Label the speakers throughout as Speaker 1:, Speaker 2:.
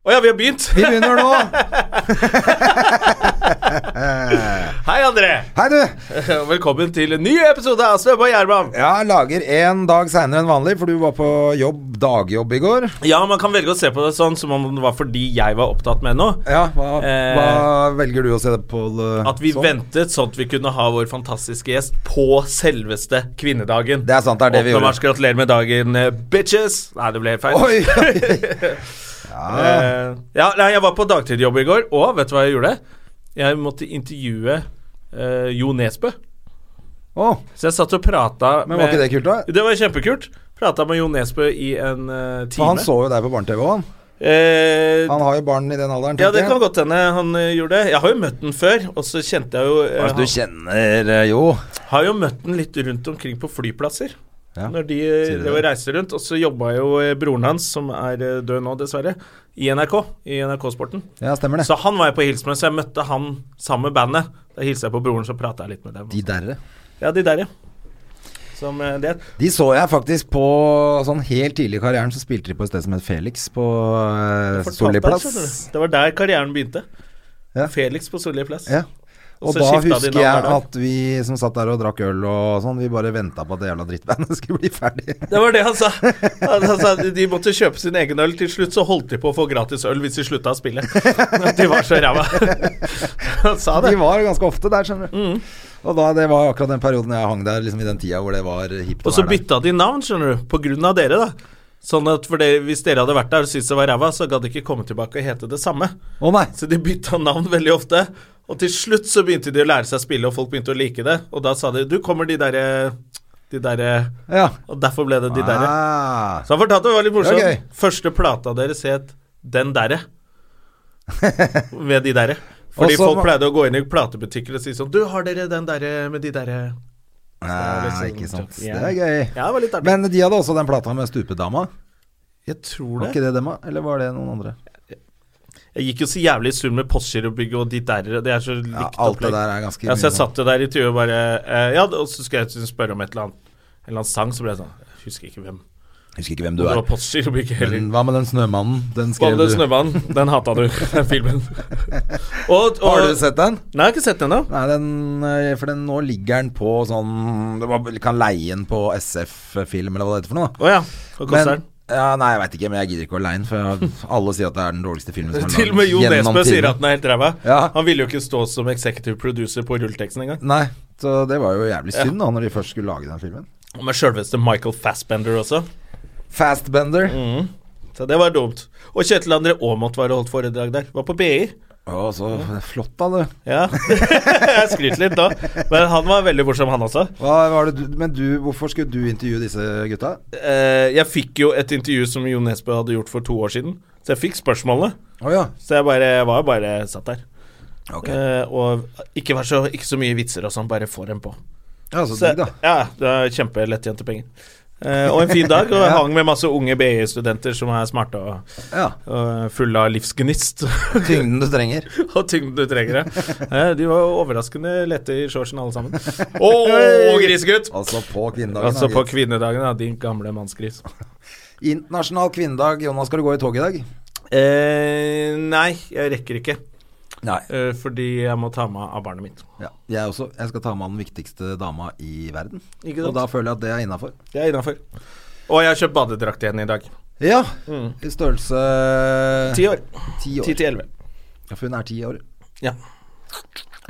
Speaker 1: Å ja, vi har begynt.
Speaker 2: Vi begynner nå.
Speaker 1: Hei, André.
Speaker 2: Hei, du.
Speaker 1: Velkommen til en ny episode av Svømme og Gjerman.
Speaker 2: Jeg lager en dag seinere enn vanlig, for du var på jobb, dagjobb i går.
Speaker 1: Ja, man kan velge å se på det sånn som om det var fordi jeg var opptatt med noe.
Speaker 2: Ja, hva,
Speaker 1: Eh,
Speaker 2: hva velger du å se det på? eh,
Speaker 1: At vi
Speaker 2: sånn?
Speaker 1: ventet sånn at vi kunne ha vår fantastiske gjest på selveste kvinnedagen.
Speaker 2: Det er sant, det er det
Speaker 1: Åttende
Speaker 2: vi gjorde.
Speaker 1: mars, gratulerer med dagen, eh, bitches! Nei, det ble helt feil.
Speaker 2: Oi, oi.
Speaker 1: Eh, ja, nei, jeg var på dagtidjobb i går, og vet du hva jeg gjorde? Jeg måtte intervjue eh, Jo Nesbø.
Speaker 2: Å,
Speaker 1: Så jeg satt og prata
Speaker 2: men var ikke det kult, da?
Speaker 1: Det var kjempekult. Prata med Jo Nesbø i en eh,
Speaker 2: For
Speaker 1: time.
Speaker 2: han så jo deg på barne-TV òg, han.
Speaker 1: Eh,
Speaker 2: Han har jo barn i den alderen.
Speaker 1: ja,
Speaker 2: tenker
Speaker 1: det
Speaker 2: jeg.
Speaker 1: kan godt hende han eh, gjorde det. Jeg har jo møtt den før, og så kjente jeg jo eh,
Speaker 2: Altså, du kjenner eh, Jo.
Speaker 1: han- Har jo møtt den litt rundt omkring på flyplasser.
Speaker 2: Ja,
Speaker 1: Når de
Speaker 2: sier du
Speaker 1: det var
Speaker 2: det?
Speaker 1: reiser rundt. Og så jobba jo eh, broren hans, som er eh, død nå, dessverre, i NRK. I NRK-sporten.
Speaker 2: Ja, stemmer det.
Speaker 1: Så han var jeg på hils med, så jeg møtte han sammen med bandet. Da hilsa jeg på broren, så prata jeg litt med dem.
Speaker 2: De derre.
Speaker 1: Ja, de der, ja. Som eh, det.
Speaker 2: De så jeg faktisk på sånn helt tidlig i karrieren, så spilte de på et sted som het Felix på eh,
Speaker 1: Fortalte
Speaker 2: Solli
Speaker 1: jeg,
Speaker 2: plass.
Speaker 1: skjønner du. Det var der karrieren begynte.
Speaker 2: Ja.
Speaker 1: Felix på Solli plass.
Speaker 2: Ja. Og
Speaker 1: så
Speaker 2: da
Speaker 1: skifta de
Speaker 2: husker
Speaker 1: navn hver
Speaker 2: jeg
Speaker 1: dag.
Speaker 2: at vi som satt der og drakk øl og sånn, vi bare venta på at det jævla drittbandet skulle bli ferdig.
Speaker 1: Det var det han sa. Han, han sa de måtte kjøpe sin egen øl. Til slutt så holdt de på å få gratis øl hvis de slutta å spille. De var så ræva. Han sa det. Mm.
Speaker 2: De var ganske ofte der, skjønner du. Og da, det var akkurat den perioden jeg hang der, liksom i den tida hvor det var hipt å
Speaker 1: Og så
Speaker 2: være der.
Speaker 1: bytta de navn, skjønner du, på grunn av dere, da. Sånn at for det, Hvis dere hadde vært der og syntes det var ræva, så gadd de ikke komme tilbake og hete det samme.
Speaker 2: Å nei!
Speaker 1: Så de bytta navn veldig ofte. Og til slutt så begynte de å lære seg å spille, og folk begynte å like det. Og da sa de 'du kommer de derre De derre
Speaker 2: Ja.
Speaker 1: Og derfor ble det de Sånn. derre.
Speaker 2: Ah.
Speaker 1: Så han fortalte det var litt morsomt.
Speaker 2: Det var gøy.
Speaker 1: Første plata deres het Den derre. Ved de derre. Fordi
Speaker 2: Og så-
Speaker 1: folk pleide å gå inn i platebutikker og si sånn Du, har dere den derre med de derre
Speaker 2: Ah,
Speaker 1: liksom-
Speaker 2: ikke sant.
Speaker 1: Ja.
Speaker 2: Det er gøy.
Speaker 1: Ja, det var litt artig.
Speaker 2: Men de hadde også den plata med Stupedama.
Speaker 1: jeg tror
Speaker 2: Var
Speaker 1: det.
Speaker 2: ikke det dem, da? eller var det noen andre?
Speaker 1: Jeg gikk jo så jævlig i surr med Postgirobygget og de derre. Det er så likt
Speaker 2: Ja, alt
Speaker 1: opplegg.
Speaker 2: det der er ganske
Speaker 1: Ja, så jeg
Speaker 2: mye.
Speaker 1: satt jo der i 20 og bare eh, Ja, og så skulle jeg spørre om et eller annet En eller annen sang, så ble jeg sånn Jeg husker ikke hvem.
Speaker 2: Jeg Husker ikke hvem
Speaker 1: Det
Speaker 2: du er.
Speaker 1: var Postgirobygget heller.
Speaker 2: Men hva med den snømannen? Den
Speaker 1: Hva
Speaker 2: skrev
Speaker 1: med den
Speaker 2: du.
Speaker 1: snømannen? Den hata du, den filmen. Og, og,
Speaker 2: Har du sett den?
Speaker 1: Nei, jeg har ikke sett den ennå.
Speaker 2: Nei, den, eh, for den, nå ligger den på sånn det var, Kan leie den på SF-film, eller hva det heter for noe. da.
Speaker 1: Å ja. Hva koster
Speaker 2: Men,
Speaker 1: den?
Speaker 2: ja, nei, jeg veit ikke, men jeg gidder ikke å leie den. For jeg, alle sier at det er den dårligste filmen som er
Speaker 1: Til og med Jo
Speaker 2: gjennom
Speaker 1: Nesbø sier
Speaker 2: tiden.
Speaker 1: at den er helt ræva.
Speaker 2: Ja.
Speaker 1: Han ville jo ikke stå som executive producer på rulleteksten engang.
Speaker 2: Nei, så det var jo jævlig synd da når de først skulle lage den filmen.
Speaker 1: Og med sjølveste Michael Fassbender også.
Speaker 2: Fastbender.
Speaker 1: Mm. Så det var dumt. Og Kjetil André Aamodt var og holdt foredrag der. Var på BI.
Speaker 2: Å, så flott, da, du.
Speaker 1: Ja. jeg skryter litt da. Men han var veldig morsom, han også.
Speaker 2: Hva var det du Men du, hvorfor skulle du intervjue disse gutta?
Speaker 1: Eh, jeg fikk jo et intervju som Jo Nesbø hadde gjort for to år siden. Så jeg fikk spørsmålene.
Speaker 2: Å ja.
Speaker 1: Så jeg bare, jeg var bare satt der.
Speaker 2: Ok.
Speaker 1: Eh, og ikke, vær så, ikke så mye vitser og sånn, bare få dem på.
Speaker 2: Ja, så
Speaker 1: Så,
Speaker 2: digg, da.
Speaker 1: ja, det er kjempelettjente penger. Eh, og en fin dag. Og jeg hang med masse unge BI-studenter som er smarte og,
Speaker 2: Ja.
Speaker 1: og fulle av livsgnist.
Speaker 2: Tyngden du trenger.
Speaker 1: og tyngden du trenger. ja. Eh, de var overraskende lette i shortsen alle sammen. Å, grisegutt!
Speaker 2: Altså på kvinnedagen.
Speaker 1: Altså
Speaker 2: da,
Speaker 1: på
Speaker 2: gitt.
Speaker 1: kvinnedagen, da, din gamle mannsgris.
Speaker 2: Internasjonal kvinnedag. Jonas, skal du gå i tog i dag?
Speaker 1: Eh, nei, jeg rekker ikke.
Speaker 2: Nei.
Speaker 1: Eh, fordi jeg må ta med av barnet mitt.
Speaker 2: Ja, jeg også. Jeg skal ta med den viktigste dama i verden.
Speaker 1: Ikke sant?
Speaker 2: Og da føler jeg at det er innafor.
Speaker 1: Jeg er innafor. Og jeg har kjøpt badedrakt igjen i dag.
Speaker 2: Ja. I størrelse
Speaker 1: Mm. Ti år.
Speaker 2: Ti
Speaker 1: Ti til elleve.
Speaker 2: Ja, for hun er ti år.
Speaker 1: Ja.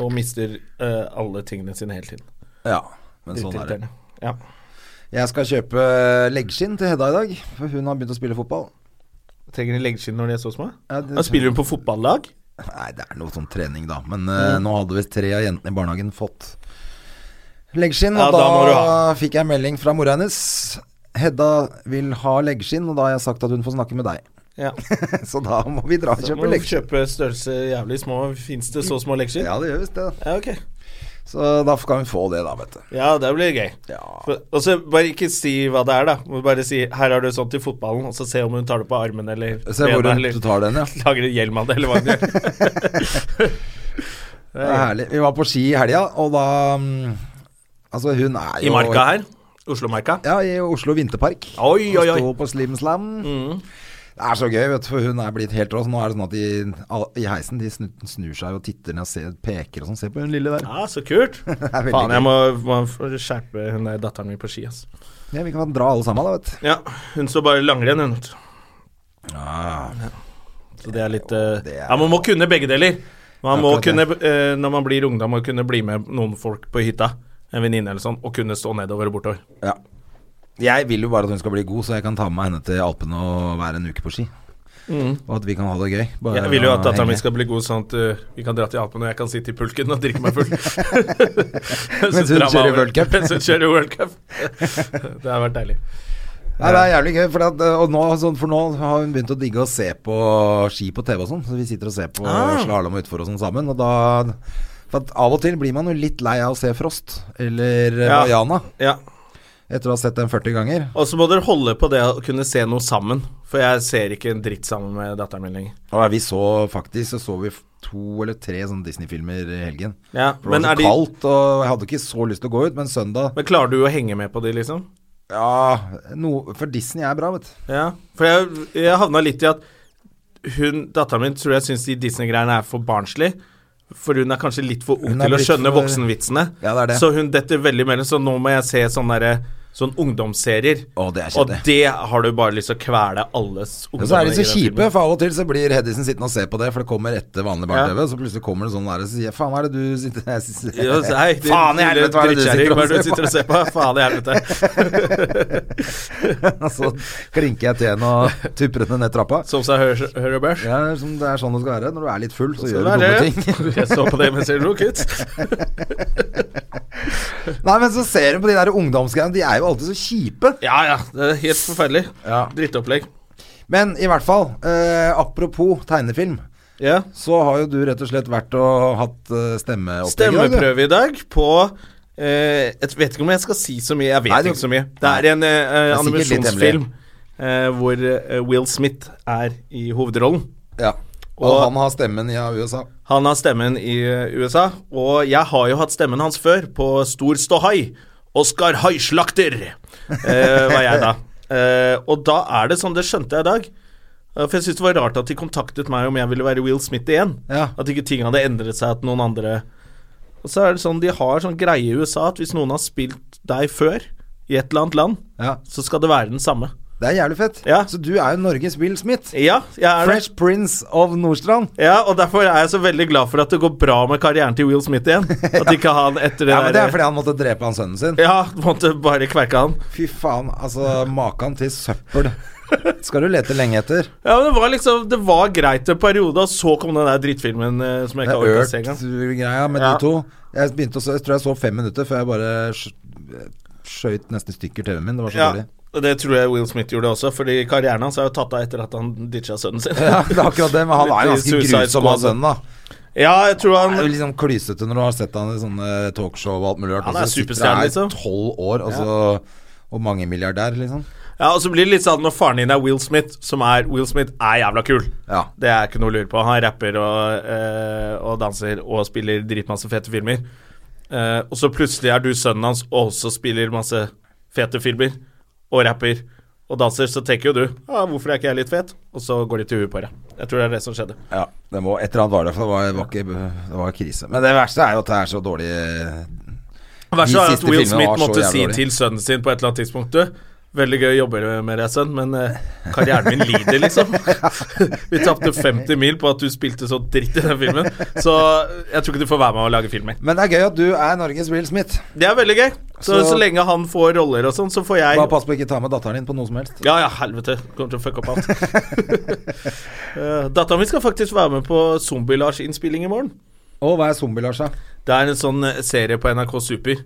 Speaker 1: Og mister eh, alle tingene sine hele tiden.
Speaker 2: Ja, men sånn er det.
Speaker 1: Irriterende. Ja.
Speaker 2: Jeg skal kjøpe leggskinn til Hedda i dag, for hun har begynt å spille fotball.
Speaker 1: Trenger de leggskinn når de er så små?
Speaker 2: Ja, det-
Speaker 1: Da spiller hun på fotballag.
Speaker 2: Nei, det er noe sånn trening, da. Men eh,
Speaker 1: Mm.
Speaker 2: nå hadde visst tre av jentene i barnehagen fått leggskinn,
Speaker 1: Ja,
Speaker 2: og
Speaker 1: da må du
Speaker 2: da,
Speaker 1: ha.
Speaker 2: fikk jeg melding fra mora hennes. Hedda vil ha leggskinn, og da har jeg sagt at hun får snakke med deg.
Speaker 1: Ja.
Speaker 2: Så da må vi dra og
Speaker 1: Så
Speaker 2: kjøpe
Speaker 1: må du
Speaker 2: lekser.
Speaker 1: kjøpe størrelse jævlig små. Fins det så små lekser?
Speaker 2: Ja, det gjør visst det. da.
Speaker 1: Ja, ok.
Speaker 2: Så da kan vi få det, da, vet du.
Speaker 1: Ja, det blir gøy.
Speaker 2: Ja.
Speaker 1: For- Og så bare ikke si hva det er, da. Må Bare si 'her har du sånn til fotballen', og så se om hun tar det på armen eller
Speaker 2: Se
Speaker 1: bena,
Speaker 2: hvor rundt
Speaker 1: eller
Speaker 2: du tar den, ja.
Speaker 1: lager en hjelm av det, eller hva hun gjør.
Speaker 2: Det er herlig. Vi var på ski i helga, og da mm, Altså, hun er jo
Speaker 1: I marka her. Oslomarka.
Speaker 2: Ja, i Oslo Vinterpark.
Speaker 1: Oi, oi, Mm. oi.
Speaker 2: Sto på Slim Slam. Det er så gøy, vet du, for hun er blitt helt rå. Så Nå er det sånn at de all- i heisen de snur, snur seg og titter ned og ser, peker og sånn. Se på hun lille der.
Speaker 1: Ja, så kult.
Speaker 2: Det er veldig
Speaker 1: Faen, jeg
Speaker 2: gøy.
Speaker 1: må, må skjerpe hun der datteren min på ski, ass.
Speaker 2: Ja, vi kan dra alle sammen, da, vet du.
Speaker 1: Ja, hun så bare langrenn, hun. Ah. Så det er litt eh,
Speaker 2: det er-
Speaker 1: Ja, man må kunne begge deler. Man må
Speaker 2: Akkurat
Speaker 1: kunne, eh, når man blir ungdom, må kunne bli med noen folk på hytta. En venninne eller sånn, og kunne stå nedover og bortover.
Speaker 2: Ja. Jeg vil jo bare at hun skal bli god, så jeg kan ta med henne til Alpene og være en uke på ski. Og at vi kan ha det gøy. Bare
Speaker 1: Mm. Jeg vil jo at dattera
Speaker 2: henge.
Speaker 1: mi skal bli god, sånn at eh, vi kan dra til Alpene, og jeg kan sitte i pulken og drikke meg full.
Speaker 2: Mens hun kjører World Cup.
Speaker 1: Mens hun kjører World Cup. det har vært deilig.
Speaker 2: Nei, det er jævlig gøy, for, at, og nå, sånn, for nå har hun begynt å digge å se på ski på TV og sånn. Så vi sitter og ser på
Speaker 1: Ah.
Speaker 2: slalåm og utfor og sånn sammen. Og da For at av og til blir man jo litt lei av å se Frost eller eh,
Speaker 1: Ja.
Speaker 2: Vaiana
Speaker 1: Ja.
Speaker 2: etter å ha sett den 40 ganger.
Speaker 1: Og så må dere holde på det å kunne se noe sammen, for jeg ser ikke en dritt sammen med datteren min lenger.
Speaker 2: Og vi så faktisk så, så vi f- to eller tre sånne Disney-filmer i helgen.
Speaker 1: Ja,
Speaker 2: For det
Speaker 1: men
Speaker 2: var
Speaker 1: er
Speaker 2: så
Speaker 1: de-
Speaker 2: kaldt, og jeg hadde ikke så lyst til å gå ut, men søndag
Speaker 1: Men klarer du å henge med på de, liksom?
Speaker 2: Ja, no, for Disney er bra, vet du.
Speaker 1: Ja, for jeg, jeg havna litt i at hun, datteren min tror jeg syns de Disney-greiene er for barnslig. For hun er kanskje litt for ung
Speaker 2: Hun er
Speaker 1: til å
Speaker 2: blitt
Speaker 1: skjønne
Speaker 2: for-
Speaker 1: voksenvitsene.
Speaker 2: Ja, det er det.
Speaker 1: Så hun detter veldig imellom. Så nå må jeg se sånne, derre- sånn ungdomsserier.
Speaker 2: Å, det er
Speaker 1: og
Speaker 2: kjedelig.
Speaker 1: det har du bare lyst til å kvele alles
Speaker 2: Og så er
Speaker 1: ungdommer
Speaker 2: de så
Speaker 1: i den
Speaker 2: kjipe,
Speaker 1: filmen.
Speaker 2: for av og til så blir Hedisen sittende og se på det, for det kommer etter vanlig barne-TV.
Speaker 1: Ja.
Speaker 2: Så plutselig kommer det sånn der og så sier jeg, 'faen, hva er det du sitter jeg sitter-
Speaker 1: Ja, så, hei, din
Speaker 2: Faen i
Speaker 1: lille
Speaker 2: helvete, hva er det du
Speaker 1: drittkjerring,
Speaker 2: sitter
Speaker 1: hva er det
Speaker 2: og
Speaker 1: du sitter og ser på? Faen i helvete.
Speaker 2: Og så klinker jeg til henne og tupper henne ned trappa.
Speaker 1: Som seg hør, hør og børs.
Speaker 2: Ja, som det er sånn det skal være. Når du er litt full, så,
Speaker 1: Så det
Speaker 2: gjør du
Speaker 1: er
Speaker 2: dumme
Speaker 1: det.
Speaker 2: ting.
Speaker 1: Jeg så på det mens jeg lo, kids.
Speaker 2: Nei, men så ser du på de der ungdomsgreiene, de er jo alltid så kjipe.
Speaker 1: Ja ja, det er helt forferdelig.
Speaker 2: Ja.
Speaker 1: Drittopplegg.
Speaker 2: Men i hvert fall, eh, apropos tegnefilm,
Speaker 1: Ja.
Speaker 2: så har jo du rett og slett vært og hatt eh, stemmeopplegg. i dag, du.
Speaker 1: Stemmeprøve i dag på eh, Jeg vet ikke om jeg skal si så mye. Jeg vet
Speaker 2: Nei, du-
Speaker 1: ikke så mye. Det er en eh, eh,
Speaker 2: er sikkert litt
Speaker 1: animasjonsfilm eh, hvor eh, Will Smith er i hovedrollen.
Speaker 2: Ja. Og,
Speaker 1: Og-
Speaker 2: han har stemmen i USA.
Speaker 1: Han har stemmen i eh, USA, og jeg har jo hatt stemmen hans før på Stor ståhai. Oskar Haislakter eh, var jeg da. Eh, og da er det sånn, det skjønte jeg i dag. Eh, For jeg syntes det var rart at de kontaktet meg om jeg ville være Will Smith igjen.
Speaker 2: Ja.
Speaker 1: At ikke ting hadde endret seg, at noen andre Og så er det sånn, de har sånn greie i USA at hvis noen har spilt deg før i et eller annet land,
Speaker 2: Ja.
Speaker 1: så skal det være den samme.
Speaker 2: Det er jævlig fett.
Speaker 1: Ja.
Speaker 2: Så du er jo Norges Will Smith.
Speaker 1: Ja, jeg er det.
Speaker 2: Fresh Prince of Nordstrand.
Speaker 1: Ja, og derfor er jeg så veldig glad for at det går bra med karrieren til Will Smith igjen. At ikke han etter det
Speaker 2: Ja, men Det er
Speaker 1: der eh?
Speaker 2: fordi han måtte drepe han sønnen sin.
Speaker 1: Ja, måtte bare kverke han.
Speaker 2: Fy faen, altså maken til søppel. Skal du lete lenge etter?
Speaker 1: Ja, men Det var liksom, det var greit en periode, og så kom den der drittfilmen eh, som jeg ikke
Speaker 2: Det er
Speaker 1: har orket å se engang.
Speaker 2: ørt-greia med
Speaker 1: Ja.
Speaker 2: de to. Jeg, begynte å, se- jeg tror jeg så fem minutter før jeg bare skj- eh, skjøt nesten i stykker TV-en min. Det var så
Speaker 1: Ja,
Speaker 2: dårlig.
Speaker 1: og det tror jeg Will Smith gjorde også, fordi karrieren hans er jo tatt av etter at han ditcha sønnen sin.
Speaker 2: Ja, det er akkurat det, men han er jo
Speaker 1: Litt i
Speaker 2: ganske
Speaker 1: Suicide
Speaker 2: grusom, han
Speaker 1: Squad.
Speaker 2: sønnen, da.
Speaker 1: Ja, jeg tror
Speaker 2: Han er jo
Speaker 1: han
Speaker 2: liksom klysete når du har sett han i sånne talkshow og alt mulig rart.
Speaker 1: Han er
Speaker 2: og så sitter
Speaker 1: superstjerne,
Speaker 2: han her
Speaker 1: liksom.
Speaker 2: Tolv år, og så Og mange milliardær, liksom.
Speaker 1: Ja, og så blir det litt sånn når faren din er Will Smith, som er Will Smith er jævla kul.
Speaker 2: Ja.
Speaker 1: Det er ikke noe å lure på. Han rapper og, eh, og danser og spiller dritmasse fete filmer. Eh, og så plutselig er du sønnen hans og også spiller masse fete filmer og rapper og danser, så tenker jo du ah, 'Hvorfor er ikke jeg litt fet?' Og så går de til huet på deg. Jeg tror det er det som skjedde.
Speaker 2: Ja, det må, et eller annet var det, for det var, det var, ikke, det var krise. Men det verste er jo at det er så dårlig eh.
Speaker 1: Verst er at
Speaker 2: siste
Speaker 1: Will
Speaker 2: filmene
Speaker 1: Smith
Speaker 2: var så
Speaker 1: måtte
Speaker 2: jævlig
Speaker 1: si
Speaker 2: dårlig.
Speaker 1: til sønnen sin på et eller annet tidspunkt du, Veldig gøy å jobbe med deg, sønn, men eh, karrieren min lider, liksom. Vi tapte 50 mil på at du spilte så dritt i den filmen, så jeg tror ikke du får være med å lage filmer.
Speaker 2: Men det er gøy at du er Norges Will Smith.
Speaker 1: Det er veldig gøy. Så, så,
Speaker 2: Så-
Speaker 1: lenge han får roller og sånn, så får jeg
Speaker 2: Bare pass på å ikke ta med datteren din på noe som helst.
Speaker 1: Ja ja, helvete. Kommer til å fucke opp alt. Eh, Datteren min skal faktisk være med på Zombie-Lars-innspilling i morgen.
Speaker 2: Og hva er zombie, Lars? da?
Speaker 1: Det er en sånn eh, serie på NRK Super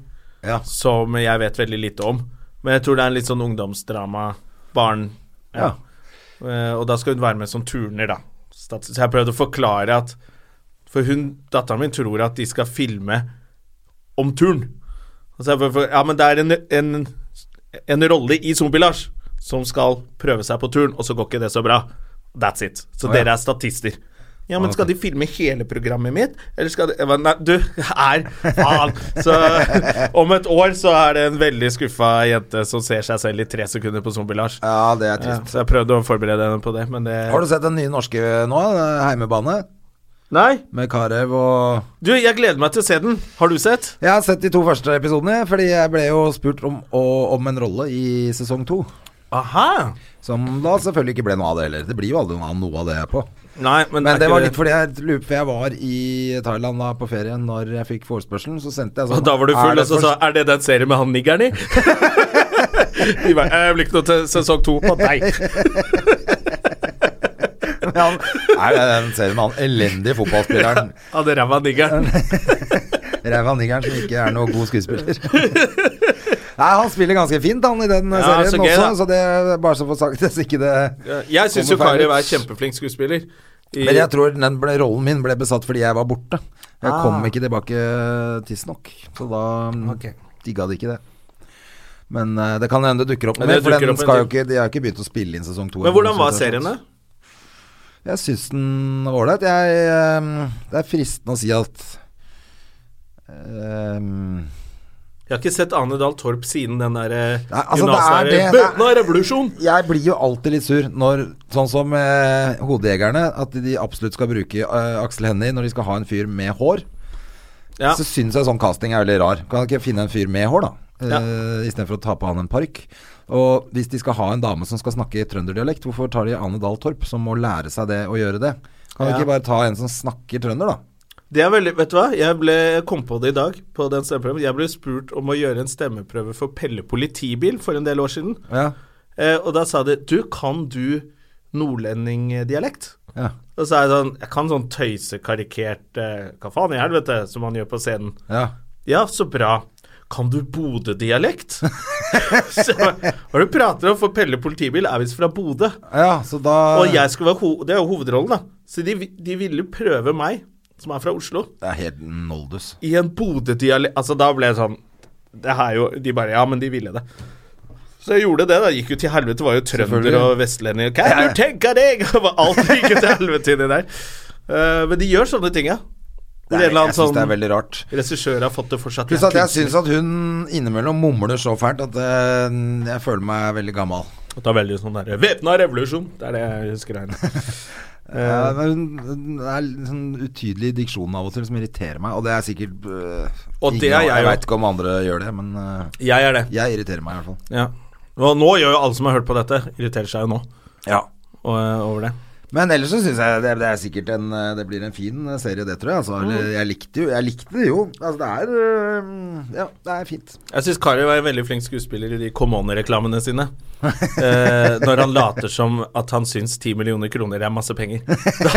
Speaker 2: Ja.
Speaker 1: som jeg vet veldig lite om. Men jeg tror det er en litt sånn ungdomsdrama, barn
Speaker 2: ja.
Speaker 1: Eh, og da skal hun være med som turner, da. Stat- Så jeg prøvde å forklare at For hun, datteren min tror at de skal filme om turn. Og så jeg prøvde å for- ja, men det er en, en, en rolle i Zombie-Lars som skal prøve seg på turn, og så går ikke det så bra. That's it. Så
Speaker 2: ja. Ah,
Speaker 1: dere er statister. Ja, men skal de filme hele programmet mitt, eller skal de jeg bare, Nei, du er faen! Så om et år så er det en veldig skuffa jente som ser seg selv i tre sekunder på Zombie-Lars.
Speaker 2: Ja, det er
Speaker 1: Ja,
Speaker 2: trist.
Speaker 1: så jeg prøvde å forberede henne på det, men det
Speaker 2: Har du sett den nye norske nå? eh, Heimebane?
Speaker 1: Nei?
Speaker 2: Med Karev og
Speaker 1: Du, jeg gleder meg til å se den. Har du sett?
Speaker 2: Jeg har sett de to første episodene, fordi jeg ble jo spurt om, å- om en rolle i sesong to.
Speaker 1: Aha!
Speaker 2: Som da selvfølgelig ikke ble noe av det heller. Det blir jo aldri noe av noe av det jeg er på.
Speaker 1: Nei, men,
Speaker 2: Men
Speaker 1: er
Speaker 2: det
Speaker 1: ikke
Speaker 2: var litt fordi jeg lurer på For jeg var i Thailand da på ferie når jeg fikk forespørselen, så sendte jeg sånn
Speaker 1: Og da var du
Speaker 2: er
Speaker 1: full,
Speaker 2: det
Speaker 1: og så sa
Speaker 2: først-
Speaker 1: Er det den serien med han niggeren i? De bare, Jeg blir ikke noe til sesong to på deg.
Speaker 2: Ja, Er det den serien med han elendige fotballspilleren?
Speaker 1: Han ræva niggeren.
Speaker 2: Ræva niggeren som ikke er noen god skuespiller. Nei, han spiller ganske fint, han, i den
Speaker 1: Ja,
Speaker 2: serien
Speaker 1: så gøy,
Speaker 2: også,
Speaker 1: da.
Speaker 2: så det er bare så for sagt, hvis ikke det
Speaker 1: Jeg syns jo
Speaker 2: Kommer feil
Speaker 1: Kari
Speaker 2: ut.
Speaker 1: er kjempeflink skuespiller. I,
Speaker 2: Men jeg tror den ble, rollen min ble besatt fordi jeg var borte. Jeg
Speaker 1: Ah.
Speaker 2: kom ikke tilbake tidsnok, så da mm,
Speaker 1: Ok.
Speaker 2: digga de ikke det. Men eh, det kan hende det dukker opp noe
Speaker 1: Men
Speaker 2: mer,
Speaker 1: det
Speaker 2: for
Speaker 1: dukker
Speaker 2: den
Speaker 1: opp en
Speaker 2: skal jo
Speaker 1: til.
Speaker 2: ikke, de har ikke begynt å spille inn sesong to.
Speaker 1: men
Speaker 2: ennå,
Speaker 1: hvordan
Speaker 2: så
Speaker 1: var
Speaker 2: det er
Speaker 1: serien,
Speaker 2: sant.
Speaker 1: da?
Speaker 2: Jeg syns den var ålreit. Jeg, ehm, Det er fristende å si at ehm,
Speaker 1: Jeg har ikke sett Ane Dahl Torp siden den eh, derre
Speaker 2: Nei, altså, det er det-
Speaker 1: Bøtna revolusjon!
Speaker 2: jeg blir jo alltid litt sur når Sånn som eh, hodejegerne, at de absolutt skal bruke eh, Aksel Hennie når de skal ha en fyr med hår.
Speaker 1: Ja.
Speaker 2: Så syns jeg sånn casting er veldig rar. Kan ikke finne en fyr med hår, da.
Speaker 1: Ja.
Speaker 2: Eh, Istedenfor å ta på han en parykk. Og hvis de skal ha en dame som skal snakke trønderdialekt, hvorfor tar de Ane Dahl Torp, som må lære seg det og gjøre det? Kan vi
Speaker 1: Ja.
Speaker 2: ikke bare ta en som snakker trønder, da?
Speaker 1: Det er veldig, vet du hva? Jeg ble, jeg kom på det i dag, på den stemmeprøven. Jeg ble spurt om å gjøre en stemmeprøve for Pelle politibil for en del år siden.
Speaker 2: Ja.
Speaker 1: Eh, og da sa de Du, kan du nordlendingdialekt?
Speaker 2: Ja.
Speaker 1: Og så er jeg sånn Jeg kan sånn tøysekarikert eh, Hva faen i helvete? Som han gjør på scenen.
Speaker 2: ja.
Speaker 1: Ja, så bra. Kan du Bodø-dialekt? Så jeg, Hva er det du prater om? For Pelle politibil er visst fra Bodø.
Speaker 2: Ja, så da
Speaker 1: Og jeg skulle være ho Det er jo hovedrollen, da. Så de, vi- de ville prøve meg, som er fra Oslo,
Speaker 2: Det er helt noldus.
Speaker 1: i en Bodø-dialekt Altså, da ble jeg sånn Det her er jo De bare Ja, men de ville det. Så jeg gjorde det, da. Gikk jo til helvete. Var jo trønder
Speaker 2: Selvfølgelig.
Speaker 1: og vestlending. Hva er det du tenker deg?! Og bare Alt gikk jo til helvete inni der. Eh, men de gjør sånne ting, ja. Hvor en
Speaker 2: Nei,
Speaker 1: eller annen
Speaker 2: jeg syns
Speaker 1: sånn
Speaker 2: det er veldig rart.
Speaker 1: regissør har fått det for seg. at
Speaker 2: Pluss
Speaker 1: de er
Speaker 2: at jeg
Speaker 1: kunstner.
Speaker 2: syns at hun innimellom mumler så fælt at eh, jeg føler meg veldig gammal.
Speaker 1: Og Det er veldig sånn derre Væpna revolusjon! Det er det jeg husker her.
Speaker 2: Eh, men hun, hun er litt sånn utydelig i diksjonen av og til som irriterer meg, og det er sikkert eh,
Speaker 1: Og
Speaker 2: ingen
Speaker 1: det er
Speaker 2: av-
Speaker 1: jeg
Speaker 2: Jeg
Speaker 1: jo.
Speaker 2: veit ikke om andre gjør det, men eh,
Speaker 1: Jeg er det.
Speaker 2: jeg irriterer meg i hvert fall.
Speaker 1: Ja. Og nå gjør jo alle som har hørt på dette, irriterer seg jo nå og, eh, over det.
Speaker 2: Men ellers så syns jeg det, det er sikkert en eh, Det blir en fin eh, serie, det tror jeg. Altså, Eller,
Speaker 1: Mm.
Speaker 2: jeg, likte jo, jeg likte det jo. Altså, det er eh, Ja, det er fint.
Speaker 1: Jeg syns Kari var en veldig flink skuespiller i de Come On-reklamene sine. Eh, når han later som at han syns 10 millioner kroner er masse penger. Da,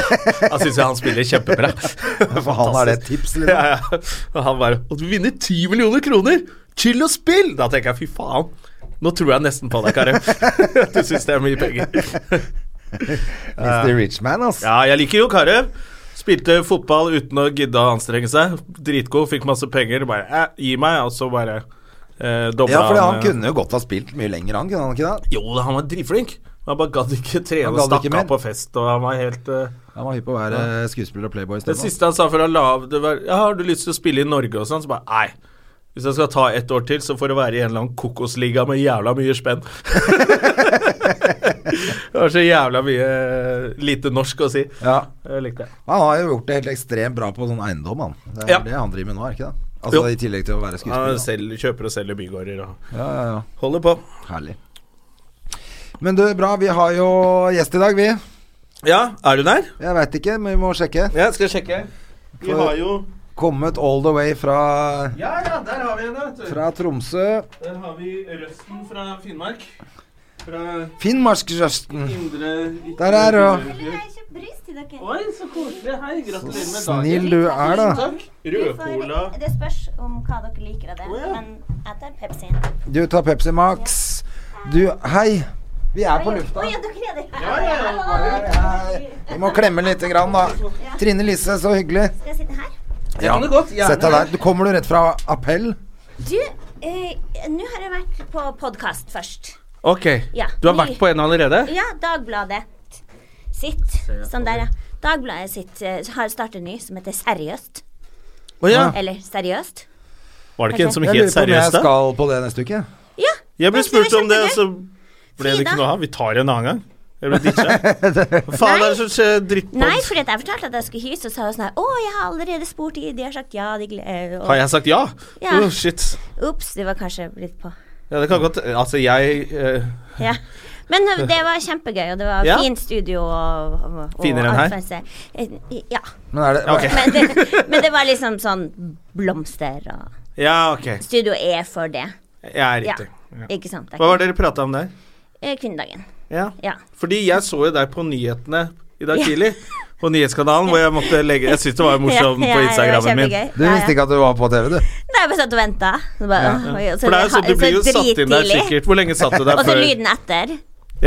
Speaker 1: da syns jeg han spiller kjempebra.
Speaker 2: For han har det et tips, liksom.
Speaker 1: Ja, ja. Og han bare Å, du vinner 10 millioner kroner! Chill og spill! Da tenker jeg fy faen. Nå tror jeg nesten på deg, Kari. du syns det er mye penger.
Speaker 2: Mr. Richman, altså.
Speaker 1: Ja, jeg liker jo Karev. Spilte fotball uten å gidde å anstrenge seg. Dritgod, fikk masse penger. Bare eh, gi meg, og så bare eh, dobla
Speaker 2: Ja, for han
Speaker 1: eh,
Speaker 2: kunne jo godt ha spilt mye lenger, han, kunne han ikke det?
Speaker 1: Jo, han var dritflink. Han bare gadd ikke trene
Speaker 2: Han
Speaker 1: og
Speaker 2: gadd ikke
Speaker 1: stakk
Speaker 2: mer.
Speaker 1: av på fest. Og han var helt eh,
Speaker 2: Han var hypp på å være eh, skuespiller og playboy
Speaker 1: Det
Speaker 2: isteden.
Speaker 1: siste han sa før han la av, det var ja, 'Har du lyst til å spille i Norge?' og sånn. Så bare nei. Hvis jeg skal ta ett år til, så får det være i en eller annen kokosliga med jævla mye spenn. det var så jævla mye eh, lite norsk å si.
Speaker 2: Ja.
Speaker 1: Jeg likte det.
Speaker 2: Han har jo gjort det helt ekstremt bra på sånn eiendom, han. Det er
Speaker 1: Ja.
Speaker 2: det han driver med nå, er ikke det? Altså
Speaker 1: Jo.
Speaker 2: i tillegg til å være
Speaker 1: Han
Speaker 2: skuespiller. da.
Speaker 1: selger, kjøper og selger bygårder og
Speaker 2: Ja, ja, ja.
Speaker 1: holder på.
Speaker 2: Herlig. Men du, bra. Vi har jo gjest i dag, vi.
Speaker 1: Ja, er du der?
Speaker 2: Jeg veit ikke, men vi må sjekke.
Speaker 1: Ja, skal jeg sjekke. Vi
Speaker 2: For-
Speaker 1: har jo
Speaker 2: Kommet all the way fra,
Speaker 1: Ja, ja, der har vi henne. vet du.
Speaker 2: fra Tromsø.
Speaker 1: Der har vi Røsten fra Finnmark. Fra
Speaker 2: Finnmarksrøsten.
Speaker 1: indre
Speaker 2: Der er hun.
Speaker 3: Jeg har kjøpt brus til dere.
Speaker 1: Oi, så koselig. Hei, gratulerer med dagen.
Speaker 2: Snill du er, da.
Speaker 1: Takk.
Speaker 3: Vi får-
Speaker 1: Rødcola.
Speaker 3: Det spørs om hva dere liker av det,
Speaker 1: Å, ja.
Speaker 3: men jeg tar Pepsien.
Speaker 2: Du tar Pepsi Max. Du, hei. Vi er på lufta.
Speaker 3: Å ja, dere er det.
Speaker 2: Vi må klemme lite grann, da. Trine Lise, så hyggelig.
Speaker 3: Skal jeg sitte her?
Speaker 2: Ja,
Speaker 4: kan du godt, gjerne.
Speaker 2: Sett deg der. Du kommer du rett fra appell?
Speaker 3: Du, eh, nå har jeg vært på podkast først.
Speaker 1: Ok.
Speaker 3: Ja.
Speaker 1: Du har vært på en allerede?
Speaker 3: Ja, Dagbladet sitt. Sånn der, ja. Dagbladet sitt eh, har startet ny, som heter Seriøst.
Speaker 1: Å ja.
Speaker 3: Eller Seriøst.
Speaker 1: Var det ikke en som
Speaker 2: Jeg
Speaker 1: helt
Speaker 2: lurer på om jeg
Speaker 1: seriøst, da?
Speaker 2: skal på det neste uke.
Speaker 3: Ja.
Speaker 1: Jeg ble
Speaker 3: det synes
Speaker 1: spurt
Speaker 3: jeg
Speaker 1: om det,
Speaker 3: kjempegøy.
Speaker 1: og så ble det
Speaker 3: Frida.
Speaker 1: ikke noe av. Vi tar det en annen gang. Jeg ble ditcha. Hva faen er det som skjer? Drittpod.
Speaker 3: Nei, fordi at jeg fortalte at jeg skulle hit, så sa hun sånn her Å, jeg har allerede spurt de, de har sagt ja, de gleder
Speaker 1: Har jeg sagt ja?
Speaker 3: Ja.
Speaker 1: Åh, shit.
Speaker 3: Ops, du var kanskje litt på
Speaker 1: Ja, det kan godt Altså, jeg eh,
Speaker 3: Ja. Men eh, det var kjempegøy, og det var
Speaker 1: Ja.
Speaker 3: fint studio og, og, og
Speaker 1: Finere enn her?
Speaker 3: alt sånt. Eh, Ja.
Speaker 2: Men er det,
Speaker 1: Ja, ok.
Speaker 3: Men det, men det var liksom sånn blomster og
Speaker 1: Ja, ok.
Speaker 3: Studio er for det.
Speaker 1: Jeg er
Speaker 3: Ja.
Speaker 1: riktig. Ja.
Speaker 3: Ikke sant? Det
Speaker 1: Hva var
Speaker 3: er
Speaker 1: det dere prata om der?
Speaker 3: ikke- eh, Kvinnedagen.
Speaker 1: Ja.
Speaker 3: Ja.
Speaker 1: Fordi jeg så jo deg på nyhetene i dag
Speaker 3: Ja.
Speaker 1: tidlig. På nyhetskanalen, hvor jeg måtte legge Jeg syns det var morsomt
Speaker 3: Ja, ja,
Speaker 1: på
Speaker 3: det var
Speaker 1: Instagrammen min.
Speaker 3: kjempegøy.
Speaker 2: Du visste ikke at du var på TV, du?
Speaker 3: Nei, jeg bare satt og venta.
Speaker 1: Ja.
Speaker 3: altså,
Speaker 1: For det er jo sånn, du blir jo satt inn der sikkert. Hvor lenge satt du der
Speaker 3: Og så
Speaker 1: før?
Speaker 3: Altså, lyden etter.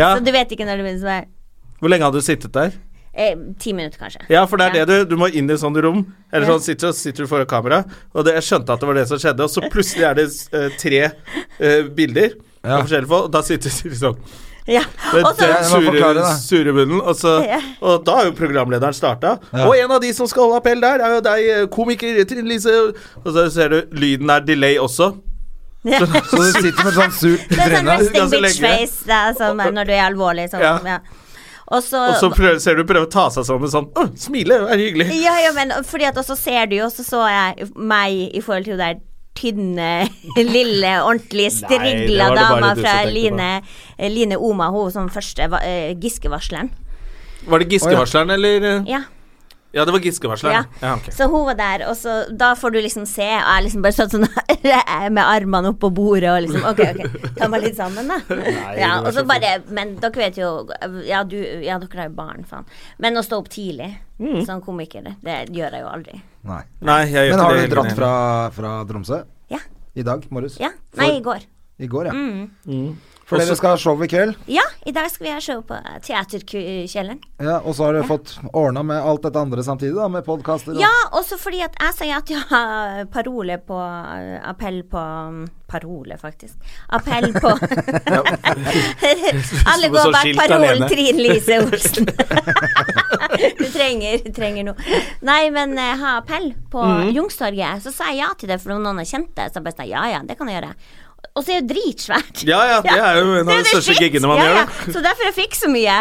Speaker 1: Ja.
Speaker 3: Så du vet ikke når det begynner sånn
Speaker 1: Hvor lenge hadde du sittet der?
Speaker 3: eh, Ti minutter, kanskje.
Speaker 1: Ja, for det er det du Du må inn i sånn rom. Eller
Speaker 3: Ja.
Speaker 1: sånn sitter, sitter du foran kamera, og det, jeg skjønte at det var det som skjedde, og så plutselig er det eh, tre eh, bilder.
Speaker 2: Ja.
Speaker 1: av forskjellige folk, Og da sitter de liksom
Speaker 3: Ja.
Speaker 1: med
Speaker 3: Og så sånn
Speaker 1: den
Speaker 2: jeg må forklare
Speaker 1: sure,
Speaker 2: det.
Speaker 1: sure munnen, og, så,
Speaker 3: Ja.
Speaker 1: og da har jo programlederen starta.
Speaker 2: Ja.
Speaker 1: Og en av de som skal holde appell der, er jo deg, eh, komiker Trine Lise. Og så ser du lyden er delay også.
Speaker 3: ja.
Speaker 2: Så du sitter med et sånt surt
Speaker 3: Det er sånn
Speaker 2: tryne.
Speaker 1: Ja,
Speaker 3: resting
Speaker 1: så
Speaker 3: bitch
Speaker 1: legger jeg.
Speaker 3: face det er sånn, eh, når du er alvorlig. Sånn,
Speaker 1: Ja.
Speaker 3: ja. Og så
Speaker 1: Og så prøver, ser du prøve å ta seg sammen sånn Å, smile, vær hyggelig.
Speaker 3: Ja, ja, men fordi at også ser du jo, så så jeg meg i forhold til hun der tynne, lille, ordentlig strigla
Speaker 1: det var det bare
Speaker 3: dama
Speaker 1: du som
Speaker 3: fra
Speaker 1: tenkte på.
Speaker 3: Line, eh, Line Oma, hun som første va- eh, Giske-varsleren.
Speaker 1: Var det Giske-varsleren, eller? eh?
Speaker 3: Ja.
Speaker 1: Ja, det var Giske-varsleren.
Speaker 3: Ja.
Speaker 1: Ja, ok.
Speaker 3: Så hun var der, og så da får du liksom se, og jeg liksom bare satt sånn med armene oppå bordet og liksom OK, OK, ta meg litt sammen, da. ja, og så bare Men dere vet jo Ja, du, ja dere har jo barn, faen. Men å stå opp tidlig
Speaker 1: Mm.
Speaker 3: som komiker, det- det gjør jeg jo aldri.
Speaker 2: Nei.
Speaker 1: Nei, jeg gjør
Speaker 2: Men
Speaker 1: ikke
Speaker 2: har
Speaker 1: det
Speaker 2: du
Speaker 1: heller.
Speaker 2: dratt fra, fra Tromsø?
Speaker 3: Ja.
Speaker 2: I dag morges?
Speaker 3: Ja. Mm. Nei, i går.
Speaker 2: I går, ja. For dere skal ha show i kveld,
Speaker 3: Ja, i dag skal vi ha show på eh, Teaterkjelleren.
Speaker 2: ja, og så har dere fått ordna med alt dette andre samtidig, da, med podkaster og
Speaker 3: Ja, også fordi at jeg sa ja til å ha parole på eh, Appell på mm, Parole, faktisk. Appell på Alle
Speaker 1: Som
Speaker 3: går
Speaker 1: så
Speaker 3: bak
Speaker 1: skilt
Speaker 3: parolen
Speaker 1: alene.
Speaker 3: Trine Lise Olsen. du trenger, du trenger noe. Nei, men eh, ha appell på
Speaker 1: Mhm.
Speaker 3: Youngstorget. Så sa jeg ja til det, for noen har kjent det. Så bare sa jeg, ja, ja, det kan jeg gjøre. Og så er det jo dritsvært.
Speaker 1: Ja, ja, det er jo en av de
Speaker 3: Det er jo
Speaker 1: største
Speaker 3: dritt.
Speaker 1: giggene man
Speaker 3: ja,
Speaker 1: gjør.
Speaker 3: ja.
Speaker 1: da.
Speaker 3: Så derfor jeg fikk så mye.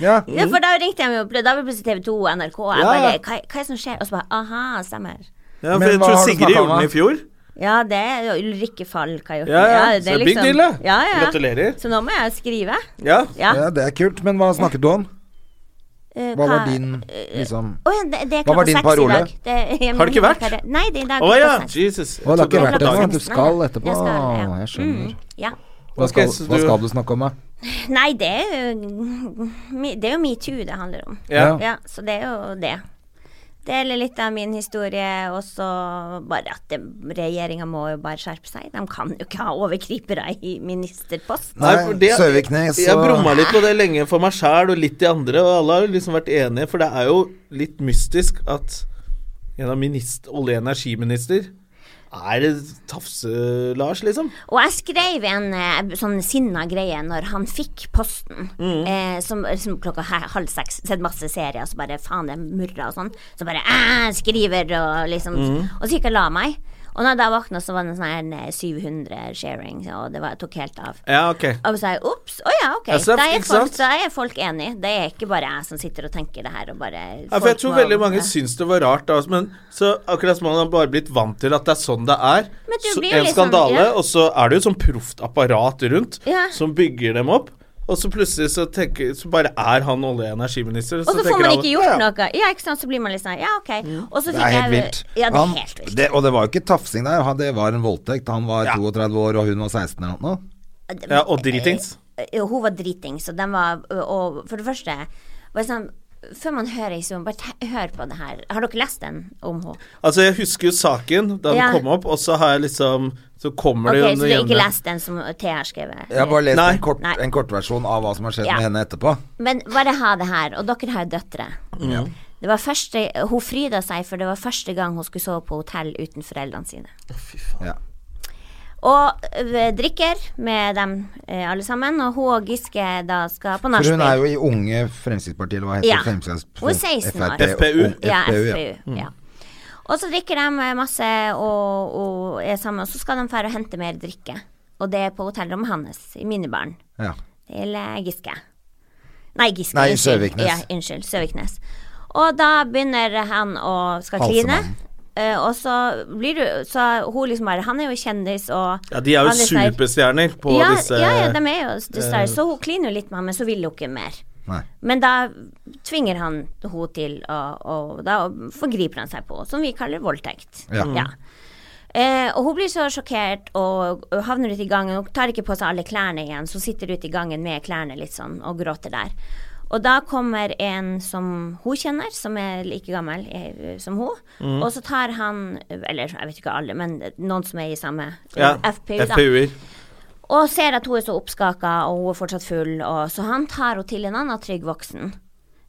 Speaker 2: Ja.
Speaker 1: Mm.
Speaker 3: Ja, for da ringte jeg meg opp, da var det plutselig TV 2 og NRK. og Jeg
Speaker 2: Ja,
Speaker 3: bare,
Speaker 2: ja.
Speaker 3: hva, hva er det som skjer? Og så bare aha, stemmer.
Speaker 1: Ja, for
Speaker 2: Men
Speaker 1: jeg
Speaker 2: hva
Speaker 1: tror
Speaker 2: har du
Speaker 1: Sigrid
Speaker 2: snakket om,
Speaker 1: gjorde den
Speaker 2: da?
Speaker 1: i fjor.
Speaker 3: Ja, det er jo Ulrikke Falk har gjort
Speaker 1: Ja, ja.
Speaker 3: det
Speaker 1: Så
Speaker 3: er liksom-
Speaker 1: big deal, da.
Speaker 3: ja, ja.
Speaker 1: Gratulerer.
Speaker 3: Så nå må jeg skrive.
Speaker 1: Ja.
Speaker 3: Ja.
Speaker 2: ja, det er kult. Men hva snakket du om?
Speaker 3: Eh,
Speaker 2: Hva var
Speaker 3: pa-
Speaker 2: din liksom
Speaker 3: Å, ja, det, det er
Speaker 2: Hva var din
Speaker 3: klokka seks
Speaker 2: parole?
Speaker 3: i dag. Det- jeg
Speaker 1: Har det
Speaker 3: må
Speaker 1: ikke vært?
Speaker 3: bare- Nei, det er i dag.
Speaker 1: Å ja,
Speaker 3: klokka seks.
Speaker 1: Jesus.
Speaker 2: Å, det har ikke
Speaker 3: Klokka
Speaker 2: vært det,
Speaker 3: seks.
Speaker 2: men du skal
Speaker 3: Nei,
Speaker 2: etterpå.
Speaker 3: jeg skal, ja.
Speaker 2: Å, jeg skjønner.
Speaker 3: Mm, ja.
Speaker 2: Hva,
Speaker 1: Ok,
Speaker 2: skal,
Speaker 1: så
Speaker 2: hva
Speaker 1: du-
Speaker 2: skal du snakke om, da?
Speaker 3: Nei, det er jo mi- Det er jo metoo det handler om.
Speaker 1: Ja.
Speaker 2: Ja.
Speaker 3: Ja, så det er jo det. Deler litt av min historie, og så bare at regjeringa må jo bare skjerpe seg. De kan jo ikke ha overgripere i ministerpost.
Speaker 2: Nei,
Speaker 1: for det-
Speaker 2: Søviknes
Speaker 1: Jeg
Speaker 2: og-
Speaker 1: brumma litt på det lenge for meg sjæl og litt de andre, og alle har jo liksom vært enige, for det er jo litt mystisk at en av minist- olje- og energiminister er Tafse-Lars, liksom.
Speaker 3: Og jeg skrev en eh, sånn sinna greie når han fikk posten, eh, som, som klokka he- halv seks, sett masse serier, så bare faen, det murra og sånn. Så bare æ, skriver og liksom Og så gikk jeg og la meg. Og når jeg da våkna, så var det sånn her en, eh, 700 sharing, og det var, tok helt av.
Speaker 1: Ja, ok.
Speaker 3: Og så sa jeg ops, å ja, ok.
Speaker 1: Ja, så det er-
Speaker 3: da, er
Speaker 1: ikke
Speaker 3: folk,
Speaker 1: sant?
Speaker 3: da er folk enige. Det er ikke bare jeg som sitter og tenker det her og bare
Speaker 1: Ja, for jeg tror veldig mange syns det var rart, da, men så akkurat som man har bare blitt vant til at det er sånn det er.
Speaker 3: Men du
Speaker 1: Så
Speaker 3: blir jo
Speaker 1: en
Speaker 3: litt
Speaker 1: skandale,
Speaker 3: sånn, ja.
Speaker 1: og så er det jo sånn proft apparat rundt
Speaker 3: Ja.
Speaker 1: som bygger dem opp. Og så plutselig så, tenker, så bare er han olje- og energiminister.
Speaker 3: Og så får
Speaker 1: tenker
Speaker 3: man
Speaker 1: alle,
Speaker 3: ikke gjort
Speaker 1: ja, Mm. ja.
Speaker 3: noe. Ja, ikke sant, så blir man litt sånn ja, ok. Og så
Speaker 2: Det er
Speaker 3: fikk jeg
Speaker 2: helt vilt.
Speaker 3: Ja, det er
Speaker 2: Han-
Speaker 3: helt vilt.
Speaker 2: det, og det var jo ikke tafsing der, han- det var en voldtekt. Han var
Speaker 1: Ja.
Speaker 2: 32 år, og hun var 16 eller noe.
Speaker 1: Ja, og dritings.
Speaker 3: Eh, Hun var driting, så den var og- Og for det første var jeg sånn før man hører historien, bare te- hør på det her. Har dere lest den om henne?
Speaker 1: Altså, jeg husker jo saken da den
Speaker 3: Ja.
Speaker 1: kom opp, og så har jeg liksom Så kommer
Speaker 3: Ok,
Speaker 1: det
Speaker 3: så
Speaker 1: jo
Speaker 3: du har ikke
Speaker 1: jevne-
Speaker 3: lest den som Thea har skrevet?
Speaker 2: Jeg har bare lest
Speaker 1: Nei.
Speaker 2: en, kort,
Speaker 3: Nei.
Speaker 2: en kortversjon av hva som har skjedd
Speaker 3: Ja.
Speaker 2: med henne etterpå.
Speaker 3: Men bare ha det her, og dere har jo døtre. Det var første, hun fryda seg, for det var første gang hun skulle sove på hotell uten foreldrene sine.
Speaker 2: Ja.
Speaker 3: Og ø, drikker med dem ø, alle sammen, og hun og Giske da skal på
Speaker 2: For
Speaker 3: nachspiel.
Speaker 2: hun er jo i Unge Fremskrittspartiet, eller hva heter
Speaker 3: Ja.
Speaker 2: det? Fremskrittspartiet-
Speaker 3: Hun er 16 år.
Speaker 2: FRP,
Speaker 1: FPU.
Speaker 2: ung-
Speaker 3: Ja,
Speaker 2: FPU, ja. Mm.
Speaker 3: FPU. Ja. Og så drikker de eh, masse og, og er sammen, og så skal de dra og hente mer drikke. Og det er på hotellrommet hans, i minibaren,
Speaker 2: Ja.
Speaker 3: til eh, Giske. Nei, Giske.
Speaker 2: Nei,
Speaker 3: unnskyld.
Speaker 2: Søviknes.
Speaker 3: Ja, unnskyld. Søviknes. Og da begynner han å skal kline.
Speaker 2: Halsemannen.
Speaker 3: eh, og så blir du Så hun liksom bare Han er jo kjendis, og
Speaker 1: Ja, de er jo
Speaker 3: han litt der-
Speaker 1: superstjerner på
Speaker 3: ja,
Speaker 1: disse eh,
Speaker 3: Ja, ja, de er jo dessverre. Så hun kliner jo litt med ham, men så vil hun ikke mer.
Speaker 2: Nei.
Speaker 3: Men da tvinger han henne til å og Da forgriper han seg på henne, som vi kaller voldtekt.
Speaker 2: Ja.
Speaker 3: Eh, og hun blir så sjokkert og og havner ute i gangen. Hun tar ikke på seg alle klærne igjen, så hun sitter ute i gangen med klærne litt sånn og gråter der. Og da kommer en som hun kjenner, som er like gammel eh, som hun. Og så tar han, eller jeg vet ikke alle, men noen som er i samme
Speaker 1: Ja,
Speaker 3: FPU, da.
Speaker 1: FPU-er.
Speaker 3: Og ser at hun er så oppskaka, og hun er fortsatt full, og så han tar henne til en annen trygg voksen.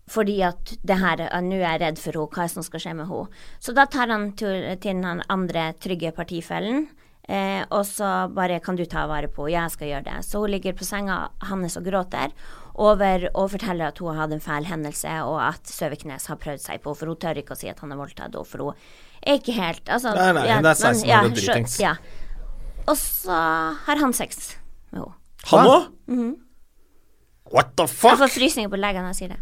Speaker 3: Fordi at det her, eh, nå er jeg redd for henne, hva er det som skal skje med henne? Så da tar han til, til den andre trygge partifellen, eh, og så bare kan du ta vare på henne, ja, jeg skal gjøre det. Så hun ligger på senga hans og gråter over, og forteller at hun har hatt en fæl hendelse, og at Søviknes har prøvd seg på henne, for hun tør ikke å si at han har voldtatt henne, for hun er ikke helt altså,
Speaker 1: Nei, nei, hun er 16 år
Speaker 3: ja,
Speaker 1: og
Speaker 3: skjø-
Speaker 1: dritings.
Speaker 3: Ja. Og så har han sex med henne.
Speaker 1: Han òg?
Speaker 3: Mhm.
Speaker 1: What the
Speaker 3: Jeg får
Speaker 1: fuck?
Speaker 3: frysninger på leggene når jeg sier det.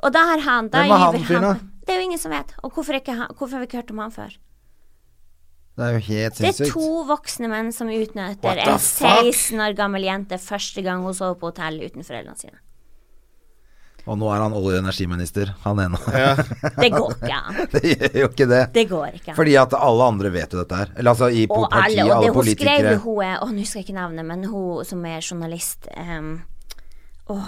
Speaker 3: Og da har han da
Speaker 2: Hvem er han
Speaker 3: gyver
Speaker 2: fyren da?
Speaker 3: Det er jo ingen som vet. Og hvorfor, ikke, han- hvorfor har vi ikke hørt om han før?
Speaker 2: Det er jo helt
Speaker 3: Det er
Speaker 2: sinnssykt.
Speaker 3: to voksne menn som utnytter
Speaker 1: What the
Speaker 3: en
Speaker 1: fuck?
Speaker 3: 16 år gammel jente første gang hun sover på hotell uten foreldrene sine.
Speaker 2: Og nå er han olje- og energiminister, han ene.
Speaker 3: Det går ikke an.
Speaker 2: det gjør jo ikke det.
Speaker 3: Det går ikke an.
Speaker 2: Fordi at alle andre vet jo dette her. Eller altså i
Speaker 3: og
Speaker 2: partiet,
Speaker 3: alle, og det
Speaker 2: alle
Speaker 3: hun skrev
Speaker 2: politikere.
Speaker 3: jo hun er, Å, nå husker jeg ikke navnet, men hun som er journalist ehm, Åh,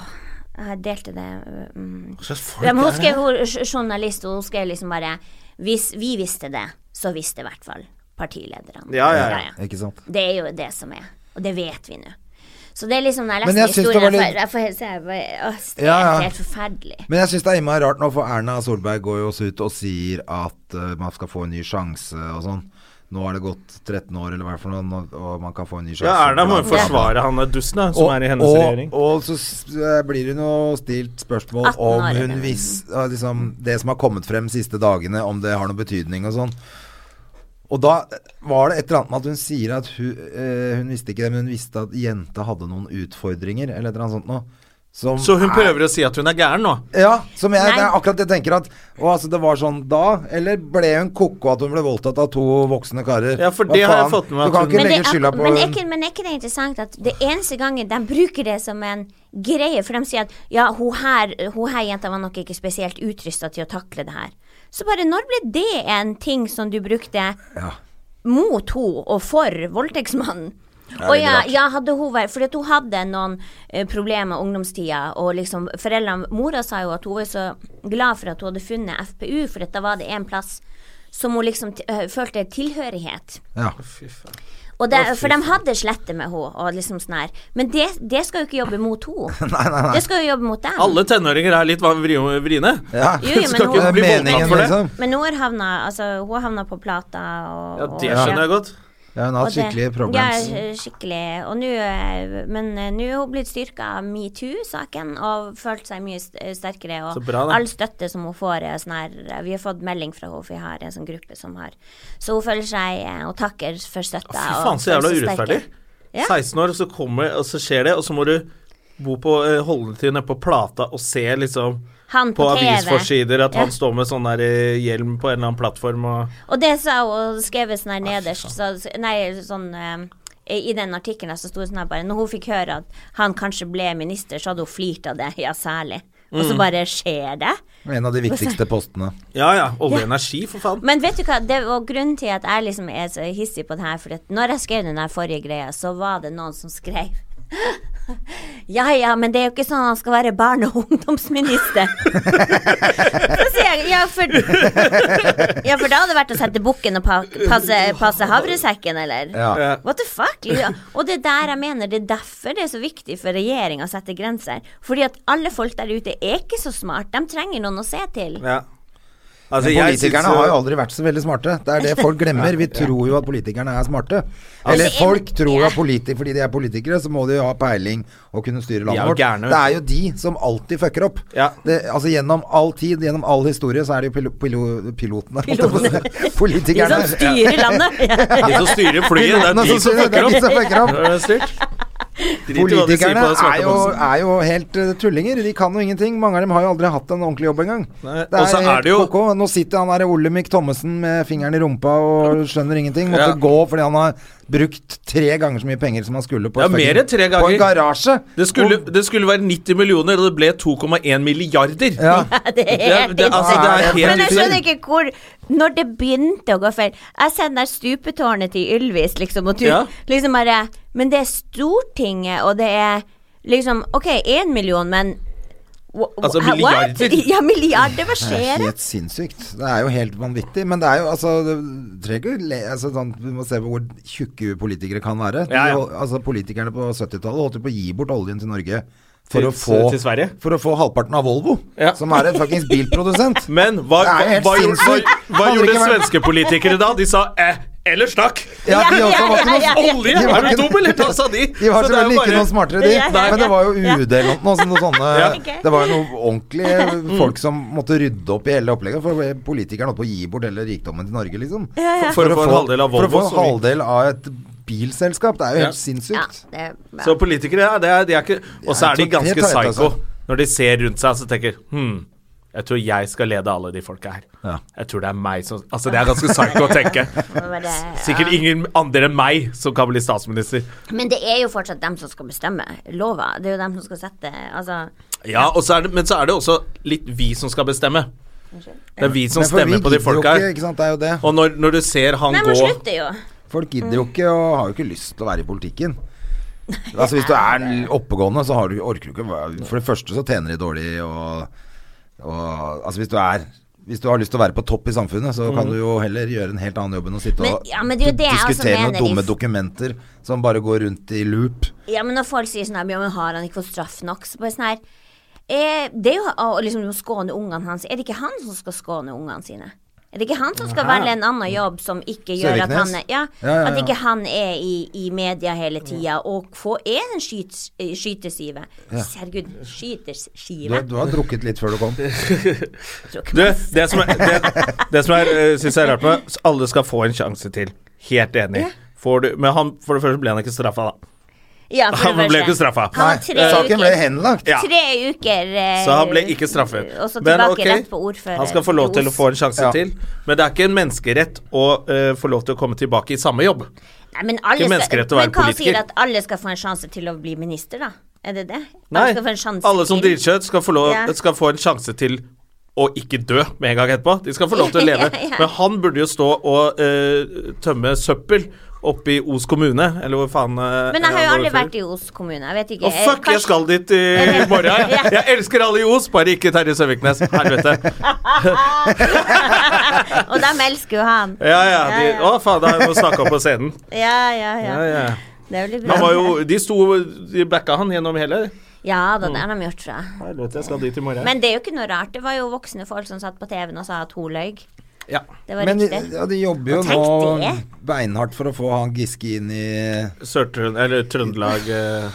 Speaker 3: jeg delte det um,
Speaker 1: Hva slags folk
Speaker 3: Ja, men hun
Speaker 1: er
Speaker 3: skrev
Speaker 1: det?
Speaker 3: hun er jour- journalist, og hun skrev liksom bare Hvis vi visste det, så visste i hvert fall partilederne.
Speaker 1: Ja, ja, ja.
Speaker 2: Ikke sant.
Speaker 3: Det er jo det som er, og det vet vi nå. Så det er liksom når jeg
Speaker 2: Men
Speaker 3: leser
Speaker 2: jeg syns det
Speaker 3: historien
Speaker 2: var
Speaker 3: jeg
Speaker 2: litt-
Speaker 3: får- Jeg får helt se jeg bare, åh, Det er
Speaker 2: Ja, ja.
Speaker 3: helt forferdelig.
Speaker 2: Men jeg syns det er innmari rart nå, for Erna Solberg går jo også ut og sier at eh, man skal få en ny sjanse og sånn. Nå har det gått 13 år, eller hva det er for noe, nå- og man kan få en ny sjanse.
Speaker 1: Ja, Erna må jo
Speaker 2: Bla, bla, bla.
Speaker 1: forsvare han der dusten da, som er i hennes
Speaker 2: og,
Speaker 1: regjering.
Speaker 2: Og så s- eh, blir hun jo stilt spørsmål
Speaker 3: 18 år,
Speaker 2: om hun
Speaker 3: eller?
Speaker 2: vis, eh, liksom, det som har kommet frem siste dagene, om det har noen betydning og sånn. Og da var det et eller annet med at hun sier at hun, eh, hun visste ikke det, men hun visste at jenta hadde noen utfordringer, eller et eller annet sånt noe. Som
Speaker 1: Så hun
Speaker 2: er-
Speaker 1: prøver å si at hun er gæren nå?
Speaker 2: Ja, som jeg,
Speaker 3: Nei.
Speaker 2: det er akkurat det jeg tenker at Å, altså, det var sånn da, eller ble hun koko at hun ble voldtatt av to voksne karer?
Speaker 1: Ja, for
Speaker 2: Hva
Speaker 1: det har jeg
Speaker 2: faen?
Speaker 1: fått med meg
Speaker 2: Du kan
Speaker 1: at hun-
Speaker 2: ikke
Speaker 3: Men,
Speaker 2: legge
Speaker 3: det,
Speaker 2: skylda på
Speaker 3: men, er ikke, men er ikke det interessant at det eneste gangen de bruker det som en greie, for de sier at ja, hun her, hun her jenta var nok ikke spesielt utrusta til å takle det her. Så bare når ble det en ting som du brukte
Speaker 2: Ja.
Speaker 3: mot henne og for voldtektsmannen?
Speaker 2: er
Speaker 3: Og
Speaker 2: veldig
Speaker 3: ja,
Speaker 2: rart.
Speaker 3: ja, hadde hun vært Fordi at hun hadde noen eh, problemer ungdomstida, og liksom foreldrene Mora sa jo at hun var så glad for at hun hadde funnet FPU, for at da var det en plass som hun liksom t eh, følte tilhørighet.
Speaker 2: Ja.
Speaker 3: Og det, for de hadde slettet med henne, og liksom sånn her. Men det, det skal jo ikke jobbe mot henne.
Speaker 2: Nei, nei, nei.
Speaker 3: Det skal jo jobbe mot dem.
Speaker 1: Alle tenåringer er litt vri- vriene.
Speaker 2: Ja.
Speaker 3: Jo, jo, men
Speaker 1: Skal
Speaker 3: hun-
Speaker 1: ikke bli
Speaker 2: Det er
Speaker 1: voldtatt
Speaker 2: meningen,
Speaker 1: for det.
Speaker 2: liksom.
Speaker 3: Men hun har havna, altså, hun har havna på plata og
Speaker 1: Ja, Det skjønner jeg godt.
Speaker 2: Ja, hun har hatt skikkelige problems.
Speaker 3: Ja, skikkelig. Og nå eh, Men eh, nå er hun blitt styrka av metoo-saken og følt seg mye st- eh, sterkere.
Speaker 1: Så
Speaker 3: Og
Speaker 1: bra, da.
Speaker 3: all støtte som hun får, er sånn her eh, Vi har fått melding fra henne, for vi har en sånn gruppe som har Så hun føler seg eh, Og takker for støtta.
Speaker 1: Fy
Speaker 3: og
Speaker 1: faen, så jævla
Speaker 3: føler seg
Speaker 1: urettferdig.
Speaker 3: sterkere. Ja.
Speaker 1: 16 år, og så kommer og så skjer det, og så må du bo på eh, holde til nede på Plata og se liksom
Speaker 3: Han
Speaker 1: på
Speaker 3: på TV.
Speaker 1: avisforsider at
Speaker 3: Ja.
Speaker 1: han står med sånn der eh, hjelm på en eller annen plattform og
Speaker 3: Og det sa hun og skrevet sånn her nederst, så, nei, sånn eh, i den artikkelen så sto det sånn her bare Når hun fikk høre at han kanskje ble minister, så hadde hun flirt av det, ja særlig. Og
Speaker 1: Mm.
Speaker 3: så bare skjer det.
Speaker 2: En av de viktigste postene.
Speaker 1: Ja ja, olje og energi, for faen.
Speaker 3: Men vet du hva, det var grunnen til at jeg liksom er så hissig på det her, for at når jeg skrev den der forrige greia, så var det noen som skrev Ja ja, men det er jo ikke sånn han skal være barne- og ungdomsminister. Så sier jeg ja for, ja, for da hadde det vært å sette bukken og pa, passe, passe havresekken, eller?
Speaker 2: Ja.
Speaker 1: Ja.
Speaker 3: What the fuck? Liksom. Og det er der jeg mener det er derfor det er så viktig for regjeringa å sette grenser. Fordi at alle folk der ute er ikke så smart. De trenger noen å se til.
Speaker 1: Ja. Altså,
Speaker 2: Men
Speaker 1: jeg synes
Speaker 2: politikerne
Speaker 1: jo-
Speaker 2: har jo aldri vært så veldig smarte. Det er det folk glemmer. Vi tror jo at politikerne er smarte. Eller
Speaker 3: Altså,
Speaker 2: folk
Speaker 3: en-
Speaker 2: tror
Speaker 3: ja.
Speaker 2: at politi fordi de er politikere, så må de jo ha peiling og kunne styre
Speaker 1: er
Speaker 2: landet
Speaker 1: jo
Speaker 2: vårt.
Speaker 1: gærne, vet
Speaker 2: Det er jo de som alltid fucker opp.
Speaker 1: Ja.
Speaker 2: Det, altså gjennom all tid, gjennom all historie, så er det jo pilo, pilo, pilotene.
Speaker 3: De
Speaker 2: politikerne.
Speaker 3: som styrer landet. Ja.
Speaker 1: De som styrer flyet, det er de som
Speaker 2: Det
Speaker 1: fucker
Speaker 2: er de
Speaker 1: opp.
Speaker 2: som fucker opp.
Speaker 1: Det er styrt. Drit i hva de sier
Speaker 2: Politikerne
Speaker 1: på den svarte
Speaker 2: er jo,
Speaker 1: boksen.
Speaker 2: er jo helt eh, tullinger. De kan jo ingenting. Mange av dem har jo aldri hatt en ordentlig jobb engang.
Speaker 1: Nei, og så er
Speaker 2: helt
Speaker 1: det jo-
Speaker 2: koko. Nå sitter han der Olemic Thommessen med fingeren i rumpa og skjønner ingenting. Måtte
Speaker 1: Ja.
Speaker 2: gå fordi han har brukt tre ganger så mye penger som han skulle på,
Speaker 1: Ja,
Speaker 2: et
Speaker 1: mer
Speaker 2: fucking-
Speaker 1: enn tre
Speaker 2: på
Speaker 1: ganger.
Speaker 2: en garasje.
Speaker 1: Det skulle,
Speaker 2: Og-
Speaker 1: det skulle være 90 millioner, og det ble 2,1 milliarder.
Speaker 2: ja.
Speaker 3: Det er helt
Speaker 1: det- altså,
Speaker 2: det er helt
Speaker 3: insane. Men jeg skjønner
Speaker 1: insane.
Speaker 3: ikke hvor Når det begynte å gå feil Jeg ser den der stupetårnet til Ylvis, liksom, og du
Speaker 1: Ja.
Speaker 3: liksom bare Men det er Stortinget, og det er liksom OK, én million, men wha- wha-
Speaker 1: Altså,
Speaker 3: what?
Speaker 1: milliarder.
Speaker 3: Ja, milliarder. Hva
Speaker 2: Det er
Speaker 3: skjer?
Speaker 2: helt sinnssykt. Det er jo helt vanvittig. Men det er jo altså, det trenger ikke le- altså sånn, Du må se på hvor tjukke politikere kan være. De,
Speaker 1: Ja, ja.
Speaker 2: hol- Altså Politikerne på 70-tallet holdt jo på å gi bort oljen til Norge for,
Speaker 1: Til-
Speaker 2: å få,
Speaker 1: til Sverige?
Speaker 2: for å få halvparten av Volvo,
Speaker 1: Ja.
Speaker 2: som er en fuckings bilprodusent.
Speaker 1: Men hva,
Speaker 2: Det er
Speaker 1: hva,
Speaker 2: helt
Speaker 1: hva, gjorde-
Speaker 2: sinnssykt.
Speaker 1: hva, hva
Speaker 2: Hadde
Speaker 1: gjorde
Speaker 2: ikke vært-
Speaker 1: svenske politikere da? De sa 'eh, eller snakk'.
Speaker 2: Ja, de også var ikke noe
Speaker 1: Olje!
Speaker 2: De var
Speaker 1: Er du
Speaker 2: ikke-
Speaker 1: dum, eller? Da sa de.
Speaker 2: De var
Speaker 1: Så det er jo
Speaker 2: selvfølgelig ikke
Speaker 1: bare-
Speaker 2: noe smartere, de.
Speaker 3: Ja, ja,
Speaker 2: Men det
Speaker 3: ja.
Speaker 2: var jo UD eller noe sånt. Noe sånne,
Speaker 1: Ja. Mm.
Speaker 2: Det var jo noen ordentlige folk som måtte rydde opp i hele opplegget. For politikerne holdt på å gi bort hele rikdommen til Norge, liksom.
Speaker 1: For å få en halvdel av
Speaker 2: for
Speaker 1: Volvo,
Speaker 2: å få en
Speaker 1: så vi-
Speaker 2: halvdel av et bilselskap. Det er jo helt
Speaker 3: Ja,
Speaker 2: sinnssykt.
Speaker 3: det er
Speaker 1: Så politikere, ja, det er, de er ikke Og så
Speaker 2: Ja,
Speaker 1: er de
Speaker 2: jeg tror
Speaker 1: ganske
Speaker 2: det er teit, altså.
Speaker 1: psycho. Når de ser rundt seg, så tenker Hm, jeg tror jeg skal lede alle de folka her. Jeg tror det er meg som Altså, det er ganske psycho å tenke.
Speaker 3: bare-
Speaker 1: Sikkert ingen andre enn meg som kan bli statsminister.
Speaker 3: Men det er jo fortsatt dem som skal bestemme lova. Det er jo dem som skal sette Altså
Speaker 1: Ja, og så er det, Men så er det også litt vi som skal bestemme. Det er vi som
Speaker 2: Men for
Speaker 1: stemmer
Speaker 2: vi
Speaker 1: på de
Speaker 2: gidder jo
Speaker 1: folka
Speaker 2: ikke,
Speaker 1: her.
Speaker 2: Ikke sant? Det er jo det.
Speaker 1: Og når, når du ser han
Speaker 3: Nei,
Speaker 1: gå
Speaker 3: man slutter jo.
Speaker 2: Folk gidder
Speaker 3: Mm.
Speaker 2: jo ikke og har jo ikke lyst til å være i politikken. Altså Hvis du er oppegående, så har du, orker du ikke å være- For det første så tjener de dårlig, og, og Altså hvis du er hvis du har lyst til å være på topp i samfunnet, så kan du jo heller gjøre en helt annen jobb enn å sitte
Speaker 3: Mm. Men-
Speaker 2: og
Speaker 3: ja, men det er jo det jeg også
Speaker 2: diskutere noen
Speaker 3: mener,
Speaker 2: dumme
Speaker 3: Is.
Speaker 2: dokumenter som bare går rundt i loop.
Speaker 3: Ja, men når folk sier sånn her Ja, men har han ikke fått straff nok? Så bare sånn her eh, Det er jo å liksom å skåne ungene hans. Er det ikke han som skal skåne ungene sine? Er det ikke han som skal velge en annen jobb som ikke gjør at han
Speaker 2: Søviknes?
Speaker 3: er, ja,
Speaker 2: Ja, ja,
Speaker 3: At
Speaker 2: ja.
Speaker 3: ikke han er i, i media hele tida og få, er en skyts, eh, skyteskive? Herregud,
Speaker 2: Du,
Speaker 3: skyteskive?
Speaker 2: du har drukket litt før du kom.
Speaker 3: Tror ikke
Speaker 1: Du,
Speaker 3: man-
Speaker 1: det som er, det, det som er, eh, synes jeg er rart med Alle skal få en sjanse til. Helt enig. Får du, men han, for det første ble han ikke straffa, da.
Speaker 3: Ja, for det
Speaker 1: Han ble
Speaker 3: første.
Speaker 1: ikke straffa.
Speaker 3: Han
Speaker 2: Nei,
Speaker 3: har tre
Speaker 2: saken ble
Speaker 3: uker.
Speaker 2: henlagt.
Speaker 1: Ja.
Speaker 3: Tre uker eh,
Speaker 1: Så han ble ikke straffet.
Speaker 3: Og så
Speaker 1: Men
Speaker 3: tilbake
Speaker 1: ok,
Speaker 3: rett på ordfører.
Speaker 1: Han skal få lov til å
Speaker 3: Os.
Speaker 1: få en sjanse
Speaker 2: Ja.
Speaker 1: til, men det er ikke en menneskerett å eh, få lov til å komme tilbake i samme jobb.
Speaker 3: Nei, men alle
Speaker 1: Ikke
Speaker 3: skal-
Speaker 1: menneskerett å være
Speaker 3: men hva
Speaker 1: politiker.
Speaker 3: sier at alle skal få en sjanse til å bli minister, da? Er det det?
Speaker 1: Nei,
Speaker 3: alle, skal få Altså, en sjanse
Speaker 1: alle som
Speaker 3: til.
Speaker 1: dritkjøtt skal, få lov-
Speaker 3: Ja.
Speaker 1: skal få en sjanse til å ikke dø med en gang etterpå. De skal få lov til å leve.
Speaker 3: Ja, ja.
Speaker 1: Men han burde jo stå og eh, tømme søppel oppe i Os kommune, eller hvor faen eh,
Speaker 3: Men jeg har jo
Speaker 1: han
Speaker 3: aldri
Speaker 1: overfører.
Speaker 3: vært i Os kommune. Jeg vet ikke.
Speaker 1: Å, fuck, jeg skal dit i morgen. Jeg, jeg elsker alle i Os, bare ikke Terje Søviknes. Helvete.
Speaker 3: Og dem elsker jo han.
Speaker 1: Ja, ja. De, å, faen, da må jeg snakke opp på scenen.
Speaker 3: Ja, ja, ja.
Speaker 1: Ja, ja.
Speaker 3: Det er veldig bra.
Speaker 1: Han var jo, de sto De backa han gjennom hele.
Speaker 3: Ja da,
Speaker 1: Mm.
Speaker 3: det har de gjort, tror jeg.
Speaker 1: Helvete, jeg skal dit i morgen.
Speaker 3: Men det er jo ikke noe rart. Det var jo voksne folk som satt på TV-en og sa at hun løy.
Speaker 1: ja.
Speaker 3: Det var
Speaker 2: Men de,
Speaker 1: eh,
Speaker 3: riktig.
Speaker 2: ja, de jobber jo
Speaker 3: Og tenk
Speaker 2: nå
Speaker 3: det.
Speaker 2: beinhardt for å få han Giske inn i
Speaker 1: Sør-Trøndelag Eller Trøndelag eh,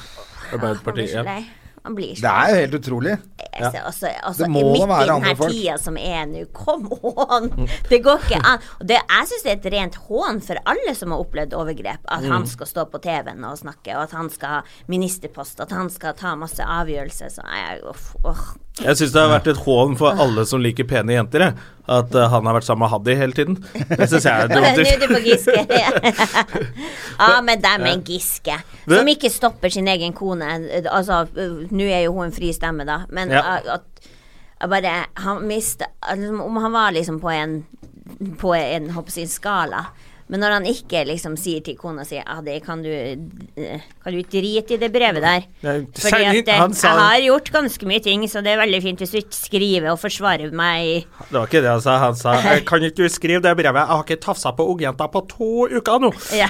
Speaker 3: Man blir
Speaker 1: Arbeiderparti.
Speaker 3: så
Speaker 1: Ja.
Speaker 3: lei. Man blir så
Speaker 2: Det er jo helt utrolig.
Speaker 3: Jeg ser Også, også,
Speaker 2: Det må
Speaker 3: midt
Speaker 2: da være
Speaker 3: i
Speaker 2: andre
Speaker 3: denne
Speaker 2: folk.
Speaker 3: tida som er nå, kom on! Det går ikke an. Og det, jeg syns det er et rent hån for alle som har opplevd overgrep, at
Speaker 2: Mm.
Speaker 3: han skal stå på TV-en og snakke, og at han skal ha ministerpost, at han skal ta masse avgjørelser. Så jeg, uff, uff.
Speaker 1: Jeg syns det har vært et hån for alle som liker pene jenter, jeg. At eh, han har vært sammen med Haddy hele tiden. Det syns jeg er
Speaker 3: Nå er
Speaker 1: dumt.
Speaker 3: det på Giske. ja, men dem er Giske. Som ikke stopper sin egen kone. Altså, øh, nå er jo hun en fri stemme, da, men
Speaker 1: Ja.
Speaker 3: at at bare altså, Han mista Om han var liksom på en På en, håper jeg, å si, skala Men når han ikke liksom sier til kona si ah, det kan du, eh, kan du drite i det brevet der.
Speaker 4: Nei,
Speaker 3: Fordi
Speaker 4: særlig-
Speaker 3: at eh,
Speaker 4: han sa-
Speaker 3: jeg har gjort ganske mye ting, så det er veldig fint hvis du ikke skriver og forsvarer meg i
Speaker 1: Det var ikke det han sa. Han sa «Eh, Kan ikke du skrive det brevet? Jeg har ikke tafsa på ungjenta på to uker nå.
Speaker 3: ja.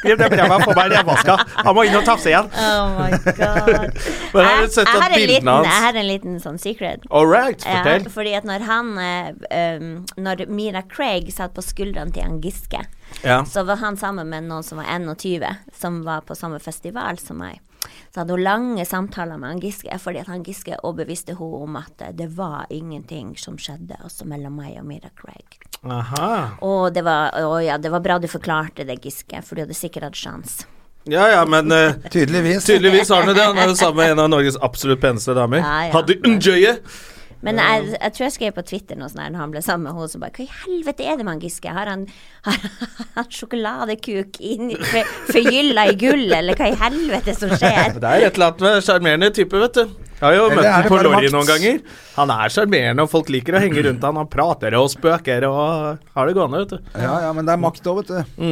Speaker 1: Skriv det brevet, få meg revaska. Han må inn og tafse igjen.
Speaker 3: Oh my god.
Speaker 1: Men har du
Speaker 3: Jeg-
Speaker 1: sett
Speaker 3: jeg
Speaker 1: at
Speaker 3: har en
Speaker 1: bildene
Speaker 3: liten- Jeg
Speaker 1: hans
Speaker 3: har en liten sånn secret.
Speaker 1: All right,
Speaker 3: Ja,
Speaker 1: fortell.
Speaker 3: fordi at når han eh, um, Når Mira Craig satt på skuldrene til han Giske,
Speaker 1: Ja.
Speaker 3: så var han sammen med noen som var 21, som var på samme festival som meg. Så hadde hun lange samtaler med han Giske, fordi at han Giske overbeviste hun om at eh, det var ingenting som skjedde også mellom meg og Mira Craig.
Speaker 1: Aha.
Speaker 3: Og det var, å ja, det var bra du forklarte det, Giske, for du hadde sikkert hatt sjans.
Speaker 1: Ja ja, men eh,
Speaker 2: Tydeligvis.
Speaker 1: tydeligvis har han jo det. Han er jo sammen med en av Norges absolutt peneste damer.
Speaker 3: Ja, ja.
Speaker 1: Hadde enjoyet.
Speaker 3: Men jeg, jeg tror jeg skrev på Twitter noe sånn her når han ble sammen med henne, så bare Hva i helvete er det med han Giske? Har han, har han sjokoladekuk inni for- forgylla i gull, eller hva i helvete som skjer?
Speaker 1: Det er et eller annet med sjarmerende type, vet du. Jeg har jo
Speaker 2: Eller
Speaker 1: møtt
Speaker 2: er
Speaker 1: ham
Speaker 2: det
Speaker 1: på
Speaker 2: bare
Speaker 1: Lorry
Speaker 2: makt?
Speaker 1: noen ganger. Han er sjarmerende, og folk liker å henge rundt han. Han prater og spøker og har det gående, vet du.
Speaker 2: Ja, ja, men det er makt òg, vet du.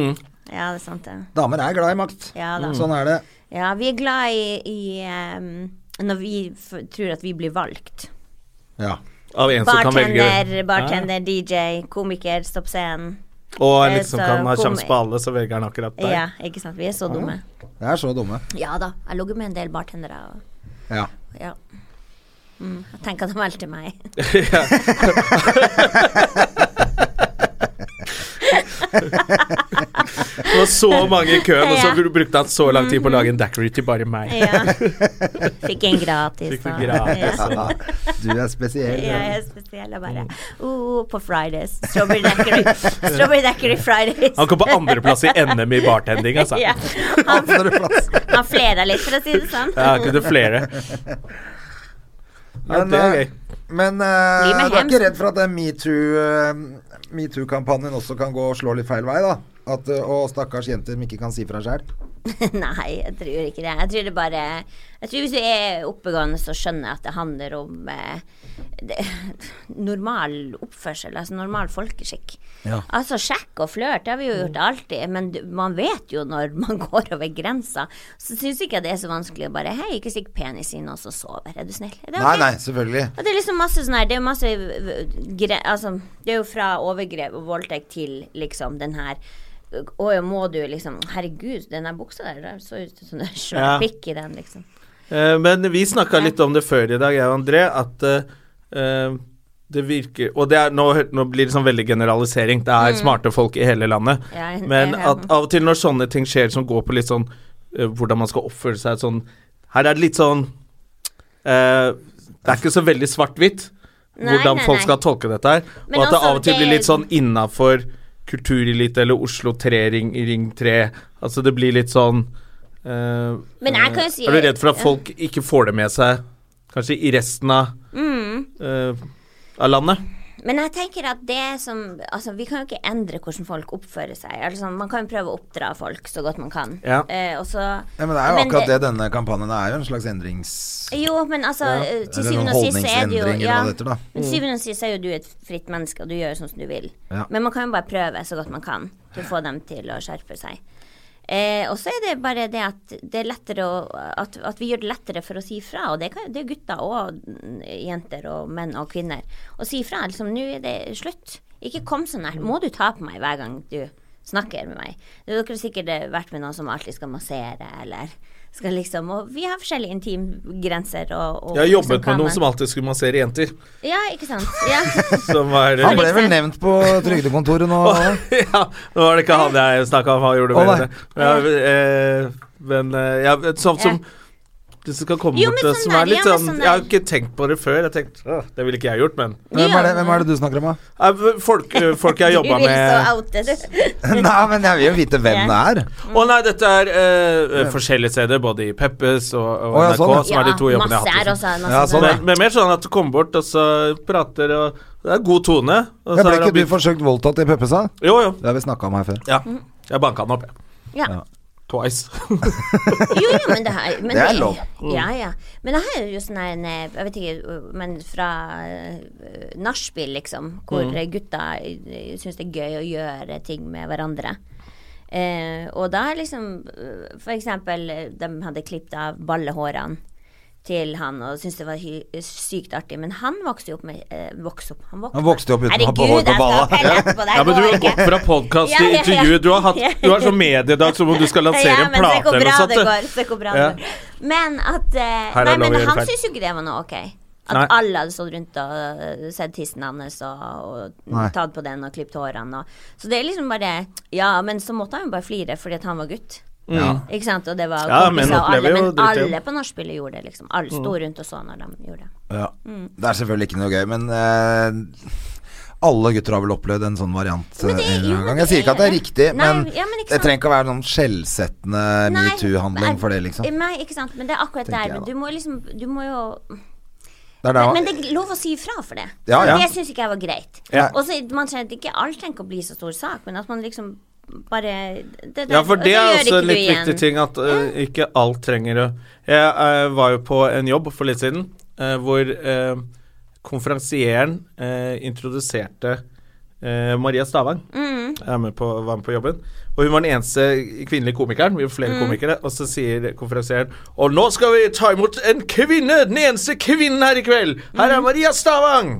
Speaker 3: Ja, det er sant, det.
Speaker 2: Damer er glad i makt.
Speaker 3: Ja da.
Speaker 2: Sånn er det.
Speaker 3: Ja, vi er glad i, i ehm, når vi f tror at vi blir valgt.
Speaker 2: Ja.
Speaker 1: Av en som kan velge.
Speaker 3: Bartender, bartender, DJ, komiker, stopp scenen.
Speaker 1: Og
Speaker 3: eh,
Speaker 1: liksom
Speaker 3: så
Speaker 1: kan ha
Speaker 3: kom-
Speaker 1: kjams på alle, så velger han akkurat deg.
Speaker 3: Ja, ikke sant. Vi er så dumme.
Speaker 2: Det er så dumme.
Speaker 3: Ja da. Jeg lå med en del bartendere. Og,
Speaker 2: Ja.
Speaker 3: ja. Mm, jeg tenker at de valgte meg.
Speaker 1: Det var så mange i køen, og så
Speaker 3: Ja. Mm.
Speaker 1: brukte han så lang tid på å lage en daiquiri til bare meg.
Speaker 3: Ja. Fikk en gratis.
Speaker 1: Fikk den
Speaker 3: og-
Speaker 1: gratis,
Speaker 3: Ja.
Speaker 2: ja. Du er spesiell.
Speaker 3: Ja, jeg er spesiell og bare oh, På Fridays. Strawberry Daiquiri Strawberry Daiquiri Fridays.
Speaker 1: Han kom på andreplass i NM i bartending, altså.
Speaker 3: Ja.
Speaker 1: Ja,
Speaker 3: Han,
Speaker 2: Andreplass.
Speaker 3: han flera litt, for å si det sånn.
Speaker 1: kunne flere. Ja,
Speaker 2: Men,
Speaker 1: det er gøy.
Speaker 2: eh, men eh,
Speaker 3: Bli med
Speaker 2: du er
Speaker 3: hjem.
Speaker 2: ikke redd for at den eh, metoo-kampanjen metoo kampanjen også kan gå og slå litt feil vei, da? At, eh, og stakkars jenter som ikke kan si fra sjæl.
Speaker 3: Nei, jeg tror ikke det. Jeg tror det bare Jeg tror hvis du er oppegående, så skjønner jeg at det handler om eh, det, normal oppførsel, altså normal folkeskikk. Altså sjekk og flørt, det har vi jo
Speaker 2: Mm.
Speaker 3: gjort alltid, men du, man vet jo når man går over grensa. Så syns ikke jeg det er så vanskelig å bare Hei, ikke stikk penis inn, og så sover. Er du snill? Er det
Speaker 2: Nei,
Speaker 3: ok?
Speaker 2: nei, selvfølgelig.
Speaker 3: Og det er liksom masse sånn her Det er jo masse øh, gre Altså, det er jo fra overgrep og voldtekt til liksom den her øh, Å ja, må du liksom Herregud, den der buksa der, det så ut som det er svær
Speaker 1: Ja.
Speaker 3: pikk i den, liksom.
Speaker 1: Eh, Men vi snakka litt om det før i dag, jeg og André, at eh, eh, det virker Og det er, nå, hø- nå blir det sånn veldig generalisering. Det er smarte folk i hele landet.
Speaker 3: Mm. Ja, en-
Speaker 1: Men
Speaker 3: en-
Speaker 1: at av og til når sånne ting skjer som går på litt sånn eh, hvordan man skal oppføre seg sånn Her er det litt sånn eh, Det er ikke så veldig svart-hvitt
Speaker 3: Nei,
Speaker 1: hvordan
Speaker 3: nei,
Speaker 1: folk
Speaker 3: nei.
Speaker 1: skal tolke dette her. og
Speaker 3: Men
Speaker 1: at det
Speaker 3: altså,
Speaker 1: av og til
Speaker 3: det-
Speaker 1: blir litt sånn innafor kulturelite eller Oslo 3-ring i Ring 3. Altså det blir litt sånn eh,
Speaker 3: Men jeg kan jo si-
Speaker 1: Er du redd for at folk ikke får det med seg, kanskje i resten av,
Speaker 3: Mm.
Speaker 1: eh, av landet?
Speaker 3: Men jeg tenker at det som Altså, vi kan jo ikke endre hvordan folk oppfører seg. Altså, man kan jo prøve å oppdra folk så godt man kan.
Speaker 1: Ja.
Speaker 3: Eh, og så
Speaker 2: Ja, men det er jo akkurat det denne kampanjen er. jo En slags endrings...
Speaker 3: Jo, men altså, eh, til
Speaker 2: Eller noen
Speaker 3: syvende og sist så er det jo
Speaker 2: holdningsendringer
Speaker 3: ja,
Speaker 2: og dette, da.
Speaker 3: Men til syvende og sist er jo du et fritt menneske, og du gjør sånn som du vil.
Speaker 2: Ja.
Speaker 3: Men man kan jo bare prøve så godt man kan til å få dem til å skjerpe seg. Eh, og så er det bare det at det er lettere å, at, at vi gjør det lettere for å si fra. Og det, kan, det er gutter og mm, jenter og menn og kvinner. Å si fra. Liksom, nå er det slutt. Ikke kom så nært. Må du ta på meg hver gang du snakker med meg? Dere har sikkert eh, vært med noen som alltid skal massere, eller skal liksom Og vi har forskjellige intimgrenser og, og
Speaker 1: Jeg har
Speaker 3: liksom
Speaker 1: jobbet
Speaker 3: kan
Speaker 1: med noen
Speaker 3: man-
Speaker 1: som alltid skulle massere jenter.
Speaker 3: Ja, ikke sant. Ja.
Speaker 1: Som var
Speaker 2: Han ble vel nevnt på trygdekontoret nå.
Speaker 1: ja, nå var det ikke han jeg snakka om, han gjorde
Speaker 2: Å,
Speaker 1: mer enn
Speaker 2: nei.
Speaker 1: det. Ja, eh, men eh, ja, sånn som Det som kan komme
Speaker 3: Jo,
Speaker 1: mot
Speaker 3: men
Speaker 1: det,
Speaker 3: sånn
Speaker 1: som
Speaker 3: er
Speaker 1: er
Speaker 3: det,
Speaker 1: litt
Speaker 3: ja,
Speaker 1: sånn
Speaker 3: men sånn er
Speaker 1: Jeg har
Speaker 3: det.
Speaker 1: ikke tenkt på det før. Jeg tenkte, «Åh, Det ville ikke jeg gjort, men
Speaker 2: Hvem er, det, hvem er det du snakker om, da?
Speaker 1: Nei, men Folk, eh, folk jeg jobba
Speaker 3: Du vil så
Speaker 1: med
Speaker 3: oute, du.
Speaker 2: Nei, men jeg vil jo vite hvem det er.
Speaker 1: Å nei, dette er eh, eh, forskjellige steder, både i Peppes og, og
Speaker 2: Å, ja,
Speaker 1: NRK,
Speaker 2: sånn, ja.
Speaker 1: som er de to jobbene
Speaker 3: masse
Speaker 1: jeg har hatt.
Speaker 3: her
Speaker 1: liksom.
Speaker 3: også. Masse
Speaker 2: Ja, sånn,
Speaker 3: sånne.
Speaker 2: ja.
Speaker 1: Men, men mer sånn at du kommer bort, og så prater og Det er god tone. Og
Speaker 2: Jeg
Speaker 1: så
Speaker 2: ble
Speaker 1: er han
Speaker 2: ikke du
Speaker 1: begynt-
Speaker 2: forsøkt voldtatt i Peppesa?
Speaker 1: Jo, jo.
Speaker 3: Mm.
Speaker 2: Det har vi snakka om her før.
Speaker 1: Ja. Jeg banka han opp, jeg.
Speaker 3: Ja.
Speaker 1: Twice.
Speaker 3: Jo, jo, men det, har- men
Speaker 2: Det er lov.
Speaker 3: Ja, ja. Men det her er jo sånn her en eh, Jeg vet ikke, uh, men fra eh, nachspiel, liksom, hvor eh,
Speaker 2: Mm.
Speaker 3: gutta eh, syns det er gøy å gjøre ting med hverandre. Eh, og da er liksom eh, For eksempel, eh, de hadde klippet av ballehårene til han og syntes det var hy eh, sykt artig, men han vokste jo opp med eh, Vokste opp Han vokste,
Speaker 2: Han vokste opp uten å ha på hår på
Speaker 3: Herregud, jeg skal ha
Speaker 2: balla.
Speaker 3: pellet på
Speaker 1: Ja, men du
Speaker 3: går
Speaker 1: har
Speaker 3: ikke.
Speaker 1: gått fra podkast til
Speaker 3: Ja, ja, ja.
Speaker 1: intervju. Du har, hatt, du har sånn mediedag som om du skal lansere
Speaker 3: Ja,
Speaker 1: en
Speaker 3: men se
Speaker 1: plate
Speaker 3: hvor
Speaker 1: eller
Speaker 3: bra
Speaker 1: noe
Speaker 3: det
Speaker 1: sånt.
Speaker 3: går. Se hvor bra
Speaker 1: Ja.
Speaker 3: det går. Men at eh,
Speaker 1: Her er lov
Speaker 3: Nei,
Speaker 1: å
Speaker 3: men
Speaker 1: gjøre
Speaker 3: han
Speaker 1: feil.
Speaker 3: syns jo ikke det var noe ok. At
Speaker 1: Nei.
Speaker 3: alle hadde stått rundt og eh, sett tissen hans og, og
Speaker 2: Nei.
Speaker 3: tatt på den og klippet hårene og Så det er liksom bare Ja, men så måtte han jo bare flire fordi at han var gutt. Ikke sant? Og det var
Speaker 1: Mm. Ja, men
Speaker 3: kompiser og
Speaker 1: opplever jo
Speaker 3: alle,
Speaker 1: Mm.
Speaker 3: men
Speaker 1: dritt, ja.
Speaker 3: alle på nachspielet gjorde det, liksom. Alle sto rundt og så når de gjorde det.
Speaker 2: Ja.
Speaker 3: Mm.
Speaker 2: Det er selvfølgelig ikke noe gøy, men eh, alle gutter har vel opplevd en sånn variant
Speaker 3: Men det-
Speaker 2: eh, en
Speaker 3: jo,
Speaker 2: eller annen gang.
Speaker 3: det
Speaker 2: Jeg sier ikke at det er riktig,
Speaker 3: Nei,
Speaker 2: men,
Speaker 3: ja, men
Speaker 2: det
Speaker 3: ikke sant.
Speaker 2: trenger ikke å være noen skjellsettende
Speaker 3: Nei,
Speaker 2: metoo-handling
Speaker 3: men-
Speaker 2: for det, liksom.
Speaker 3: Nei, ikke sant. Men det er akkurat
Speaker 2: Tenker
Speaker 3: der.
Speaker 2: jeg da.
Speaker 3: Du må liksom Du må jo
Speaker 2: Det er da-
Speaker 3: Men det er lov å si ifra for det.
Speaker 2: Ja,
Speaker 3: Så
Speaker 2: ja.
Speaker 3: Det syns ikke jeg var greit.
Speaker 2: Ja.
Speaker 3: Og så man trenger at ikke alt trenger ikke å bli så stor sak, men at man liksom bare det der-
Speaker 1: Ja, for
Speaker 3: og
Speaker 1: det er
Speaker 3: gjør
Speaker 1: også
Speaker 3: ikke
Speaker 1: en
Speaker 3: du
Speaker 1: litt
Speaker 3: igjen.
Speaker 1: viktig ting at eh, ikke alt trenger å Jeg eh, var jo på en jobb for litt siden eh, hvor eh, konferansieren eh, introduserte eh, Maria Stavang.
Speaker 3: Mm.
Speaker 1: Jeg er med på, var med på jobben. Og hun var den eneste kvinnelige komikeren. Vi var flere
Speaker 3: Mm.
Speaker 1: komikere. Og så sier konferansieren Og nå skal vi ta imot en kvinne! Den eneste kvinnen her i kveld! Her
Speaker 3: Mm.
Speaker 1: er Maria Stavang!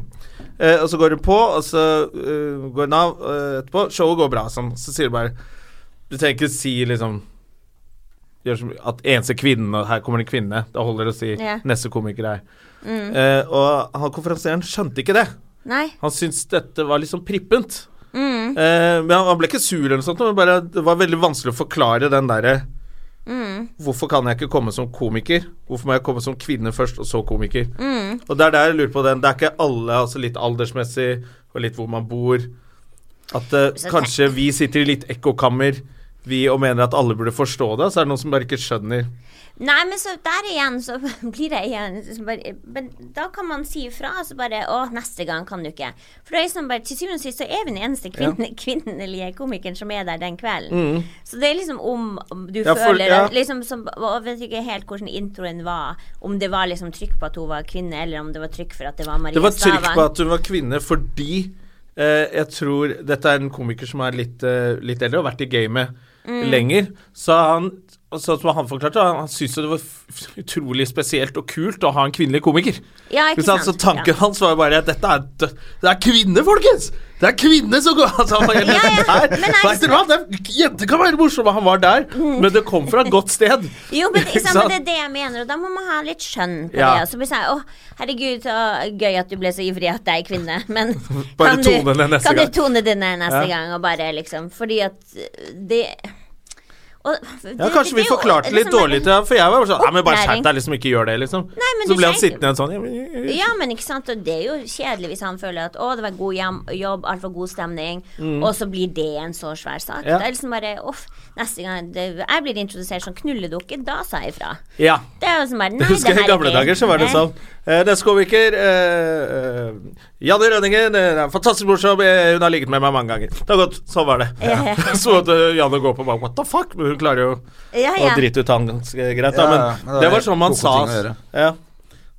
Speaker 1: Eh, og så går hun på, og så eh, går hun av eh, etterpå. Showet går bra, sånn. Så sier hun bare du trenger ikke si liksom gjør som, At eneste kvinne og Her kommer det en kvinne. Da holder det å si
Speaker 3: Ja.
Speaker 1: 'neste komiker er'. Eh, og han konferansieren skjønte ikke det.
Speaker 3: Nei. Mm.
Speaker 1: Han syntes dette var litt sånn prippent. Eh, men han, han ble ikke sur eller noe sånt, men bare, det var veldig vanskelig å forklare den derre
Speaker 3: Mm.
Speaker 1: Hvorfor kan jeg ikke komme som komiker? Hvorfor må jeg komme som kvinne først, og så komiker?
Speaker 3: Mm.
Speaker 1: Og det er der jeg lurer på den. Det er ikke alle, altså litt aldersmessig, og litt hvor man bor. At eh,
Speaker 3: Så
Speaker 1: kanskje vi sitter i litt ekkokammer, vi, og mener at alle burde forstå det, så er det noen som bare ikke skjønner.
Speaker 3: Nei, men så der igjen, så blir det igjen så bare, Men da kan man si ifra, og så bare Å, neste gang kan du ikke. For det er liksom bare, til syvende og sist så er vi den eneste kvinne, kvinnelige komikeren som er der den kvelden. Så det er liksom om om du
Speaker 1: Mm. Ja, for-
Speaker 3: føler
Speaker 1: ja.
Speaker 3: at liksom som, Og jeg vet ikke helt hvordan introen var. Om det var liksom trykk på at hun var kvinne, eller om det var trykk for at det var Maria
Speaker 1: Det var trykk
Speaker 3: Stavang.
Speaker 1: på at hun var kvinne fordi eh, jeg tror Dette er en komiker som er litt, eh, litt eldre og har vært i gamet
Speaker 3: Mm.
Speaker 1: lenger. Så han og så som han forklarte, han, han syntes jo det var f- utrolig spesielt og kult å ha en kvinnelig komiker.
Speaker 3: Ja,
Speaker 1: Ikke
Speaker 3: ikke
Speaker 1: sant? Så
Speaker 3: sant?
Speaker 1: tanken
Speaker 3: Ja.
Speaker 1: hans var jo bare at dette er, dø- det er kvinne, folkens! Det er kvinne som går altså, han var helt
Speaker 3: Ja, ja.
Speaker 1: der.
Speaker 3: Men er Mm.
Speaker 1: Vet dere hva? Det er- Jenter kan være morsomme! Han var der, men det kom fra et godt sted.
Speaker 3: Jo, men det,
Speaker 1: Ikke
Speaker 3: ikke sant? men
Speaker 1: sant?
Speaker 3: det er det jeg mener, og da må man ha litt skjønn på
Speaker 1: Ja.
Speaker 3: det. Og så blir det sånn Å, herregud, så gøy at du ble så ivrig at jeg er kvinne, men
Speaker 1: Bare
Speaker 3: kan,
Speaker 1: tone
Speaker 3: du,
Speaker 1: det neste
Speaker 3: kan
Speaker 1: gang.
Speaker 3: du tone det ned neste
Speaker 1: Ja.
Speaker 3: gang, og bare liksom Fordi at det og,
Speaker 1: Ja, kanskje vi forklarte
Speaker 3: liksom
Speaker 1: litt dårlig til ham, for jeg var bare sånn Nei, men bare skjerp deg, liksom. Ikke gjør det, liksom.
Speaker 3: Nei, men
Speaker 1: så
Speaker 3: du
Speaker 1: ble han
Speaker 3: trenger-
Speaker 1: sittende sånn ja, men-
Speaker 3: Ja, men ikke sant, og det er jo kjedelig hvis han føler at å, det var god jam- jobb, altfor god stemning, og så blir det en så svær sak.
Speaker 1: Mm. Ja.
Speaker 3: Det er liksom bare uff, neste gang det, jeg blir introdusert som knulledukke, da sa jeg ifra.
Speaker 1: Ja.
Speaker 3: Det er jo som bare, nei,
Speaker 1: Det husker jeg
Speaker 3: her
Speaker 1: i
Speaker 3: er
Speaker 1: gamle
Speaker 3: gøy.
Speaker 1: dager, så var det
Speaker 3: Nei.
Speaker 1: sånn. Eh, Neste komiker eh, eh, Janne Rønningen. eh, det er Fantastisk morsom. eh, Hun har ligget med meg mange ganger. Det har gått. Sånn var det. Så måtte Janne gå på bak. What the fuck? Men hun klarer jo
Speaker 3: Ja,
Speaker 1: å
Speaker 3: ja.
Speaker 1: drite ut han ganske greit, da.
Speaker 2: Ja, ja, men det
Speaker 1: Men
Speaker 2: er
Speaker 1: det var
Speaker 2: helt
Speaker 1: sånn man
Speaker 2: koko
Speaker 1: sa.
Speaker 2: ting å gjøre.
Speaker 1: Ja.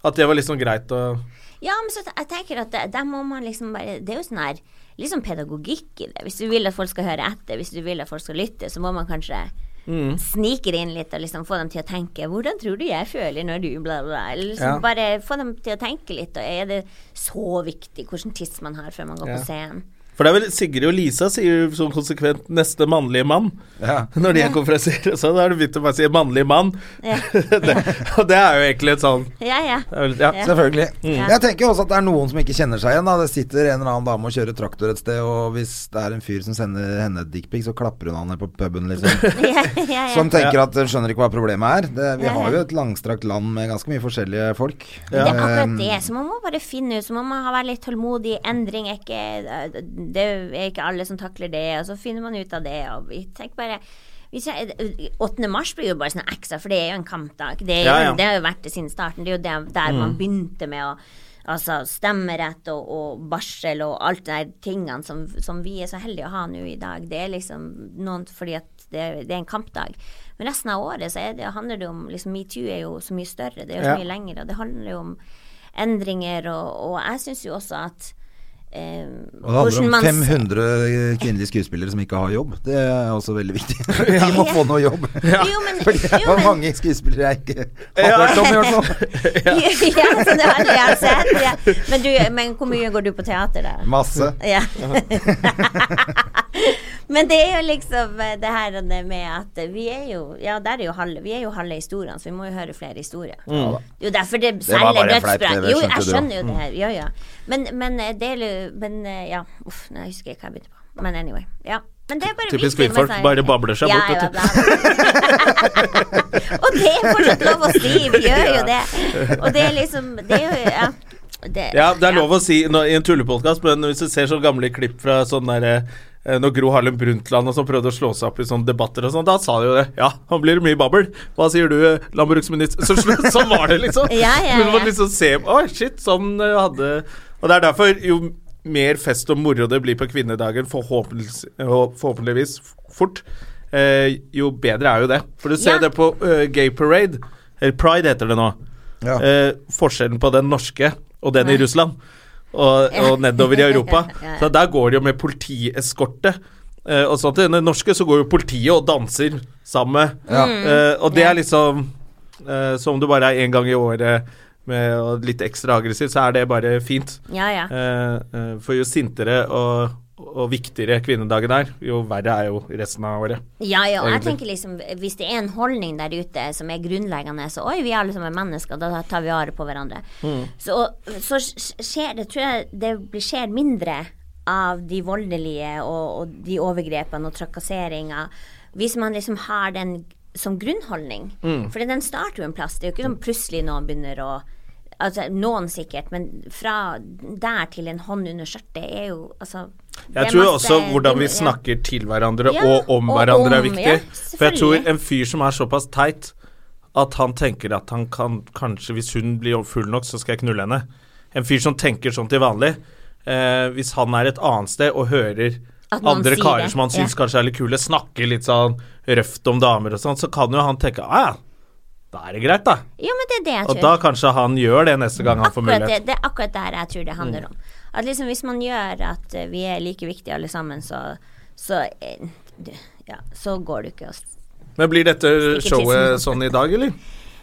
Speaker 1: At det var liksom greit å
Speaker 3: Ja, men så te- jeg tenker at det- der må man liksom bare Det er jo sånn her Litt sånn pedagogikk i det. Hvis du vil at folk skal høre etter, hvis du vil at folk skal lytte, så må man kanskje
Speaker 1: Mm.
Speaker 3: snike det inn litt og liksom få dem til å tenke 'Hvordan tror du jeg føler når du bla, bla, bla?' Eller liksom
Speaker 1: Ja.
Speaker 3: Bare få dem til å tenke litt. Og er det så viktig hvordan tiss man har før man går
Speaker 1: Ja.
Speaker 3: på scenen?
Speaker 1: For det er vel Sigrid og Lisa sier jo sånn konsekvent 'neste mannlige mann'.
Speaker 2: Ja.
Speaker 1: Når de er konferansier, så har du begynt å bare si 'mannlig mann'.
Speaker 3: Ja,
Speaker 1: det, og det er jo egentlig et sånn
Speaker 3: ja. ja.
Speaker 1: det er vel- ja.
Speaker 2: Selvfølgelig.
Speaker 3: Ja.
Speaker 2: Jeg tenker jo også at det er noen som ikke kjenner seg igjen. Da. Det sitter en eller annen dame og kjører traktor et sted, og hvis det er en fyr som sender henne et dickpic, så klapper hun han ned på puben, liksom.
Speaker 3: ja, ja, ja.
Speaker 1: Sånn
Speaker 2: Som tenker at hun skjønner ikke hva problemet er. Det, vi har jo et langstrakt land med ganske mye forskjellige folk.
Speaker 3: Det er akkurat
Speaker 2: Eh,
Speaker 3: det. Så man må bare finne ut. Så man må ha- være litt tålmodig. Endring er ikke Det er ikke alle som takler det, og så finner man ut av det. Og vi tenker bare hvis jeg, 8. mars blir jo bare sånn ekstra, for det er jo en kampdag. Det, er jo,
Speaker 1: Ja, ja.
Speaker 2: Mm.
Speaker 3: det har jo vært det siden starten. Det er jo der, der man begynte med å altså stemmerett og, og barsel og alt de der tingene som, som vi er så heldige å ha nå i dag. Det er liksom noen fordi at det, det er en kampdag. Men resten av året så er det, handler det om liksom, Metoo er jo så mye større, det er jo så
Speaker 1: Ja.
Speaker 3: mye lengre, og det handler jo om endringer, og, og jeg syns jo også at eh,
Speaker 2: Og det handler
Speaker 3: hvordan
Speaker 2: om
Speaker 3: man-
Speaker 2: 500 kvinnelige skuespillere som ikke har jobb. Det er også veldig viktig. De må få noe jobb.
Speaker 3: Jo, men,
Speaker 2: Fordi det
Speaker 3: jo,
Speaker 2: er
Speaker 3: men
Speaker 2: mange skuespillere jeg ikke har hørt om i hvert fall.
Speaker 3: ja, så det har jeg sett. Ja. Men, du, men hvor mye går du på teater, da?
Speaker 2: Masse.
Speaker 3: Ja. Men det er jo liksom eh, det her med at eh, vi er jo Ja, der er jo halve, vi er jo halve historien, så vi må jo høre flere historier.
Speaker 2: Mm.
Speaker 3: Det er Jo, derfor det
Speaker 2: var
Speaker 3: selger
Speaker 2: bare en fleip,
Speaker 3: dødsbra.
Speaker 2: det
Speaker 3: Jo, jeg
Speaker 2: skjønte du. Mm.
Speaker 3: skjønner jo det her. Ja, ja. Men, men eh, det er jo Men eh, ja, uff, nå husker jeg ikke hva jeg begynte på. Men anyway. Ja. Men det er bare
Speaker 1: Typisk
Speaker 3: viktig med
Speaker 1: kvinnfolk,
Speaker 3: sånne-
Speaker 1: bare babler seg
Speaker 3: ja,
Speaker 1: bort, vet du.
Speaker 3: Ja, og det er fortsatt lov å si, vi gjør jo det. Og det er liksom Det er jo ja, det,
Speaker 1: Ja, det er lov å si nå, i en tullepodkast, men hvis du ser sånne gamle klipp fra sånn derre når Gro Harlem Brundtland og sånn prøvde å slå seg opp i sånne debatter og sånn, da sa de jo det. Ja, nå blir det mye babbel. Hva sier du, eh, landbruksminister? Så slutt, sånn var det, liksom.
Speaker 3: Ja, ja,
Speaker 1: Men man
Speaker 3: ja.
Speaker 1: liksom se Å, shit, sånn eh, hadde Og det er derfor, jo mer fest og moro det blir på kvinnedagen, forhåpentligvis, forhåpentligvis fort, eh, jo bedre er jo det. For du ser
Speaker 3: Ja.
Speaker 1: det på eh, Gay Parade, eller Pride heter det nå.
Speaker 2: Ja.
Speaker 1: Eh, forskjellen på den norske og den i Russland og,
Speaker 3: Ja.
Speaker 1: og nedover i Europa.
Speaker 3: Ja, ja.
Speaker 1: Så der går det jo med politieskorte. Eh, og sånt. I den norske så går jo politiet og danser sammen.
Speaker 2: Ja.
Speaker 3: Mm.
Speaker 1: Eh, og det er liksom eh, Som om du bare er én gang i året med og litt ekstra aggressiv, så er det bare fint.
Speaker 3: Ja, ja.
Speaker 1: Eh, eh, for jo sintere og, og viktigere kvinnedagen er, jo verre er jo resten av året.
Speaker 3: Ja, ja, og jeg
Speaker 1: Egentlig.
Speaker 3: tenker liksom Hvis det er en holdning der ute som er grunnleggende Så oi, vi er alle sammen mennesker, da tar vi vare på hverandre
Speaker 1: Mm.
Speaker 3: Så, så skjer det, tror jeg Det blir, skjer mindre av de voldelige og, og de overgrepene og trakasseringa Hvis man liksom har den som grunnholdning
Speaker 1: Mm.
Speaker 3: For den starter jo en plass Det er jo ikke sånn plutselig noen begynner å Altså, noen sikkert, men fra der til en hånd under skjørtet er jo, altså... det
Speaker 1: Jeg
Speaker 3: er
Speaker 1: tror
Speaker 3: masse-
Speaker 1: også hvordan vi
Speaker 3: Ja.
Speaker 1: snakker til hverandre
Speaker 3: Ja,
Speaker 1: og om
Speaker 3: og
Speaker 1: hverandre er
Speaker 3: om,
Speaker 1: viktig.
Speaker 3: ja,
Speaker 1: For jeg tror
Speaker 3: selvfølgelig.
Speaker 1: en fyr som er såpass teit at han tenker at han kan kanskje, hvis hun blir full nok, så skal jeg knulle henne. En fyr som tenker sånn til vanlig, eh, hvis han er et annet sted og hører
Speaker 3: At noen
Speaker 1: andre
Speaker 3: sier
Speaker 1: karer
Speaker 3: det,
Speaker 1: som han
Speaker 3: ja.
Speaker 1: syns kanskje er litt kule, snakke litt sånn røft om damer og sånn, så kan jo han tenke ah, ja, da er det greit, da.
Speaker 3: Ja, men det er det jeg
Speaker 1: Og
Speaker 3: tror.
Speaker 1: da kanskje han gjør det neste gang han får
Speaker 3: akkurat det,
Speaker 1: mulighet. Mm.
Speaker 3: det er akkurat der jeg tror det handler om. At liksom Hvis man gjør at eh, vi er like viktige alle sammen, så, så, eh, du, ja, så går det jo ikke å s-
Speaker 1: Men blir dette
Speaker 3: Stikker
Speaker 1: showet
Speaker 3: tissen.
Speaker 1: sånn i dag, eller?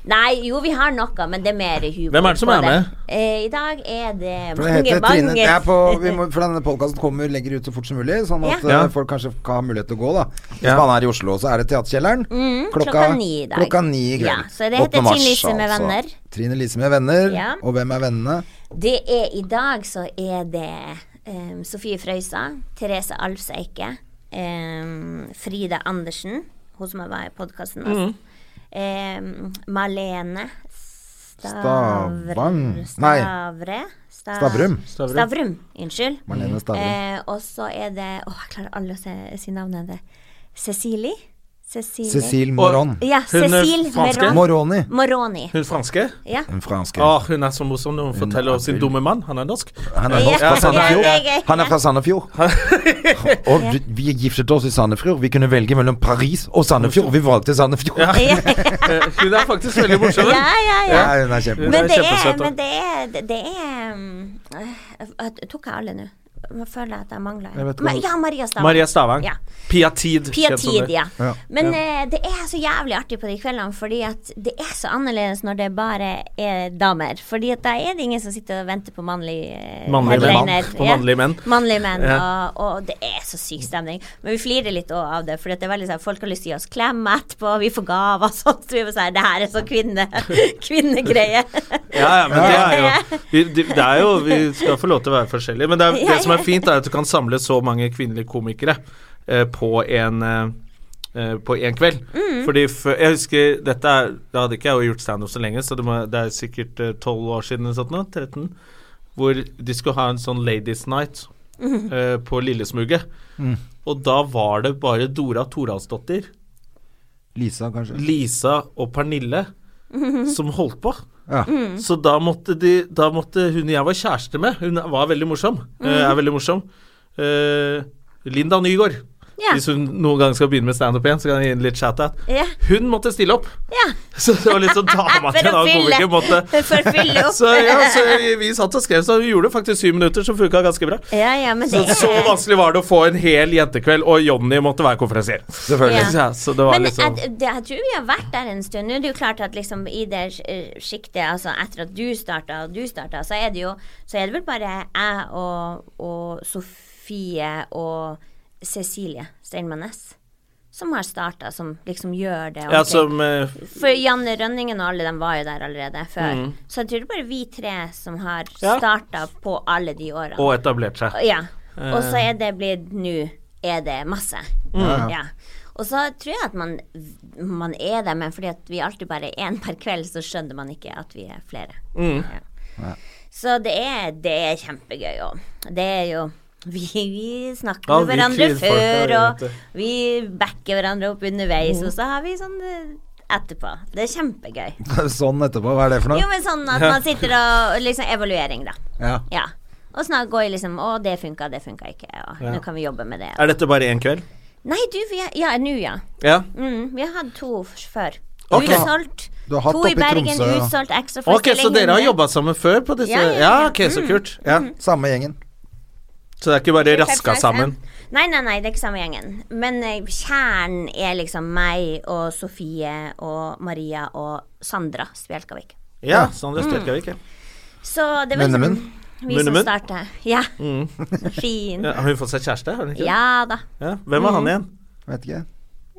Speaker 3: Nei, jo, vi har noe, men det er mer humor.
Speaker 1: Hvem er det som
Speaker 3: på
Speaker 1: er med?
Speaker 3: Eh, I dag er det
Speaker 2: For det
Speaker 3: mange,
Speaker 2: heter Trine
Speaker 3: mange
Speaker 2: det er på, vi må, For denne podkasten kommer legger ut så fort som mulig, sånn at
Speaker 1: Ja.
Speaker 2: eh, folk kanskje kan ha mulighet til å gå, da. Hvis
Speaker 1: Ja.
Speaker 2: man er i Oslo, så er det Teaterkjelleren
Speaker 3: Mm, klokka ni i dag.
Speaker 2: klokka ni i kveld.
Speaker 3: Ja, så det
Speaker 2: 8.
Speaker 3: heter
Speaker 2: mars,
Speaker 3: Trine Lise med
Speaker 2: altså.
Speaker 3: venner.
Speaker 2: Trine Lise med venner.
Speaker 3: Ja.
Speaker 2: Og hvem er vennene?
Speaker 3: Det er i dag så er det em, Sofie Frøysa, Therese Alfseike, um, Frida Andersen, hun som var i podkasten også.
Speaker 1: Mm.
Speaker 3: em, Malene Stavr,
Speaker 2: Stavang. Nei.
Speaker 3: Stavre Sta-
Speaker 2: Stavrum.
Speaker 1: Stavrum.
Speaker 3: Stavrum, Unnskyld.
Speaker 2: Marlene Stavrum.
Speaker 3: Eh, og så er det Å, jeg klarer alle å se- si navnet hennes. Cecilie? Cecilie.
Speaker 2: Cécile Moron.
Speaker 3: Ja,
Speaker 1: Hun er
Speaker 3: Cecile
Speaker 1: franske. Ah.
Speaker 2: Moroni.
Speaker 3: Meron- Moroni.
Speaker 1: Hun franske?
Speaker 3: Ja.
Speaker 2: Den franske.
Speaker 1: Å, hun er så morsom når hun forteller om sin dumme mann. Han er norsk.
Speaker 2: Han er norsk
Speaker 3: Ja,
Speaker 2: fra
Speaker 3: ja, det er
Speaker 2: Sandefjord.
Speaker 3: gøy.
Speaker 2: Han er fra Sandefjord. Og vi- vi giftet oss i Sandefjord. Vi kunne velge mellom Paris og Sandefjord. Vi valgte Sandefjord. Ja,
Speaker 3: Ja,
Speaker 1: Eh, Hun er faktisk veldig morsom.
Speaker 3: ja, ja. ja.
Speaker 2: hun er kjempemorsom.
Speaker 1: Hun
Speaker 3: Men
Speaker 1: er
Speaker 3: det er,
Speaker 1: kjempesøt, da.
Speaker 3: men det er, det, det er um, øh, øh, Tok jeg alle nå? Nå føler jeg at jeg mangler en.
Speaker 2: vet ikke
Speaker 3: Ma-
Speaker 2: hva-
Speaker 3: Ja, Maria Stavang.
Speaker 1: Maria Stavang.
Speaker 3: Ja.
Speaker 1: Pia Tid.
Speaker 3: Pia
Speaker 1: kjent som
Speaker 3: Tid,
Speaker 1: det.
Speaker 3: ja.
Speaker 2: Ja.
Speaker 3: Men eh, det er så jævlig artig på de kveldene, fordi at det er så annerledes når det bare er damer. Fordi at da er det ingen som sitter og venter på mannlig eh,
Speaker 1: Mannlige menn.
Speaker 3: headliner.
Speaker 1: På mannlige menn.
Speaker 3: Mannlige menn,
Speaker 1: Ja.
Speaker 3: og, og det er så syk stemning. Men vi flirer litt også av det, for det er veldig sånn folk har lyst til å gi oss klem etterpå, vi får gaver og sånt. Så vi bare sånn Det her er så kvinne, kvinnegreie.
Speaker 1: Ja, ja, men det er jo vi, de- Det er jo Vi skal få lov til å være forskjellige. Men det, er, det som er fint, er at du kan samle så mange kvinnelige komikere eh, på en eh, eh, på én kveld. Fordi før, jeg husker dette er, Da hadde ikke jeg jo gjort standup så lenge, så det, må, det er sikkert eh, tolv år siden eller sånt nå. 13. Hvor de skulle ha en sånn Ladies Night eh, på Lillesmuget. Og da var det bare Dora Toralsdottir
Speaker 2: Lisa, kanskje.
Speaker 1: Lisa og Pernille som holdt på.
Speaker 2: Ja.
Speaker 3: Mm.
Speaker 1: Så da måtte, de, da måtte hun jeg var kjæreste med Hun var veldig morsom. eh,
Speaker 3: Mm.
Speaker 1: er veldig morsom. eh, Linda Nygaard.
Speaker 3: Ja.
Speaker 1: Hvis hun noen gang skal begynne med standup igjen, så kan jeg gi henne litt shout-out.
Speaker 3: Ja.
Speaker 1: Hun måtte stille opp!
Speaker 3: Ja.
Speaker 1: Så det var litt sånn dama til en
Speaker 3: å
Speaker 1: annen komiker måtte
Speaker 3: fylle- for å fylle opp.
Speaker 1: Så ja, så vi satt og skrev, så vi gjorde faktisk syv minutter, så funka ganske bra.
Speaker 3: Ja, ja, men det
Speaker 1: Så, så vanskelig var det å få en hel jentekveld, og Jonny måtte være konferansier.
Speaker 2: Selvfølgelig.
Speaker 3: Ja.
Speaker 1: Ja, så det var
Speaker 3: Men
Speaker 1: liksom
Speaker 3: jeg, det, jeg tror vi har vært der en stund. Nå er det jo klart at liksom i det eh, sjiktet, altså etter at du starta og du starta, så er det jo Så er det vel bare jeg og, og Sofie og Cecilie Steinmann Næss som har starta, som liksom gjør det.
Speaker 1: Ja,
Speaker 3: ordentlig.
Speaker 1: som eh,
Speaker 3: For Janne Rønningen og alle dem var jo der allerede før. Så jeg tror det er bare vi tre som har
Speaker 1: Mm. Ja.
Speaker 3: starta på alle de åra.
Speaker 1: Og etablert seg.
Speaker 3: Ja. Og så
Speaker 1: Eh.
Speaker 3: er det blitt Nå er det masse. Ja. Og så tror jeg at man, man er det, men fordi at vi alltid bare er én per kveld, så skjønner man ikke at vi er flere.
Speaker 1: Mm.
Speaker 3: Ja. Så det er, det er kjempegøy òg. Det er jo vi, vi snakker
Speaker 1: Ja,
Speaker 3: med
Speaker 1: vi
Speaker 3: hverandre
Speaker 1: kvinnfolk, ja,
Speaker 3: før,
Speaker 1: vi vet
Speaker 3: og
Speaker 1: det.
Speaker 3: vi backer hverandre opp underveis,
Speaker 1: Mm.
Speaker 3: og så har vi sånn eh, etterpå. Det er kjempegøy.
Speaker 2: Sånn etterpå, hva er det for
Speaker 3: Jo,
Speaker 2: noe?
Speaker 3: men sånn at man sitter og liksom Evaluering, da.
Speaker 2: Ja.
Speaker 3: Ja. Og snart går jeg liksom Å, det funka, det funka ikke. Og nå kan vi jobbe med det.
Speaker 1: Er dette bare én kveld?
Speaker 3: Nei, du, vi er Ja, nå, ja.
Speaker 1: Ja.
Speaker 3: Mm, vi har hatt to f- før.
Speaker 1: Ok.
Speaker 3: Utsolgt.
Speaker 2: Du har hatt
Speaker 3: to i
Speaker 2: oppe i
Speaker 3: Bergen,
Speaker 2: Tromsø, ja.
Speaker 3: utsolgt. Ekstra
Speaker 1: Ok, så dere har
Speaker 3: hundre.
Speaker 1: jobba sammen før på disse Ja,
Speaker 3: Ja, ja, Mm. ja.
Speaker 1: ok, så kult.
Speaker 2: Ja,
Speaker 3: Mhm.
Speaker 2: samme gjengen.
Speaker 1: Så det er ikke bare raska
Speaker 3: Perfekt,
Speaker 1: sammen.
Speaker 3: ja. Nei, nei, nei, det er ikke samme gjengen. Men eh, kjernen er liksom meg og Sofie og Maria og Sandra Spjelkavik. Mm.
Speaker 1: Ja, sånn, Sandra Størkavik. Ja.
Speaker 3: Så det var
Speaker 2: Munnemunn.
Speaker 3: liksom vi som
Speaker 1: Munnemunn.
Speaker 3: starta. Ja. Fin.
Speaker 1: Mm. Ja, har hun fått seg kjæreste? Har hun ikke?
Speaker 3: Ja Mm. da.
Speaker 1: Ja. Hvem var han igjen?
Speaker 2: Vet ikke.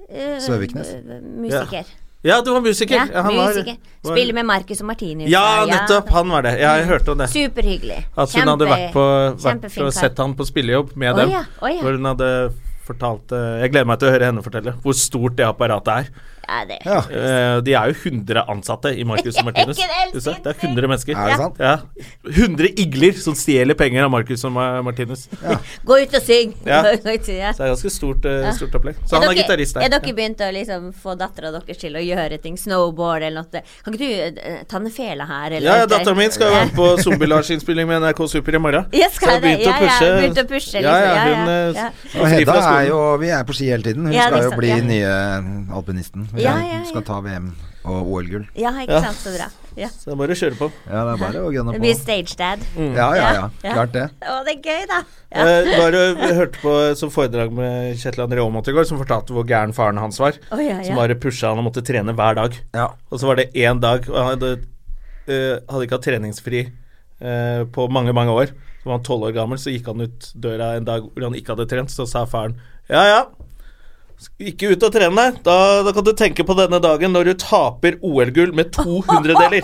Speaker 3: Eh,
Speaker 2: Søviknes.
Speaker 3: eh, Musiker.
Speaker 1: Ja, du var musiker.
Speaker 3: Ja,
Speaker 1: han var-
Speaker 3: musiker.
Speaker 1: var-
Speaker 3: Spiller med Markus og Martinus.
Speaker 1: Ja, nettopp. Han var det. Ja, jeg hørte om det.
Speaker 3: Superhyggelig.
Speaker 1: At hun hadde vært, på, vært
Speaker 3: kjempefin
Speaker 1: og
Speaker 3: kar.
Speaker 1: sett han på spillejobb med
Speaker 3: Å
Speaker 1: dem.
Speaker 3: ja, å ja.
Speaker 1: Hvor hun hadde fortalt eh, Jeg gleder meg til å høre henne fortelle hvor stort det apparatet er.
Speaker 3: Ja, det er
Speaker 2: Ja.
Speaker 1: Eh, de er jo 100 ansatte i Marcus og Martinus.
Speaker 3: Ikke det,
Speaker 1: Du ser, det er 100 mennesker.
Speaker 2: Er det sant?
Speaker 1: Ja. 100 igler som stjeler penger av Marcus og Ma- Martinus.
Speaker 3: Gå ut og syng!
Speaker 1: Ja.
Speaker 3: Gå ut, ja.
Speaker 1: Så det er ganske stort, eh, stort opplegg. Så
Speaker 3: Er
Speaker 1: han er
Speaker 3: dere-
Speaker 1: gitarist der.
Speaker 3: Er dere begynt å liksom få dattera deres til å gjøre ting? Snowboard eller noe? Kan ikke du eh, Tannefela her, eller?
Speaker 1: Ja, ja dattera mi skal jo være med på Zombie-Lars-innspilling med NRK Super i morgen.
Speaker 3: Ja, skal
Speaker 1: jeg
Speaker 3: det?
Speaker 1: begynte
Speaker 3: Ja,
Speaker 1: å
Speaker 3: ja,
Speaker 1: pushe.
Speaker 3: begynte å
Speaker 1: ja,
Speaker 3: pushe,
Speaker 1: ja,
Speaker 3: liksom. Ja,
Speaker 1: hun
Speaker 3: ja,
Speaker 1: eh,
Speaker 3: ja.
Speaker 1: s-
Speaker 2: Og
Speaker 1: fri
Speaker 2: Hedda
Speaker 1: fra skolen.
Speaker 2: er jo Vi er på ski hele tiden. Hun
Speaker 3: Ja,
Speaker 2: skal jo
Speaker 3: liksom,
Speaker 2: bli
Speaker 3: ja.
Speaker 2: nye alpinisten. Hun
Speaker 3: Ja, ja, ja.
Speaker 2: skal ta VM og OL-gull.
Speaker 3: Ja, ikke
Speaker 1: Ja.
Speaker 3: sant. Så bra. Ja.
Speaker 1: Så det er bare å kjøre på.
Speaker 2: Ja, det er bare å gønne
Speaker 3: Det
Speaker 2: på.
Speaker 3: blir stage dad.
Speaker 1: Mm.
Speaker 2: Ja, ja, ja.
Speaker 3: Ja.
Speaker 2: Klart det.
Speaker 3: Å, det er gøy, da. Ja.
Speaker 1: Eh, var og hørte på et sånt foredrag med Kjetil André Aamodt i går, som fortalte hvor gæren faren hans var.
Speaker 3: Å, ja, ja.
Speaker 1: Som bare pusha han og måtte trene hver dag.
Speaker 2: Ja.
Speaker 1: Og så var det én dag Og han hadde, eh, hadde ikke hatt treningsfri eh, på mange, mange år. Så var han tolv år gammel, så gikk han ut døra en dag hvor han ikke hadde trent. Så sa faren ja, ja. Ikke ut og trene deg. Da, da kan du tenke på denne dagen når du taper OL-gull med to hundredeler.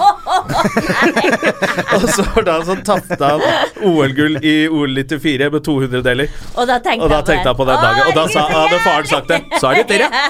Speaker 1: og så var det han som tapte han OL-gull i OL 94 med to hundredeler.
Speaker 3: Og da tenkte,
Speaker 1: Og da tenkte jeg på den dagen. Og da sa, hadde faren sagt det. Så er det dere.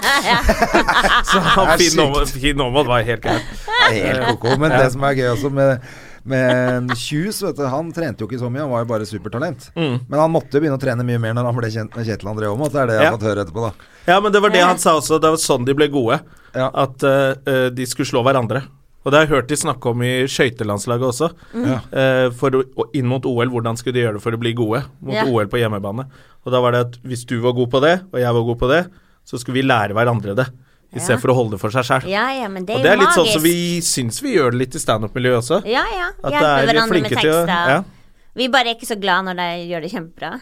Speaker 1: Så han
Speaker 2: Det er
Speaker 1: Finn Aamodt- Finn Aamodt var helt greit.
Speaker 2: Helt koko. Men det som er gøy også med men Kjus, vet du, han trente jo ikke så mye, han var jo bare supertalent.
Speaker 1: Mm.
Speaker 2: Men han måtte jo begynne å trene mye mer når han ble kjent med Kjetil André Aamodt. Det er det jeg har
Speaker 1: Ja.
Speaker 2: fått høre etterpå, da.
Speaker 1: Ja, men det var det han sa også. Det var sånn de ble gode.
Speaker 2: Ja.
Speaker 1: At eh, eh, de skulle slå hverandre. Og det har jeg hørt de snakke om i skøytelandslaget også.
Speaker 3: Mm.
Speaker 1: Eh, for å, og inn mot OL, hvordan skulle de gjøre det for å bli gode mot
Speaker 3: Ja.
Speaker 1: OL på hjemmebane? Og da var det at hvis du var god på det, og jeg var god på det, så skulle vi lære hverandre det. Istedenfor for å holde det for seg sjøl.
Speaker 3: Ja, ja, men det er,
Speaker 1: Og det er litt
Speaker 3: magisk.
Speaker 1: sånn som vi syns vi gjør det litt i standup-miljøet også.
Speaker 3: Ja, ja.
Speaker 1: At det er- vi
Speaker 3: Hjelper
Speaker 1: er
Speaker 3: hverandre med
Speaker 1: flinke til å-
Speaker 3: tekster.
Speaker 1: ja.
Speaker 3: Vi bare er ikke så glad når de gjør det kjempebra.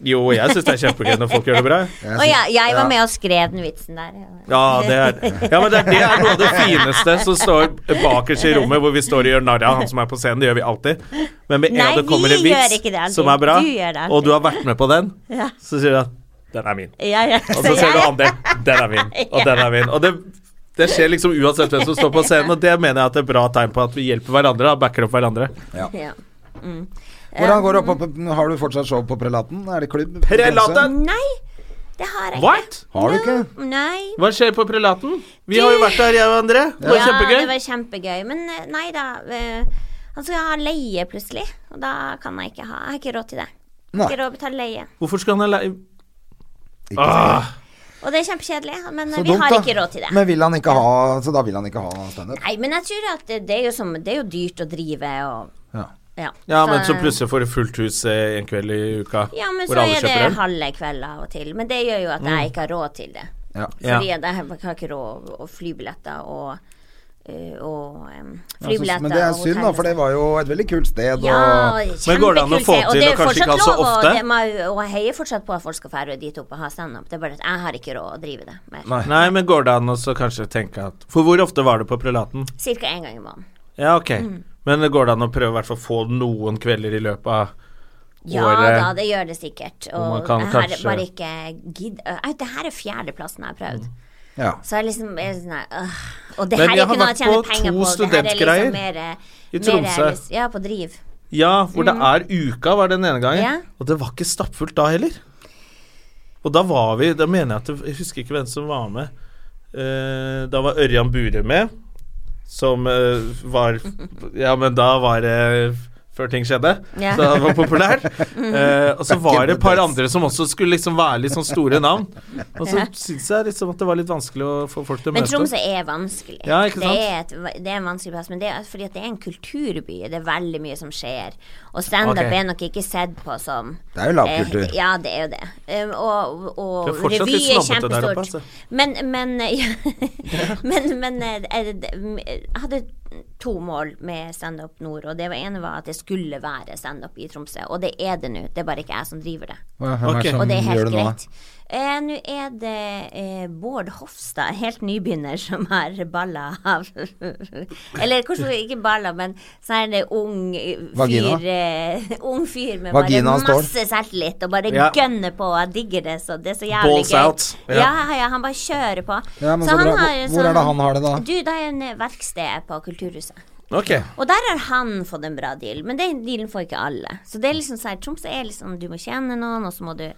Speaker 1: Jo, jeg syns det er kjempegøy når folk gjør det bra. jeg.
Speaker 2: Jeg
Speaker 3: Å ja,
Speaker 2: sy-
Speaker 3: jeg var
Speaker 2: ja.
Speaker 3: med og skrev den vitsen der.
Speaker 1: Ja, det er, ja, men det er, det er noe av det fineste som står bakerst i rommet, hvor vi står og gjør narr av han som er på scenen. Det gjør vi alltid. Men med en
Speaker 3: Nei,
Speaker 1: gang det kommer en
Speaker 3: vi gjør ikke det
Speaker 1: vits
Speaker 3: alltid.
Speaker 1: som er bra,
Speaker 3: Du gjør det alltid.
Speaker 1: og du har vært med på den,
Speaker 3: Ja.
Speaker 1: så sier du at 'den er min'.
Speaker 3: Ja, ja.
Speaker 1: Og så ser du andre 'den er min', og 'den er min'. Og det, det skjer liksom uansett hvem som står på scenen, og det mener jeg at det er et bra tegn på at vi hjelper hverandre og backer opp hverandre.
Speaker 3: Ja.
Speaker 2: Hvordan går det opp, opp? Har du fortsatt show på Prelaten? Er det klubb?
Speaker 1: Prelaten!
Speaker 3: Nei, det har jeg ikke.
Speaker 1: What?
Speaker 2: Har du ikke?
Speaker 3: Nei.
Speaker 1: Hva skjer på Prelaten? Vi har jo vært der, jeg og André. Det var
Speaker 3: Ja, det
Speaker 1: kjempegøy.
Speaker 3: var kjempegøy. Men eh, nei da. eh, Han skal ha leie plutselig, og da kan jeg ikke ha Jeg har ikke råd til det. Jeg har
Speaker 2: Nei.
Speaker 3: Ikke råd til å betale leie.
Speaker 1: Hvorfor skulle han ha lei...
Speaker 2: Ikke sant.
Speaker 1: Ah,
Speaker 3: Og det er kjempekjedelig, men eh,
Speaker 2: Så
Speaker 3: vi
Speaker 2: dumt,
Speaker 3: har
Speaker 2: da.
Speaker 3: ikke råd til det.
Speaker 2: Men vil han ikke ha, så da vil han ikke ha standup?
Speaker 3: Nei, men jeg tror at det, det, er jo som, det er jo dyrt å drive og
Speaker 2: Ja.
Speaker 3: Ja,
Speaker 1: Ja, men så plutselig får du fullt hus eh, en kveld i uka
Speaker 3: Ja, men
Speaker 1: hvor
Speaker 3: så
Speaker 1: alle
Speaker 3: er
Speaker 1: kjøper
Speaker 3: det
Speaker 1: øl. Mm.
Speaker 3: halve kveld av og til. Men det gjør jo at jeg ikke har råd til det.
Speaker 2: Ja.
Speaker 1: Ja.
Speaker 3: Fordi at jeg har- har ikke råd å- å flybilletter og eh, og em,
Speaker 2: Ja, så-
Speaker 3: flybilletter
Speaker 2: men det er
Speaker 3: og
Speaker 2: synd, da,
Speaker 3: hotell-
Speaker 2: for det var jo et veldig kult sted.
Speaker 3: ja,
Speaker 2: Og
Speaker 3: kjempekult.
Speaker 1: Men går det an å få
Speaker 3: Og
Speaker 1: til,
Speaker 3: det er
Speaker 1: og kanskje ikke
Speaker 3: fortsatt
Speaker 1: ha så
Speaker 3: lov, og
Speaker 1: ofte?
Speaker 3: det må- Og jeg heier fortsatt på at folk skal dra dit opp og ha standup. Det er bare at jeg har ikke råd å drive det mer.
Speaker 1: Nei. men går det an å så kanskje tenke at For hvor ofte var det på prelaten?
Speaker 3: Cirka én gang i måneden.
Speaker 1: Ja, ok.
Speaker 3: Mm.
Speaker 1: Men går det an å prøve i hvert fall få noen kvelder i løpet av
Speaker 3: Ja
Speaker 1: året?
Speaker 3: da, det gjør det sikkert. Og,
Speaker 1: man kan
Speaker 3: jeg har
Speaker 1: kanskje-
Speaker 3: bare ikke gidd... Au, Det her er fjerdeplassen jeg har prøvd.
Speaker 2: ja.
Speaker 3: Så jeg liksom jeg er sånn her, øh. Og det
Speaker 1: Men
Speaker 3: her
Speaker 1: jeg
Speaker 3: er ikke
Speaker 1: har
Speaker 3: noe
Speaker 1: vært
Speaker 3: jeg tjener
Speaker 1: på to
Speaker 3: penger på. Det her er
Speaker 1: studentgreier
Speaker 3: liksom mer, eh,
Speaker 1: i
Speaker 3: mer
Speaker 1: Tromsø.
Speaker 3: jeg lyst- Ja, på Driv.
Speaker 1: Ja, hvor det er uka, var den ene gangen.
Speaker 3: Ja.
Speaker 1: Og det var ikke stappfullt da heller. Og da var vi Da mener jeg at det, Jeg husker ikke hvem som var med. Eh, da var Ørjan Bure med, som eh, var Ja, men da var det før ting skjedde.
Speaker 3: Ja.
Speaker 1: Så han var populær. Eh, og så var det et par
Speaker 2: days.
Speaker 1: andre som også skulle liksom være litt sånn store navn. Og så syns jeg liksom at det var litt vanskelig å få folk til å
Speaker 3: Men
Speaker 1: møte
Speaker 3: Tromsø er vanskelig.
Speaker 1: Ja, ikke
Speaker 3: Det, er et, va- det er en vanskelig plass, men det er fordi at det er en kulturby. Det er veldig mye som skjer. Og standup
Speaker 1: Ok.
Speaker 3: er nok ikke sett på som
Speaker 2: Det er jo lavkultur.
Speaker 3: Eh, ja, det er jo det. Um, og og
Speaker 1: Det er fortsatt
Speaker 3: revy
Speaker 1: litt
Speaker 3: er
Speaker 1: snobbete der oppe,
Speaker 3: kjempestort.
Speaker 1: altså.
Speaker 3: Men, men eh, ja, Men, men eh, eh, det- mm, eh, jeg hadde to mål med Standup Nord, og det var- ene var at det skulle være standup i Tromsø. Og det er det nå, det er bare ikke jeg som driver det.
Speaker 2: Hva- Hvem
Speaker 1: Ok.
Speaker 2: er det som
Speaker 3: Og det er
Speaker 2: gjør
Speaker 3: helt
Speaker 2: det nå, da?
Speaker 3: greit. Eh, Nå er det eh, Bård Hofstad, helt nybegynner, som har balla av Eller kanskje ikke balla, men så er det ung eh,
Speaker 2: Vagina?
Speaker 3: fyr eh, Ung fyr med
Speaker 2: Vagina
Speaker 3: bare
Speaker 2: står.
Speaker 3: masse selvtillit og bare
Speaker 1: Ja.
Speaker 3: gønner på. Jeg digger det, så det er så jævlig
Speaker 1: Balls
Speaker 3: gøy.
Speaker 1: out. Ja.
Speaker 3: Ja. ja, han bare kjører på.
Speaker 2: Ja, men så bra. Hvor- hvor er det han har det da?
Speaker 3: Du, det er en eh, verksted på Kulturhuset.
Speaker 1: Ok.
Speaker 3: Og der har han fått en bra deal, men den dealen får ikke alle. Så det er liksom sånn her, Tromsø er liksom Du må kjenne noen, og så må du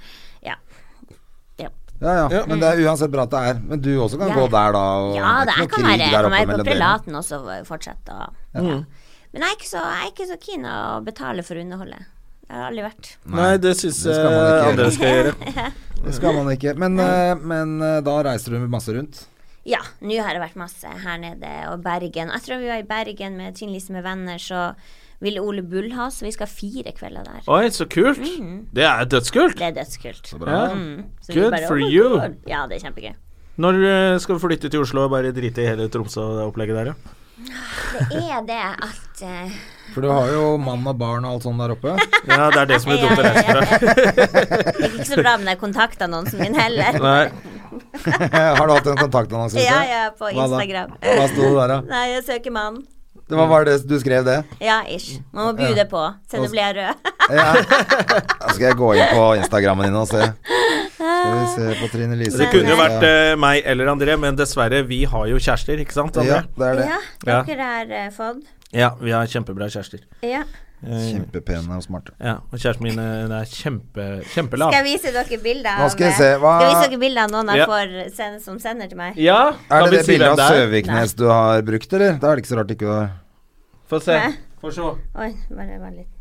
Speaker 3: Ja. Ja,
Speaker 2: Ja, ja, men det er uansett bra at det er. Men du også kan
Speaker 3: Ja.
Speaker 2: gå der, da. Og
Speaker 3: ja det, jeg
Speaker 2: ikke
Speaker 3: kan
Speaker 2: noe
Speaker 3: være,
Speaker 2: krig
Speaker 3: jeg
Speaker 2: der
Speaker 3: kan
Speaker 2: oppe
Speaker 3: være på
Speaker 2: mellom dere.
Speaker 3: prelaten også og fortsette å ja. Men jeg er, ikke så, jeg er ikke så keen å betale for underholdet. Det har jeg aldri vært.
Speaker 1: Nei, det syns
Speaker 2: det skal man ikke
Speaker 1: jeg
Speaker 2: gjøre.
Speaker 1: andre skal gjøre.
Speaker 2: Det skal man ikke. Men, eh, men eh, da reiser du masse rundt.
Speaker 3: Ja, nå har det vært masse her nede og Bergen. Jeg tror vi var i Bergen med Trine Lise med venner, så ville Ole Bull ha, så vi skal ha fire kvelder der.
Speaker 1: Oi, så kult.
Speaker 3: Mhm.
Speaker 1: Det er dødskult.
Speaker 3: Det er dødskult.
Speaker 1: Ja.
Speaker 3: Så vi
Speaker 1: Good
Speaker 3: bare,
Speaker 1: for
Speaker 3: oh my
Speaker 1: you.
Speaker 3: God. Ja, det er kjempegøy.
Speaker 1: Når eh, skal vi flytte til Oslo og bare drite i hele Tromsø og det opplegget der, ja?
Speaker 3: Det er det at eh,
Speaker 2: For du har jo mann og barn og alt sånt der oppe.
Speaker 1: Ja, det er det som er
Speaker 3: Ja,
Speaker 1: dumt å
Speaker 3: ja,
Speaker 1: reise
Speaker 3: ja.
Speaker 1: fra.
Speaker 3: Det gikk ikke så bra med den kontaktannonsen min heller.
Speaker 1: Nei.
Speaker 2: har du hatt en kontaktannonse? ute?
Speaker 3: Ja, ja, på
Speaker 2: Hva da?
Speaker 3: Instagram.
Speaker 2: Hva sto det der, da?
Speaker 3: Nei, jeg søker mann.
Speaker 2: Det var bare det du skrev det?
Speaker 3: Ja, ish. Man må bude på, så du blir rød.
Speaker 2: Ja. Da skal jeg gå inn på Instagrammen din og se. Skal vi se på Trine Lise.
Speaker 1: Det kunne jo vært eh, meg eller André, men dessverre, vi har jo kjærester, ikke sant,
Speaker 2: Ja,
Speaker 1: André?
Speaker 2: det er det.
Speaker 3: Ja,
Speaker 1: Ja.
Speaker 3: dere har eh, fått.
Speaker 1: Ja, vi har kjempebra kjærester.
Speaker 3: Ja.
Speaker 1: Eh,
Speaker 2: Kjempepene og smarte.
Speaker 1: ja, og kjæresten min eh, hun er kjempe,
Speaker 3: Skal
Speaker 1: kjempelav.
Speaker 3: jeg vise dere bilder av eh,
Speaker 2: Nå skal jeg se, hva-
Speaker 3: Skal jeg vise dere bilder av noen jeg
Speaker 1: Ja.
Speaker 3: får send, som sender til meg?
Speaker 1: Ja,
Speaker 2: Er
Speaker 1: kan
Speaker 2: det
Speaker 1: vi
Speaker 2: det
Speaker 1: si hvem
Speaker 2: bildet av
Speaker 1: det er?
Speaker 2: Søviknes du har brukt, eller? Da er det ikke så rart ikke du har
Speaker 1: Få se.
Speaker 3: Hæ?
Speaker 1: Få se.
Speaker 3: Oi, bare, bare litt.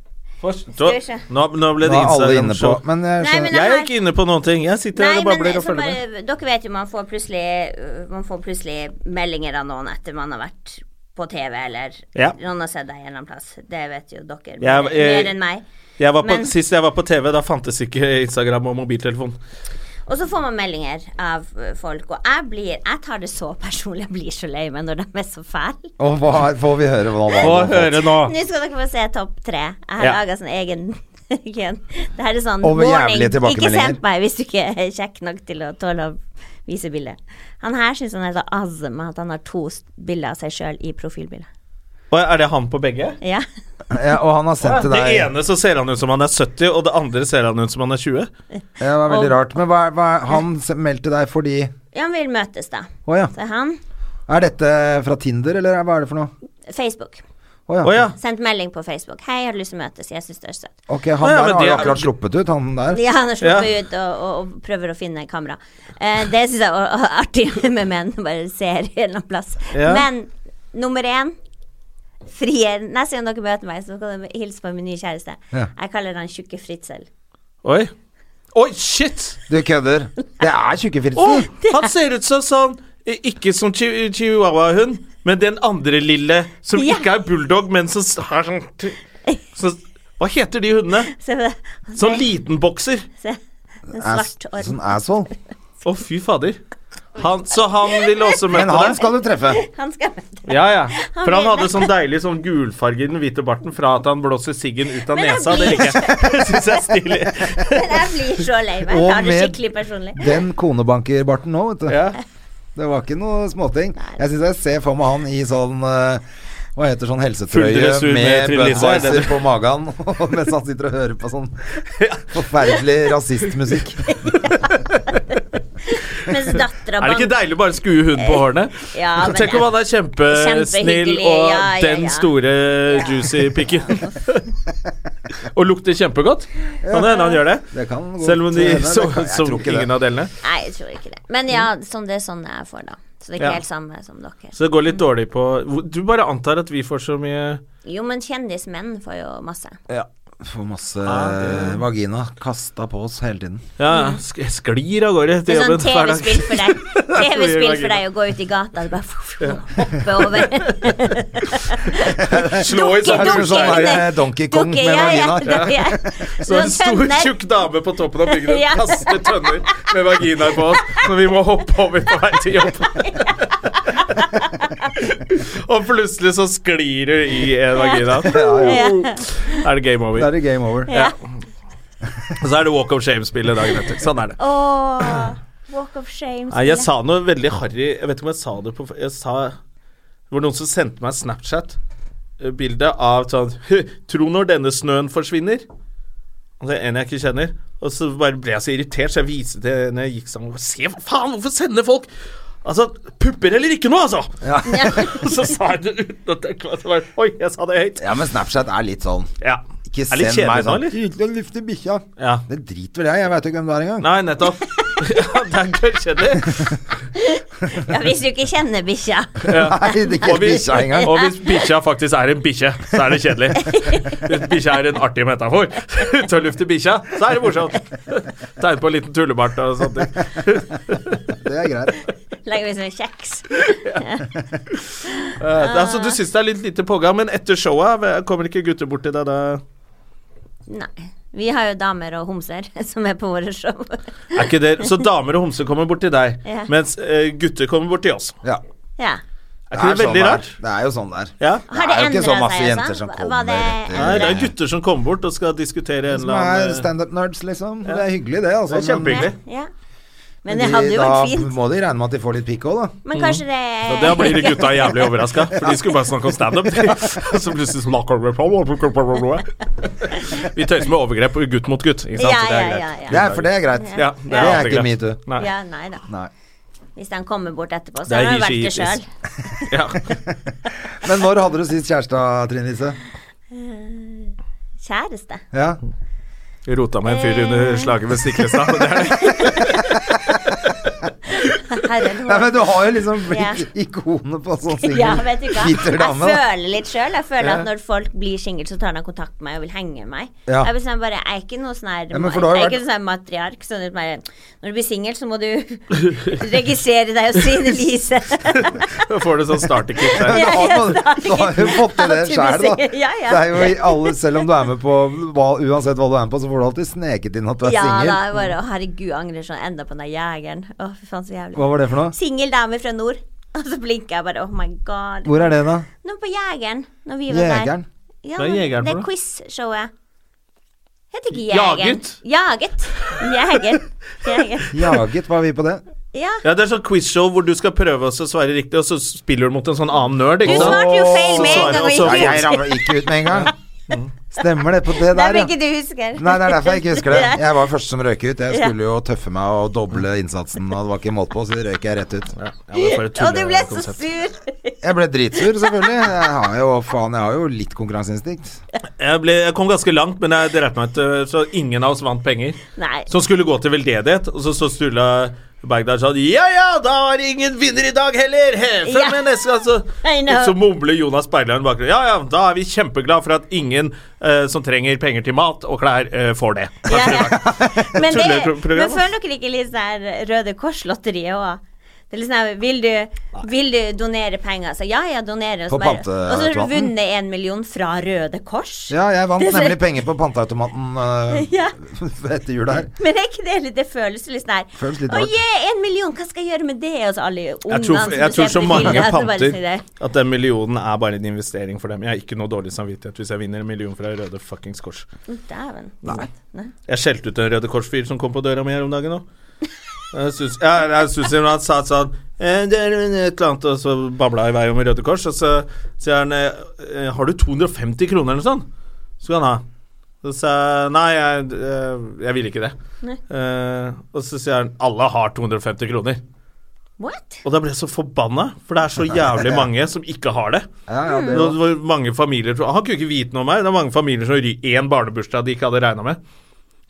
Speaker 1: Få se.
Speaker 3: Skal vi se.
Speaker 1: Nå, nå ble
Speaker 2: Nå
Speaker 1: det
Speaker 2: er alle inne på
Speaker 1: Instagram-show.
Speaker 2: Men jeg
Speaker 3: Nei, men
Speaker 2: skjønner
Speaker 1: Jeg er
Speaker 3: her-
Speaker 1: ikke inne på noen ting. Jeg sitter
Speaker 3: Nei,
Speaker 1: her og
Speaker 3: men eh,
Speaker 1: babler og
Speaker 3: så
Speaker 1: følger med.
Speaker 3: bare, dere vet jo man får plutselig øh, Man får plutselig meldinger av noen etter man har vært på TV, eller
Speaker 1: Ja.
Speaker 3: noen har sett deg en eller annen plass. Det vet jo dere mer,
Speaker 1: Ja, eh,
Speaker 3: mer enn meg.
Speaker 1: Jeg var på,
Speaker 3: Men-
Speaker 1: sist jeg var på TV, da fantes ikke Instagram og mobiltelefon.
Speaker 3: Og så får man meldinger av øh, folk, og jeg blir Jeg tar det så personlig, jeg blir så lei meg når de er så fæle.
Speaker 2: Og hva er- får vi høre hva det
Speaker 1: Få høre nå.
Speaker 3: Nå skal dere få se topp tre. Jeg har
Speaker 1: Ja.
Speaker 3: laga sånn egen egen- Det her er sånn
Speaker 2: Over
Speaker 3: warning.
Speaker 2: jævlige
Speaker 3: Ikke
Speaker 2: tilbakemeldinger.
Speaker 3: send meg hvis du ikke er kjekk nok til å tåle å vise bildet. Han her syns han er så azm at han har to s- bilder av seg sjøl i profilbildet.
Speaker 1: Og er det han på begge?
Speaker 3: Ja.
Speaker 2: Ja, og han har sendt til
Speaker 1: Det
Speaker 2: deg
Speaker 1: ene så ser han ut som han er 70, og det andre ser han ut som han er 20.
Speaker 2: Ja, det var veldig rart. Men hva, er- hva, er- han se- meldte deg fordi
Speaker 3: Han vil møtes, da.
Speaker 2: Å ja.
Speaker 3: Så han
Speaker 2: Er dette fra Tinder, eller er- hva er det for noe?
Speaker 3: Facebook.
Speaker 2: Å ja.
Speaker 1: Å ja.
Speaker 3: Sendt melding på Facebook. 'Hei, jeg har lyst til å møtes. Jeg syns du er søt'.
Speaker 2: Ok, han
Speaker 1: Å ja,
Speaker 2: der
Speaker 1: men
Speaker 2: har jo
Speaker 1: det-
Speaker 2: akkurat sluppet ut, han der.
Speaker 3: Ja, han har sluppet
Speaker 1: Ja.
Speaker 3: ut og, og, og prøver å finne kamera. Eh, det syns jeg er å- å- artig med menn. Bare ser en eller annen plass.
Speaker 1: Ja.
Speaker 3: Men nummer én Frier. Neste gang dere møter meg, så kan dere hilse på min nye kjæreste.
Speaker 2: Ja.
Speaker 3: Jeg kaller han Tjukke Fritzel.
Speaker 1: Oi. Oi, shit!
Speaker 2: Du kødder. Det er Tjukkefritsen.
Speaker 1: Å, han ser ut som sånn eh, Ikke som chi- chihuahua-hund, men den andre lille som
Speaker 3: Ja.
Speaker 1: ikke er bulldog, men som s- har sånn t- så, Hva heter de hundene?
Speaker 3: Se på det.
Speaker 1: Sånn liten bokser.
Speaker 3: Se. En
Speaker 2: Ass-
Speaker 3: svart orm.
Speaker 2: Sånn asshole.
Speaker 1: Å, fy fader. Han, så han ville også
Speaker 2: Men
Speaker 1: møte
Speaker 2: han
Speaker 1: deg?
Speaker 2: skal du treffe.
Speaker 3: Han skal møte
Speaker 1: Ja, ja. For han
Speaker 3: vil-
Speaker 1: hadde sånn deilig sånn gulfarge i den hvite barten fra at han blåser siggen ut av
Speaker 3: Men han
Speaker 1: nesa. Det
Speaker 3: blir
Speaker 1: liker jeg. Det syns jeg er stilig.
Speaker 3: Men jeg blir så lei meg.
Speaker 2: Og
Speaker 3: Jeg tar det
Speaker 2: med-
Speaker 3: skikkelig personlig.
Speaker 2: Den konebankerbarten nå, vet du.
Speaker 1: Ja.
Speaker 2: Det var ikke noe småting. Jeg syns jeg ser for meg han i sånn eh, hva heter sånn helsetrøye
Speaker 1: Fulldress ut med
Speaker 2: med
Speaker 1: Trine Lise, er det
Speaker 2: Budwiser
Speaker 1: det?
Speaker 2: på magen og mens han sitter og hører på sånn forferdelig rasistmusikk?
Speaker 3: Mens dattera
Speaker 1: Er det ikke deilig å bare skue hunden på hårene?
Speaker 3: Ja, men
Speaker 1: Tenk om han er kjempesnill
Speaker 3: Kjempehyggelig,
Speaker 1: og
Speaker 3: ja, ja,
Speaker 1: den
Speaker 3: ja.
Speaker 1: store juicy pikken. og lukter kjempegodt. Kan det hende han gjør det.
Speaker 2: Det kan gå
Speaker 1: Selv om de
Speaker 2: til henne,
Speaker 1: så,
Speaker 2: det kan- jeg
Speaker 1: som
Speaker 2: tror ikke
Speaker 1: ingen
Speaker 2: det.
Speaker 1: av delene.
Speaker 3: Nei, jeg tror ikke det. Men ja, sånn, det er sånn jeg får, da. Så det er ikke
Speaker 1: Ja.
Speaker 3: helt samme som dere.
Speaker 1: Så det går litt dårlig på hvor- Du bare antar at vi får så mye
Speaker 3: Jo, men kjendismenn får jo masse.
Speaker 2: Får masse eh, vagina kasta på oss hele tiden.
Speaker 1: Ja, sk- jeg sklir av gårde
Speaker 3: Mm. Det
Speaker 1: til
Speaker 3: er sånn
Speaker 1: jobben hver dag.
Speaker 3: TV-spill for deg. TV-spill for deg å gå ut i gata og bare hoppe over.
Speaker 1: Slå i sånn
Speaker 3: Dukke, dukke,
Speaker 2: Kanskje sånn
Speaker 1: husleie.
Speaker 2: der eh, Donkey Kong
Speaker 3: Dukke,
Speaker 2: med
Speaker 3: ja, ja,
Speaker 2: vagina.
Speaker 3: da- ja.
Speaker 1: Så en stor,
Speaker 3: Sånn tønner.
Speaker 1: tjukk dame på toppen av bygget
Speaker 3: Ja.
Speaker 1: kaster tønner med vaginaer på oss når vi må hoppe over på vei til jobb. Og plutselig så sklir du i en vagina. Er det game
Speaker 2: Da
Speaker 1: over.
Speaker 2: er det game over.
Speaker 1: Ja. Og så er det walk of shame-spillet dagen etter. Sånn er det.
Speaker 3: Åh, walk of shame.
Speaker 1: Nei, jeg sa noe veldig harry Jeg vet ikke om jeg sa det på Jeg sa Det var noen som sendte meg Snapchat eh, Bilde av sånn Tro når denne snøen forsvinner Og det er en jeg ikke kjenner Og så bare ble jeg så irritert Så jeg viste det når jeg gikk sammen Se, hva faen, hvorfor sender folk Altså, pupper eller ikke noe, altså Og så sa jeg det uten at jeg klarte å være Oi, jeg sa det høyt
Speaker 2: Ja, men Snapchat er litt sånn
Speaker 1: Ja
Speaker 2: Ikke
Speaker 1: Er litt
Speaker 2: send
Speaker 1: kjedelig nå,
Speaker 2: meg sånn
Speaker 1: eller?
Speaker 2: Uten å lufte bikkja.
Speaker 1: Ja
Speaker 2: Det driter vel jeg, jeg veit jo ikke hvem det er engang.
Speaker 1: Nei, nettopp Ja, det er gørkjedelig
Speaker 3: Ja, hvis du ikke kjenner bikkja.
Speaker 2: Nei, det er ikke
Speaker 1: vi-
Speaker 2: bikkja engang.
Speaker 1: Og hvis bikkja faktisk er en bikkje, så er det kjedelig. Hvis bikkja er en artig metafor til å lufte bikkja, så er det morsomt. Tegn på en liten tullebart og sånt.
Speaker 2: Det er greit.
Speaker 3: Legger vi som en kjeks.
Speaker 1: Altså, du syns det er litt lite pågang, men etter showet eh, kommer ikke gutter bort til deg da?
Speaker 3: Nei. Vi har jo damer og homser som er på våre show.
Speaker 1: Er ikke det? Så damer og homser kommer bort til deg,
Speaker 3: Ja.
Speaker 1: mens eh, gutter kommer bort til oss.
Speaker 2: Ja.
Speaker 3: Ja.
Speaker 1: Er ikke det,
Speaker 2: sånn
Speaker 1: veldig
Speaker 2: det er.
Speaker 1: rart?
Speaker 2: Det er jo sånn det er.
Speaker 1: Ja.
Speaker 2: Det
Speaker 3: Har det
Speaker 2: er jo ikke
Speaker 3: endra
Speaker 2: så
Speaker 3: seg,
Speaker 2: masse
Speaker 3: altså?
Speaker 2: jenter som
Speaker 3: Var-
Speaker 2: kommer
Speaker 3: Var det
Speaker 2: til-
Speaker 1: Nei, det er
Speaker 3: endret?
Speaker 1: gutter som kommer bort og skal diskutere en
Speaker 2: Som
Speaker 1: eller
Speaker 2: er
Speaker 1: annen eh,
Speaker 2: standup-nerds, liksom. Det er hyggelig, det. Altså.
Speaker 1: Det er kjempehyggelig.
Speaker 3: Ja. Men det hadde jo vært
Speaker 2: da
Speaker 3: fint.
Speaker 2: må de regne med at de får litt pikk òg, da.
Speaker 3: Men kanskje
Speaker 1: Og Da
Speaker 3: det
Speaker 1: blir de gutta jævlig overraska, for de skulle bare snakke om standup. Så plutselig sånn Vi tøyser med overgrep og gutt mot gutt. Ikke sant?
Speaker 3: Ja,
Speaker 1: Så det er
Speaker 3: ja,
Speaker 1: greit.
Speaker 3: ja, ja.
Speaker 2: Det er, for det er greit.
Speaker 1: Ja,
Speaker 2: Det
Speaker 1: alltid
Speaker 2: er ikke
Speaker 1: greit.
Speaker 2: metoo.
Speaker 1: Nei.
Speaker 3: Ja, nei da.
Speaker 2: Nei.
Speaker 3: Hvis de kommer bort etterpå, så
Speaker 1: Det er
Speaker 3: har de vært
Speaker 1: ikke
Speaker 3: det sjøl.
Speaker 1: gitt. Ja.
Speaker 2: Men når hadde du sist kjæreste, Trine Lise?
Speaker 3: Kjæreste.
Speaker 2: Ja.
Speaker 1: Rota med en fyr under slaget ved Stiklestad. men det er det.
Speaker 3: Herre
Speaker 2: Nei, men du har jo liksom
Speaker 3: Ja.
Speaker 2: blitt ikonet på sånn
Speaker 3: Ja, vet du hva.
Speaker 2: singel
Speaker 3: Jeg
Speaker 2: dame. da.
Speaker 3: føler litt sjøl. Jeg føler at når folk blir single, så tar de kontakt med meg og vil henge med meg.
Speaker 2: Ja.
Speaker 3: Jeg, blir sånn bare, jeg er ikke noe sånn her
Speaker 2: Ja, men for du har jo
Speaker 3: Jeg er
Speaker 2: vært-
Speaker 3: ikke noe sånn her matriark. Sånn at bare, når du blir singel, så må du registrere deg og Trine Lise.
Speaker 1: Da får du sånn starterkit der.
Speaker 2: Men Du har,
Speaker 3: Ja, ja,
Speaker 2: du har jo fått til det
Speaker 3: At du blir
Speaker 2: sjæl, da.
Speaker 3: singel. Ja, ja.
Speaker 2: Det er jo i alle, selv om du er med på hva, Uansett hva du er med på, så får du alltid sneket inn at du er
Speaker 3: Ja da,
Speaker 2: singel.
Speaker 3: jeg bare å, herregud, jeg angrer sånn enda på den der jegeren. Å, fy faen, så jævlig.
Speaker 2: Hva var det for noe?
Speaker 3: Singel dame fra nord. Og så blinker jeg bare, oh my god.
Speaker 2: Hvor er det, da?
Speaker 3: Nå på Jegeren. Når vi var
Speaker 2: Jegeren?
Speaker 3: der. Ja,
Speaker 1: Hva er Jegeren
Speaker 3: det
Speaker 1: for noe?
Speaker 3: er quiz-showet. Heter ikke Jegeren.
Speaker 1: Jaget?
Speaker 3: Jaget. Jegeren. Jegeren.
Speaker 2: Jaget, var vi på det?
Speaker 3: Ja.
Speaker 1: Ja, det er sånn quizshow hvor du skal prøve å svare riktig, og så spiller du mot en sånn annen nerd.
Speaker 3: Du
Speaker 1: Ikke sant?
Speaker 3: svarte jo feil med
Speaker 1: Så
Speaker 3: en gang.
Speaker 1: svarer Mm.
Speaker 3: og
Speaker 1: også-
Speaker 2: Nei,
Speaker 3: ikke
Speaker 2: jeg
Speaker 3: husker.
Speaker 2: ramla ikke ut med en gang. Stemmer det på det
Speaker 3: Derfor
Speaker 2: der, ja.
Speaker 3: ikke du husker.
Speaker 2: Nei, det er derfor jeg ikke husker det. Jeg var først som røyk ut. Jeg skulle jo tøffe meg og doble innsatsen, og det var ikke målt på, så røyk jeg rett ut.
Speaker 1: Ja, det er for et
Speaker 3: Og du ble så
Speaker 1: tullekonsept.
Speaker 3: sur.
Speaker 2: Jeg ble dritsur, selvfølgelig. Jeg har jo, faen, jeg har jo litt konkurranseinstinkt.
Speaker 1: Jeg, ble, jeg kom ganske langt, men jeg dreit meg ut, øh, så ingen eh, av oss vant penger.
Speaker 3: Nei.
Speaker 1: Som skulle gå til veldedighet, og så, så Sturla Bagdad sa ja ja, da var det ingen vinner i dag heller! He, Følg
Speaker 3: Ja.
Speaker 1: med neste gang, så,
Speaker 3: I know.
Speaker 1: så mumler Jonas Bergland bak ja ja, da er vi kjempeglad for at ingen eh, som trenger penger til mat og klær, eh, får det.
Speaker 3: Ja, ja. Men, det,
Speaker 1: Tulleprogram,
Speaker 3: men
Speaker 1: ass.
Speaker 3: føler
Speaker 2: altså.
Speaker 3: dere ikke litt sånn her Røde Kors-lotteriet òg? Det er litt sånn her, vil, du, vil du donere penger? Så ja, jeg donerer. Og
Speaker 2: På
Speaker 3: så bare-
Speaker 2: pante-
Speaker 3: og så har du
Speaker 2: automaten?
Speaker 3: vunnet en million fra Røde Kors.
Speaker 2: Ja, jeg vant
Speaker 3: Det ser-
Speaker 2: nemlig penger på panteautomaten eh,
Speaker 3: Ja.
Speaker 2: etter jul her.
Speaker 3: Men er ikke det litt Det føles litt sånn her.
Speaker 2: Føles litt
Speaker 3: Å
Speaker 2: rart.
Speaker 3: yeah, en million, hva skal jeg gjøre med det? Og så alle
Speaker 1: Jeg
Speaker 3: ungene
Speaker 1: tror,
Speaker 3: som
Speaker 1: jeg tror så
Speaker 3: bestemte
Speaker 1: mange
Speaker 3: bildet, så bare
Speaker 1: panter
Speaker 3: sier det.
Speaker 1: at den millionen er bare en investering for dem. Jeg har ikke noe dårlig samvittighet hvis jeg vinner en million fra Røde fuckings Kors.
Speaker 3: Å, Dæven. Nei.
Speaker 1: Jeg skjelte ut en Røde Kors-fyr som kom på døra mi her om dagen òg. Jeg syns jeg- jeg syns han sa sånn eh, det er en et eller annet, Og så babla jeg i vei om Røde Kors. Og så sier han eh, eh, Har du 250 kroner eller noe sånt? Skal han ha. Så sa jeg nei, jeg, eh, jeg vil ikke det. Eh, og så sier han alle har 250 kroner.
Speaker 3: What?
Speaker 1: Og da ble jeg så forbanna, for det er så jævlig mange som ikke har det.
Speaker 2: Ja, ja, det
Speaker 1: Det
Speaker 2: var,
Speaker 1: var mange familier tror- Han kunne ikke vite noe om meg. Det er mange familier som ryker én barnebursdag de ikke hadde regna med.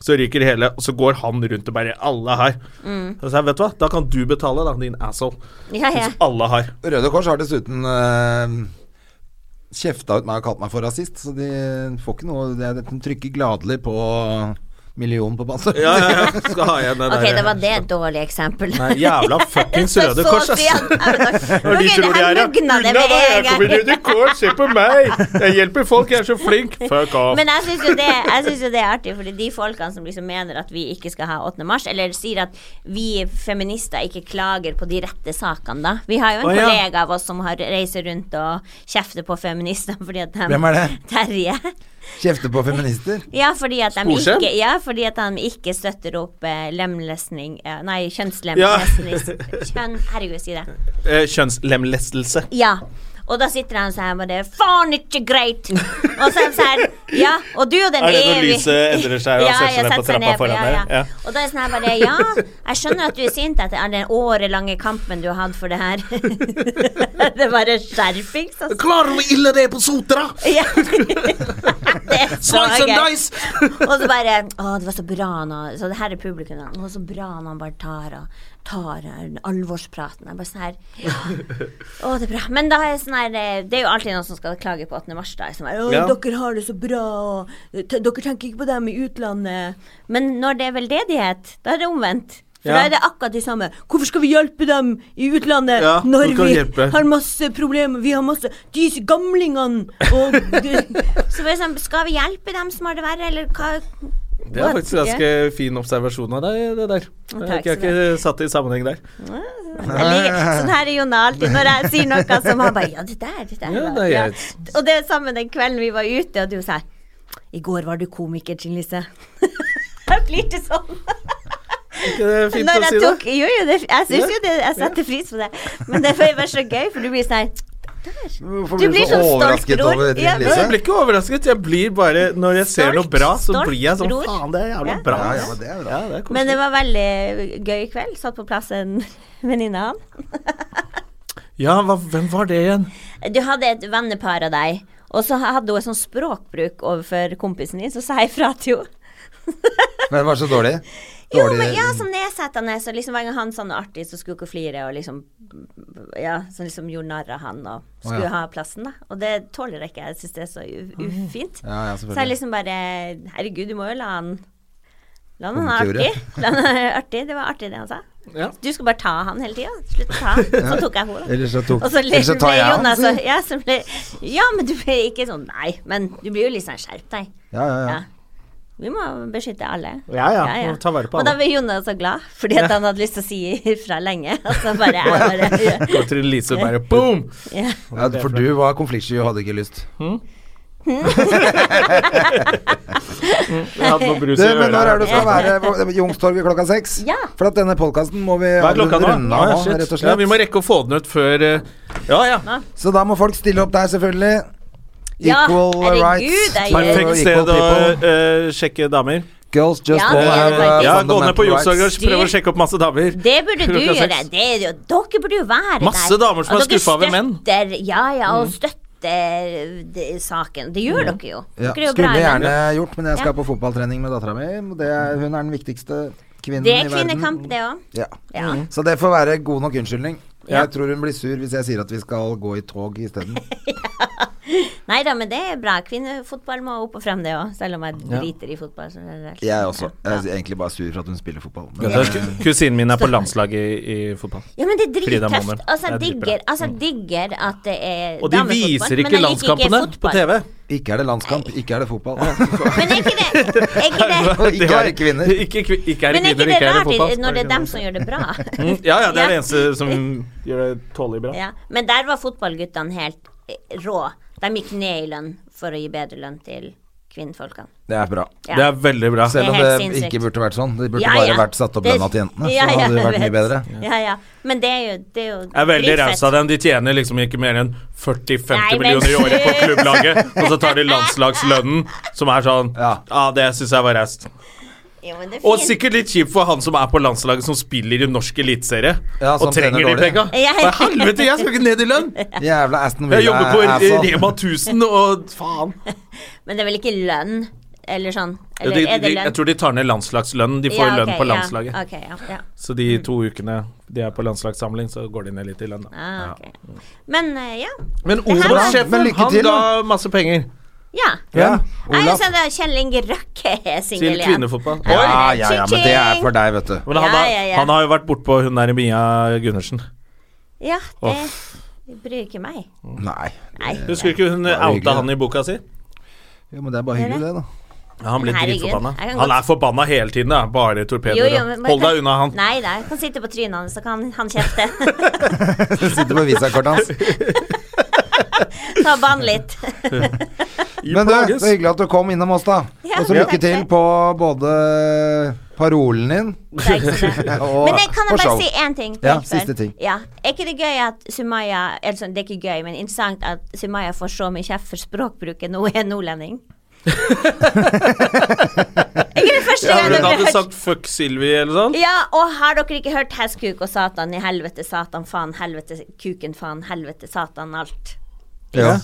Speaker 1: Så ryker hele, og så går han rundt og bare Alle har. Så sa jeg, vet du hva, da kan du betale, da, din asshole.
Speaker 3: Mm. Ja, ja.
Speaker 2: Altså,
Speaker 1: Hvis alle har.
Speaker 2: Røde Kors har dessuten eh, kjefta ut meg og kalt meg for rasist, så de får ikke noe De, de trykker gladelig på millionen på panter.
Speaker 1: Ja, ja, ja. Skal ha igjen den
Speaker 3: Ok,
Speaker 1: der-
Speaker 3: det var det et dårlig eksempel.
Speaker 1: Nei, jævla fuckings Røde Kors, ass. Når de tror de er her,
Speaker 3: Unna
Speaker 1: Unna da, jeg kommer i Røde Kors, se på meg! Jeg hjelper folk, jeg er så flink. Fuck off.
Speaker 3: Men jeg syns jo, det- jeg synes jo det er artig, Fordi de folkene som liksom mener at vi ikke skal ha 8. mars, eller sier at vi feminister ikke klager på de rette sakene, da. Vi har jo
Speaker 1: Å,
Speaker 3: en
Speaker 1: ja.
Speaker 3: kollega av oss som har reiser rundt og kjefter på feminister fordi at de
Speaker 2: Hvem er det?
Speaker 3: Terje.
Speaker 2: Kjefter på feminister.
Speaker 3: Ja, fordi at de
Speaker 1: Sporsem?
Speaker 3: ikke, ja, fordi at de ikke støtter opp eh, lemlesning eh, Nei,
Speaker 1: Ja.
Speaker 3: kjønnslemlesning. Kjønn, herregud, si det.
Speaker 1: Eh, Kjønnslemlestelse.
Speaker 3: Ja. Og da sitter han sånn og bare Faen, ikke greit! Og så er han sånn Ja, og du og den
Speaker 1: Er det når
Speaker 3: evig-
Speaker 1: lyset endrer seg, og han setter seg ned på
Speaker 3: setter
Speaker 1: trappa foran
Speaker 3: ja,
Speaker 1: deg? Ja.
Speaker 3: Ja. Og da er jeg sånn her bare Ja, jeg skjønner at du er sint etter all den årelange kampen du har hatt for det her. det er bare skjerpings, altså.
Speaker 1: Klarer du ille det på Sotra?
Speaker 3: Ja. det er så
Speaker 1: Slice and
Speaker 3: gøy.
Speaker 1: dice!
Speaker 3: Og så bare Å, det var så bra nå Så det her er publikum, da. Å, så bra når han bare tar og tar den alvorspraten. Jeg bare sånn her ja. Å, det er bra. Men da er jeg sånn her eh, Det er jo alltid noen som skal klage på 8. mars, da. Som er, sånn å,
Speaker 1: Ja.
Speaker 3: dere har det så bra, og t dere tenker ikke på dem i utlandet. Men når det er veldedighet, da er det omvendt. For
Speaker 1: Ja.
Speaker 3: da er det akkurat de samme. Hvorfor skal vi hjelpe dem i utlandet
Speaker 1: Ja,
Speaker 3: når
Speaker 1: hvorfor skal
Speaker 3: vi
Speaker 1: vi hjelpe?
Speaker 3: har masse problemer? Vi har masse De gamlingene og Så for eksempel, skal vi hjelpe dem som har det verre, eller hva
Speaker 1: Det er faktisk ganske fin observasjon av deg, det der. Jeg har
Speaker 3: takk
Speaker 1: ikke, jeg har ikke satt det i sammenheng der.
Speaker 3: Jeg liker- Sånn her er Jonna alltid når jeg sier noe som han bare Ja, det der, det der.
Speaker 1: Ja,
Speaker 3: var-
Speaker 1: det er
Speaker 3: ja.
Speaker 1: greit.
Speaker 3: Og det er samme den kvelden vi var ute, og du sa I går var du komiker, Trine Lise. Jeg flirte sånn.
Speaker 1: Ikke det er fint
Speaker 3: Når
Speaker 1: å
Speaker 3: jeg
Speaker 1: si
Speaker 3: tok
Speaker 1: det?
Speaker 3: Jo, jo, det, jeg syns
Speaker 1: Ja.
Speaker 3: jo det. Jeg setter pris på det. Men det var bare så gøy, for du blir sånn
Speaker 2: Hvorfor
Speaker 3: Du blir sånn stolt
Speaker 2: overrasket
Speaker 3: bror.
Speaker 2: over
Speaker 3: Ja,
Speaker 2: Trine
Speaker 3: men-
Speaker 1: Nei,
Speaker 2: Lise?
Speaker 1: jeg blir ikke overrasket. Jeg blir bare Når jeg ser noe
Speaker 3: Stolt,
Speaker 1: bra, så
Speaker 3: stolt
Speaker 1: blir jeg sånn
Speaker 3: bror.
Speaker 1: Faen, det er jævla
Speaker 3: Ja.
Speaker 1: bra.
Speaker 2: Ja, ja,
Speaker 1: ass.
Speaker 2: men det er bra.
Speaker 1: Ja, det er
Speaker 3: Men det
Speaker 1: koselig.
Speaker 3: var veldig gøy kveld. Satt på plass en venninne av han.
Speaker 1: Ja, hva, hvem var det igjen?
Speaker 3: Du hadde et vennepar av deg, og så hadde hun en sånn språkbruk overfor kompisen din, så sa jeg ifra til henne.
Speaker 2: Men det var så dårlig.
Speaker 3: Jo,
Speaker 2: Dårlig-
Speaker 3: men ja, så nedsettende, så liksom hver gang han sa noe artig, så skulle hun flire, og liksom Ja, så liksom gjorde narr av han, og skulle
Speaker 2: Å, ja. Mm.
Speaker 3: ha plassen, da. Og det tåler jeg ikke, jeg syns det er så u- ufint.
Speaker 2: Ja, ja, selvfølgelig.
Speaker 3: så jeg liksom bare Herregud, du må jo la han La han ha
Speaker 2: Omkjøre.
Speaker 3: artig. La han ha artig. Det var artig, det han sa.
Speaker 1: Ja.
Speaker 3: Du skal bare ta han hele tida. Slutt å ta han. Så tok jeg henne. da.
Speaker 2: Ellers så tok-
Speaker 3: Og så,
Speaker 2: ellers så tar
Speaker 3: ble
Speaker 2: jeg han,
Speaker 3: Jonas
Speaker 2: sier.
Speaker 3: så- ja, så ble, ja, men du blir ikke sånn Nei, men du blir jo litt sånn skjerp deg.
Speaker 2: Ja, ja, ja.
Speaker 3: Ja. Vi må beskytte alle.
Speaker 1: Ja, ja, må ta vare på
Speaker 3: Og da
Speaker 1: alle.
Speaker 3: ble Jonas så glad, fordi at han hadde lyst til å si ifra lenge. Og så bare, jeg bare ja.
Speaker 1: Går til Lise og bare boom!
Speaker 3: Ja.
Speaker 2: ja, for du var konfliktsky og hadde ikke lyst.
Speaker 1: Jeg hadde noe brus
Speaker 2: Du,
Speaker 1: i
Speaker 2: men når er
Speaker 1: øret.
Speaker 2: det du skal være på Youngstorget klokka seks?
Speaker 3: Ja.
Speaker 2: For at denne podkasten må vi
Speaker 1: Hva er klokka nå?
Speaker 2: runde av
Speaker 1: Ja,
Speaker 2: nå,
Speaker 1: shit.
Speaker 2: rett og
Speaker 1: Ja, vi må
Speaker 2: slett.
Speaker 1: rekke å få den ut før eh, Ja, ja.
Speaker 2: Så da må folk stille opp der, selvfølgelig.
Speaker 3: Ja,
Speaker 2: Equal
Speaker 3: herregud,
Speaker 2: rights.
Speaker 3: det er
Speaker 2: to
Speaker 3: jo-
Speaker 1: Perfekt
Speaker 2: equal
Speaker 1: sted å
Speaker 2: people.
Speaker 1: eh, sjekke damer.
Speaker 2: Girls just
Speaker 3: Ja,
Speaker 2: wanna
Speaker 3: det er
Speaker 2: have
Speaker 3: det sånn
Speaker 2: uh,
Speaker 3: faktisk.
Speaker 1: Ja, gå ned på
Speaker 2: fundamental
Speaker 1: Youngstorget
Speaker 2: rights.
Speaker 1: og prøve å sjekke opp masse damer.
Speaker 3: Det burde du
Speaker 1: Klokka
Speaker 3: gjøre.
Speaker 1: seks.
Speaker 3: Det, er jo- dere burde jo være der.
Speaker 1: Masse damer som
Speaker 3: Og
Speaker 1: er
Speaker 3: dere
Speaker 1: skuffa over menn. Mm.
Speaker 3: støtter- Ja, ja, og støtter det, saken. Det gjør dere jo.
Speaker 2: Ja,
Speaker 3: Dere er jo bra
Speaker 2: skulle
Speaker 3: i menn.
Speaker 2: gjerne gjort, men jeg skal
Speaker 3: Ja.
Speaker 2: på fotballtrening med dattera mi. og det er- Hun er den viktigste kvinnen
Speaker 3: Det er
Speaker 2: i verden.
Speaker 3: kvinnekamp, det òg.
Speaker 2: Ja. Mm.
Speaker 3: Ja.
Speaker 2: Så det får være god nok unnskyldning.
Speaker 3: Ja.
Speaker 2: Jeg tror hun blir sur hvis jeg sier at vi skal gå i tog isteden.
Speaker 3: Nei da, men det er bra. Kvinnefotball må opp og frem, det òg. Selv om jeg driter i fotball. Så det
Speaker 2: Jeg er også. Jeg er egentlig bare sur for at hun spiller fotball. Men
Speaker 1: Vet du, Kusinen min er på landslaget i, i fotball.
Speaker 3: Ja, men det er
Speaker 1: Frida
Speaker 3: drittøft.
Speaker 1: Mommer.
Speaker 3: Altså, jeg
Speaker 1: Jeg dripper
Speaker 3: digger,
Speaker 1: det. Mm.
Speaker 3: altså, jeg digger at det er
Speaker 1: Og de
Speaker 3: damefotball,
Speaker 1: viser
Speaker 3: men jeg
Speaker 1: ikke
Speaker 3: liker
Speaker 1: landskampene på
Speaker 3: fotball.
Speaker 1: TV.
Speaker 2: ikke er det landskamp, ikke er det fotball.
Speaker 3: Men er ikke det, er ikke det
Speaker 2: Ikke er det kvinner.
Speaker 1: Ikke, kvi- ikke er
Speaker 3: men
Speaker 1: det kvinner,
Speaker 3: er ikke det
Speaker 1: ikke er det
Speaker 3: rart
Speaker 1: fotball.
Speaker 3: når det er dem som gjør det bra?
Speaker 1: Mm, Ja, ja, det er det
Speaker 3: Ja.
Speaker 1: eneste som gjør det tålelig bra.
Speaker 3: Ja. Men der var fotballguttene helt eh, rå. De gikk ned i lønn for å gi bedre lønn til kvinnfolkene.
Speaker 2: Det er bra.
Speaker 3: Ja.
Speaker 1: Det er veldig bra.
Speaker 2: Selv om
Speaker 3: Det er helt
Speaker 2: det
Speaker 3: sinnssykt.
Speaker 2: ikke burde vært sånn. Det burde
Speaker 3: Ja,
Speaker 2: bare
Speaker 3: ja.
Speaker 2: vært satt opp
Speaker 3: Det-
Speaker 2: lønna til jentene. Så
Speaker 3: Ja, ja,
Speaker 2: hadde det
Speaker 3: jeg
Speaker 2: vært mye bedre.
Speaker 3: vet. Ja, ja. Men det er jo Det er, jo
Speaker 1: Jeg er veldig
Speaker 3: dritfett.
Speaker 1: raus av dem. De tjener liksom ikke mer enn 40-50
Speaker 3: Nei, men
Speaker 1: millioner i året på
Speaker 3: slutt.
Speaker 1: klubblaget, og så tar de landslagslønnen, som er sånn Ja,
Speaker 2: Ja.
Speaker 1: det syns jeg var raust.
Speaker 3: Jo, men det er
Speaker 1: Og
Speaker 3: fint.
Speaker 1: sikkert litt kjipt for han som er på landslaget, som spiller i norsk eliteserie,
Speaker 2: Ja,
Speaker 1: og
Speaker 2: som tjener
Speaker 1: trenger de
Speaker 2: dårlig.
Speaker 1: penga.
Speaker 3: Ja.
Speaker 1: For helvete, jeg skal ikke ned i lønn!
Speaker 2: Jævla Aston sånn.
Speaker 1: Jeg jobber på
Speaker 2: Villa-asshole.
Speaker 1: Rema 1000 og faen.
Speaker 3: Men det er vel ikke lønn, eller sånn?
Speaker 1: Ja,
Speaker 3: Eller
Speaker 1: de, de,
Speaker 3: er det lønn?
Speaker 1: jeg tror de tar ned landslagslønnen. De får
Speaker 3: Ja,
Speaker 1: lønn
Speaker 3: ok,
Speaker 1: på landslaget.
Speaker 3: Ja, ok, ja, ja.
Speaker 1: Så de to ukene de er på landslagssamling, så går de ned litt i lønn. Da.
Speaker 3: Ah, ok. Men eh, ja.
Speaker 1: Men
Speaker 3: her-
Speaker 2: Men
Speaker 1: Olav-sjefen,
Speaker 2: lykke
Speaker 1: han
Speaker 2: til,
Speaker 1: ga
Speaker 2: da.
Speaker 1: masse penger
Speaker 3: ja.
Speaker 2: Ja,
Speaker 3: Jeg
Speaker 2: Olaf.
Speaker 3: synes at Kjell Inge Røkke er singel
Speaker 1: til
Speaker 3: igjen.
Speaker 1: kvinnefotball.
Speaker 2: Ja, ja, ja, men det er for deg, vet du.
Speaker 1: Men han,
Speaker 3: Ja,
Speaker 1: har,
Speaker 3: ja, ja.
Speaker 1: han har jo vært bortpå hun der Mia Gundersen.
Speaker 3: Ja, det bryr ikke meg.
Speaker 2: Nei.
Speaker 3: Nei.
Speaker 1: Husker ikke hun
Speaker 2: var hyggelig,
Speaker 1: outa han
Speaker 2: da.
Speaker 1: i boka si?
Speaker 2: Jo, men det er bare hyggelig, det, da.
Speaker 1: Ja, han blir
Speaker 3: Men herregud,
Speaker 1: dritforbanna.
Speaker 3: jeg kan
Speaker 1: Han
Speaker 3: godt-
Speaker 1: er forbanna hele tiden, da. Bare
Speaker 3: Jo,
Speaker 1: torpedoer.
Speaker 3: jo,
Speaker 1: og-
Speaker 3: men-
Speaker 1: Hold deg unna han.
Speaker 3: Nei da, jeg kan sitte på trynet hans, så kan han kjefte.
Speaker 2: Sitter på visakortet hans.
Speaker 3: Ta bann litt.
Speaker 2: Men du, så hyggelig at du kom innom oss, da.
Speaker 3: Ja,
Speaker 2: og så
Speaker 3: takk
Speaker 2: lykke
Speaker 3: for
Speaker 2: til
Speaker 3: det.
Speaker 2: på både parolen din
Speaker 3: Takk skal du ha.
Speaker 2: og
Speaker 3: Men jeg kan jeg
Speaker 2: og
Speaker 3: bare
Speaker 2: show.
Speaker 3: si én ting?
Speaker 2: Ja,
Speaker 3: helt før?
Speaker 2: siste ting.
Speaker 3: Ja. Er ikke det gøy at Sumaya eller sånn, Det er ikke gøy, men interessant at Sumaya får så mye kjeft for språkbruken når hun er nordlending. er ikke det første gang
Speaker 1: Hun
Speaker 3: dere
Speaker 1: hadde
Speaker 3: har hørt
Speaker 1: sagt 'fuck Sylvi' eller sånn.
Speaker 3: ja, og har dere ikke hørt hestkuk og satan i helvete, satan, faen, helvete, kuken, faen, helvete, satan, alt?
Speaker 2: Ja.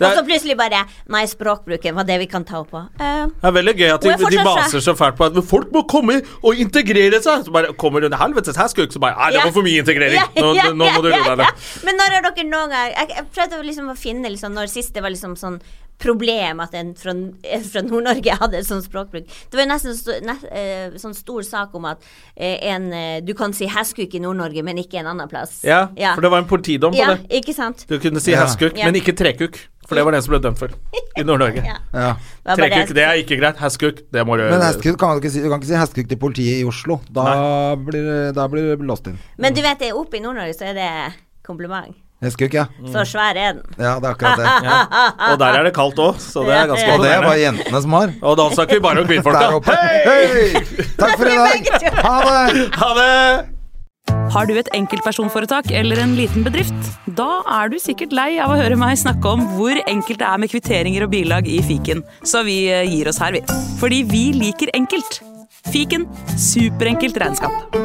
Speaker 1: Det
Speaker 3: Og så
Speaker 1: er,
Speaker 3: plutselig bare Nei, språkbruken var det vi kan ta opp på. Eh,
Speaker 1: det er veldig gøy at de,
Speaker 3: Hun er
Speaker 1: de
Speaker 3: fortsatt
Speaker 1: baser så fælt på at folk må komme og integrere seg. Så bare kommer hun helvetes hestkuk, så bare Nei, det
Speaker 3: Ja.
Speaker 1: var for mye integrering.
Speaker 3: Ja,
Speaker 1: Nå,
Speaker 3: ja,
Speaker 1: nå må du
Speaker 3: ja,
Speaker 1: roe deg
Speaker 3: ja.
Speaker 1: ned.
Speaker 3: Men når har dere noen gang Jeg, jeg prøvde å liksom å finne liksom, når sist det var liksom sånn problem at en fra, en fra Nord-Norge hadde sånn språkbruk. Det var jo nesten så, nes- eh, sånn stor sak om at eh, en eh, Du kan si hestkuk i Nord-Norge, men ikke en annen plass.
Speaker 1: Ja, for det var en politidom på
Speaker 3: Ja,
Speaker 1: det.
Speaker 3: ikke sant?
Speaker 1: Du kunne si
Speaker 2: Ja.
Speaker 1: hestkuk,
Speaker 3: Ja.
Speaker 1: men ikke trekuk. For det var den som ble dømt for i Nord-Norge.
Speaker 3: Ja.
Speaker 2: Ja.
Speaker 3: Det var bare det jeg
Speaker 1: Trekuk, det er ikke greit. Hestkuk, det må du
Speaker 2: Men hestekuk kan du ikke si. Du kan ikke si hestekuk til politiet i Oslo. Da blir, da blir du låst inn.
Speaker 3: Men du vet, det er oppe i Nord-Norge så er det kompliment.
Speaker 2: Hestekuk, ja.
Speaker 1: Mm.
Speaker 3: Så svær er den.
Speaker 2: Ja, det er akkurat det.
Speaker 1: Og der er det kaldt òg, så det er ganske
Speaker 2: Og det er
Speaker 1: imponerende.
Speaker 2: bare jentene som har.
Speaker 1: Og da snakker vi bare om kvinnfolk,
Speaker 2: Der
Speaker 1: da.
Speaker 2: oppe. Hei! Takk for i dag. Ha det!
Speaker 1: Ha det!
Speaker 4: Har du et enkeltpersonforetak eller en liten bedrift? Da er du sikkert lei av å høre meg snakke om hvor enkelt det er med kvitteringer og bilag i fiken, så vi eh, gir oss her, vi. Fordi vi liker enkelt. Fiken superenkelt regnskap.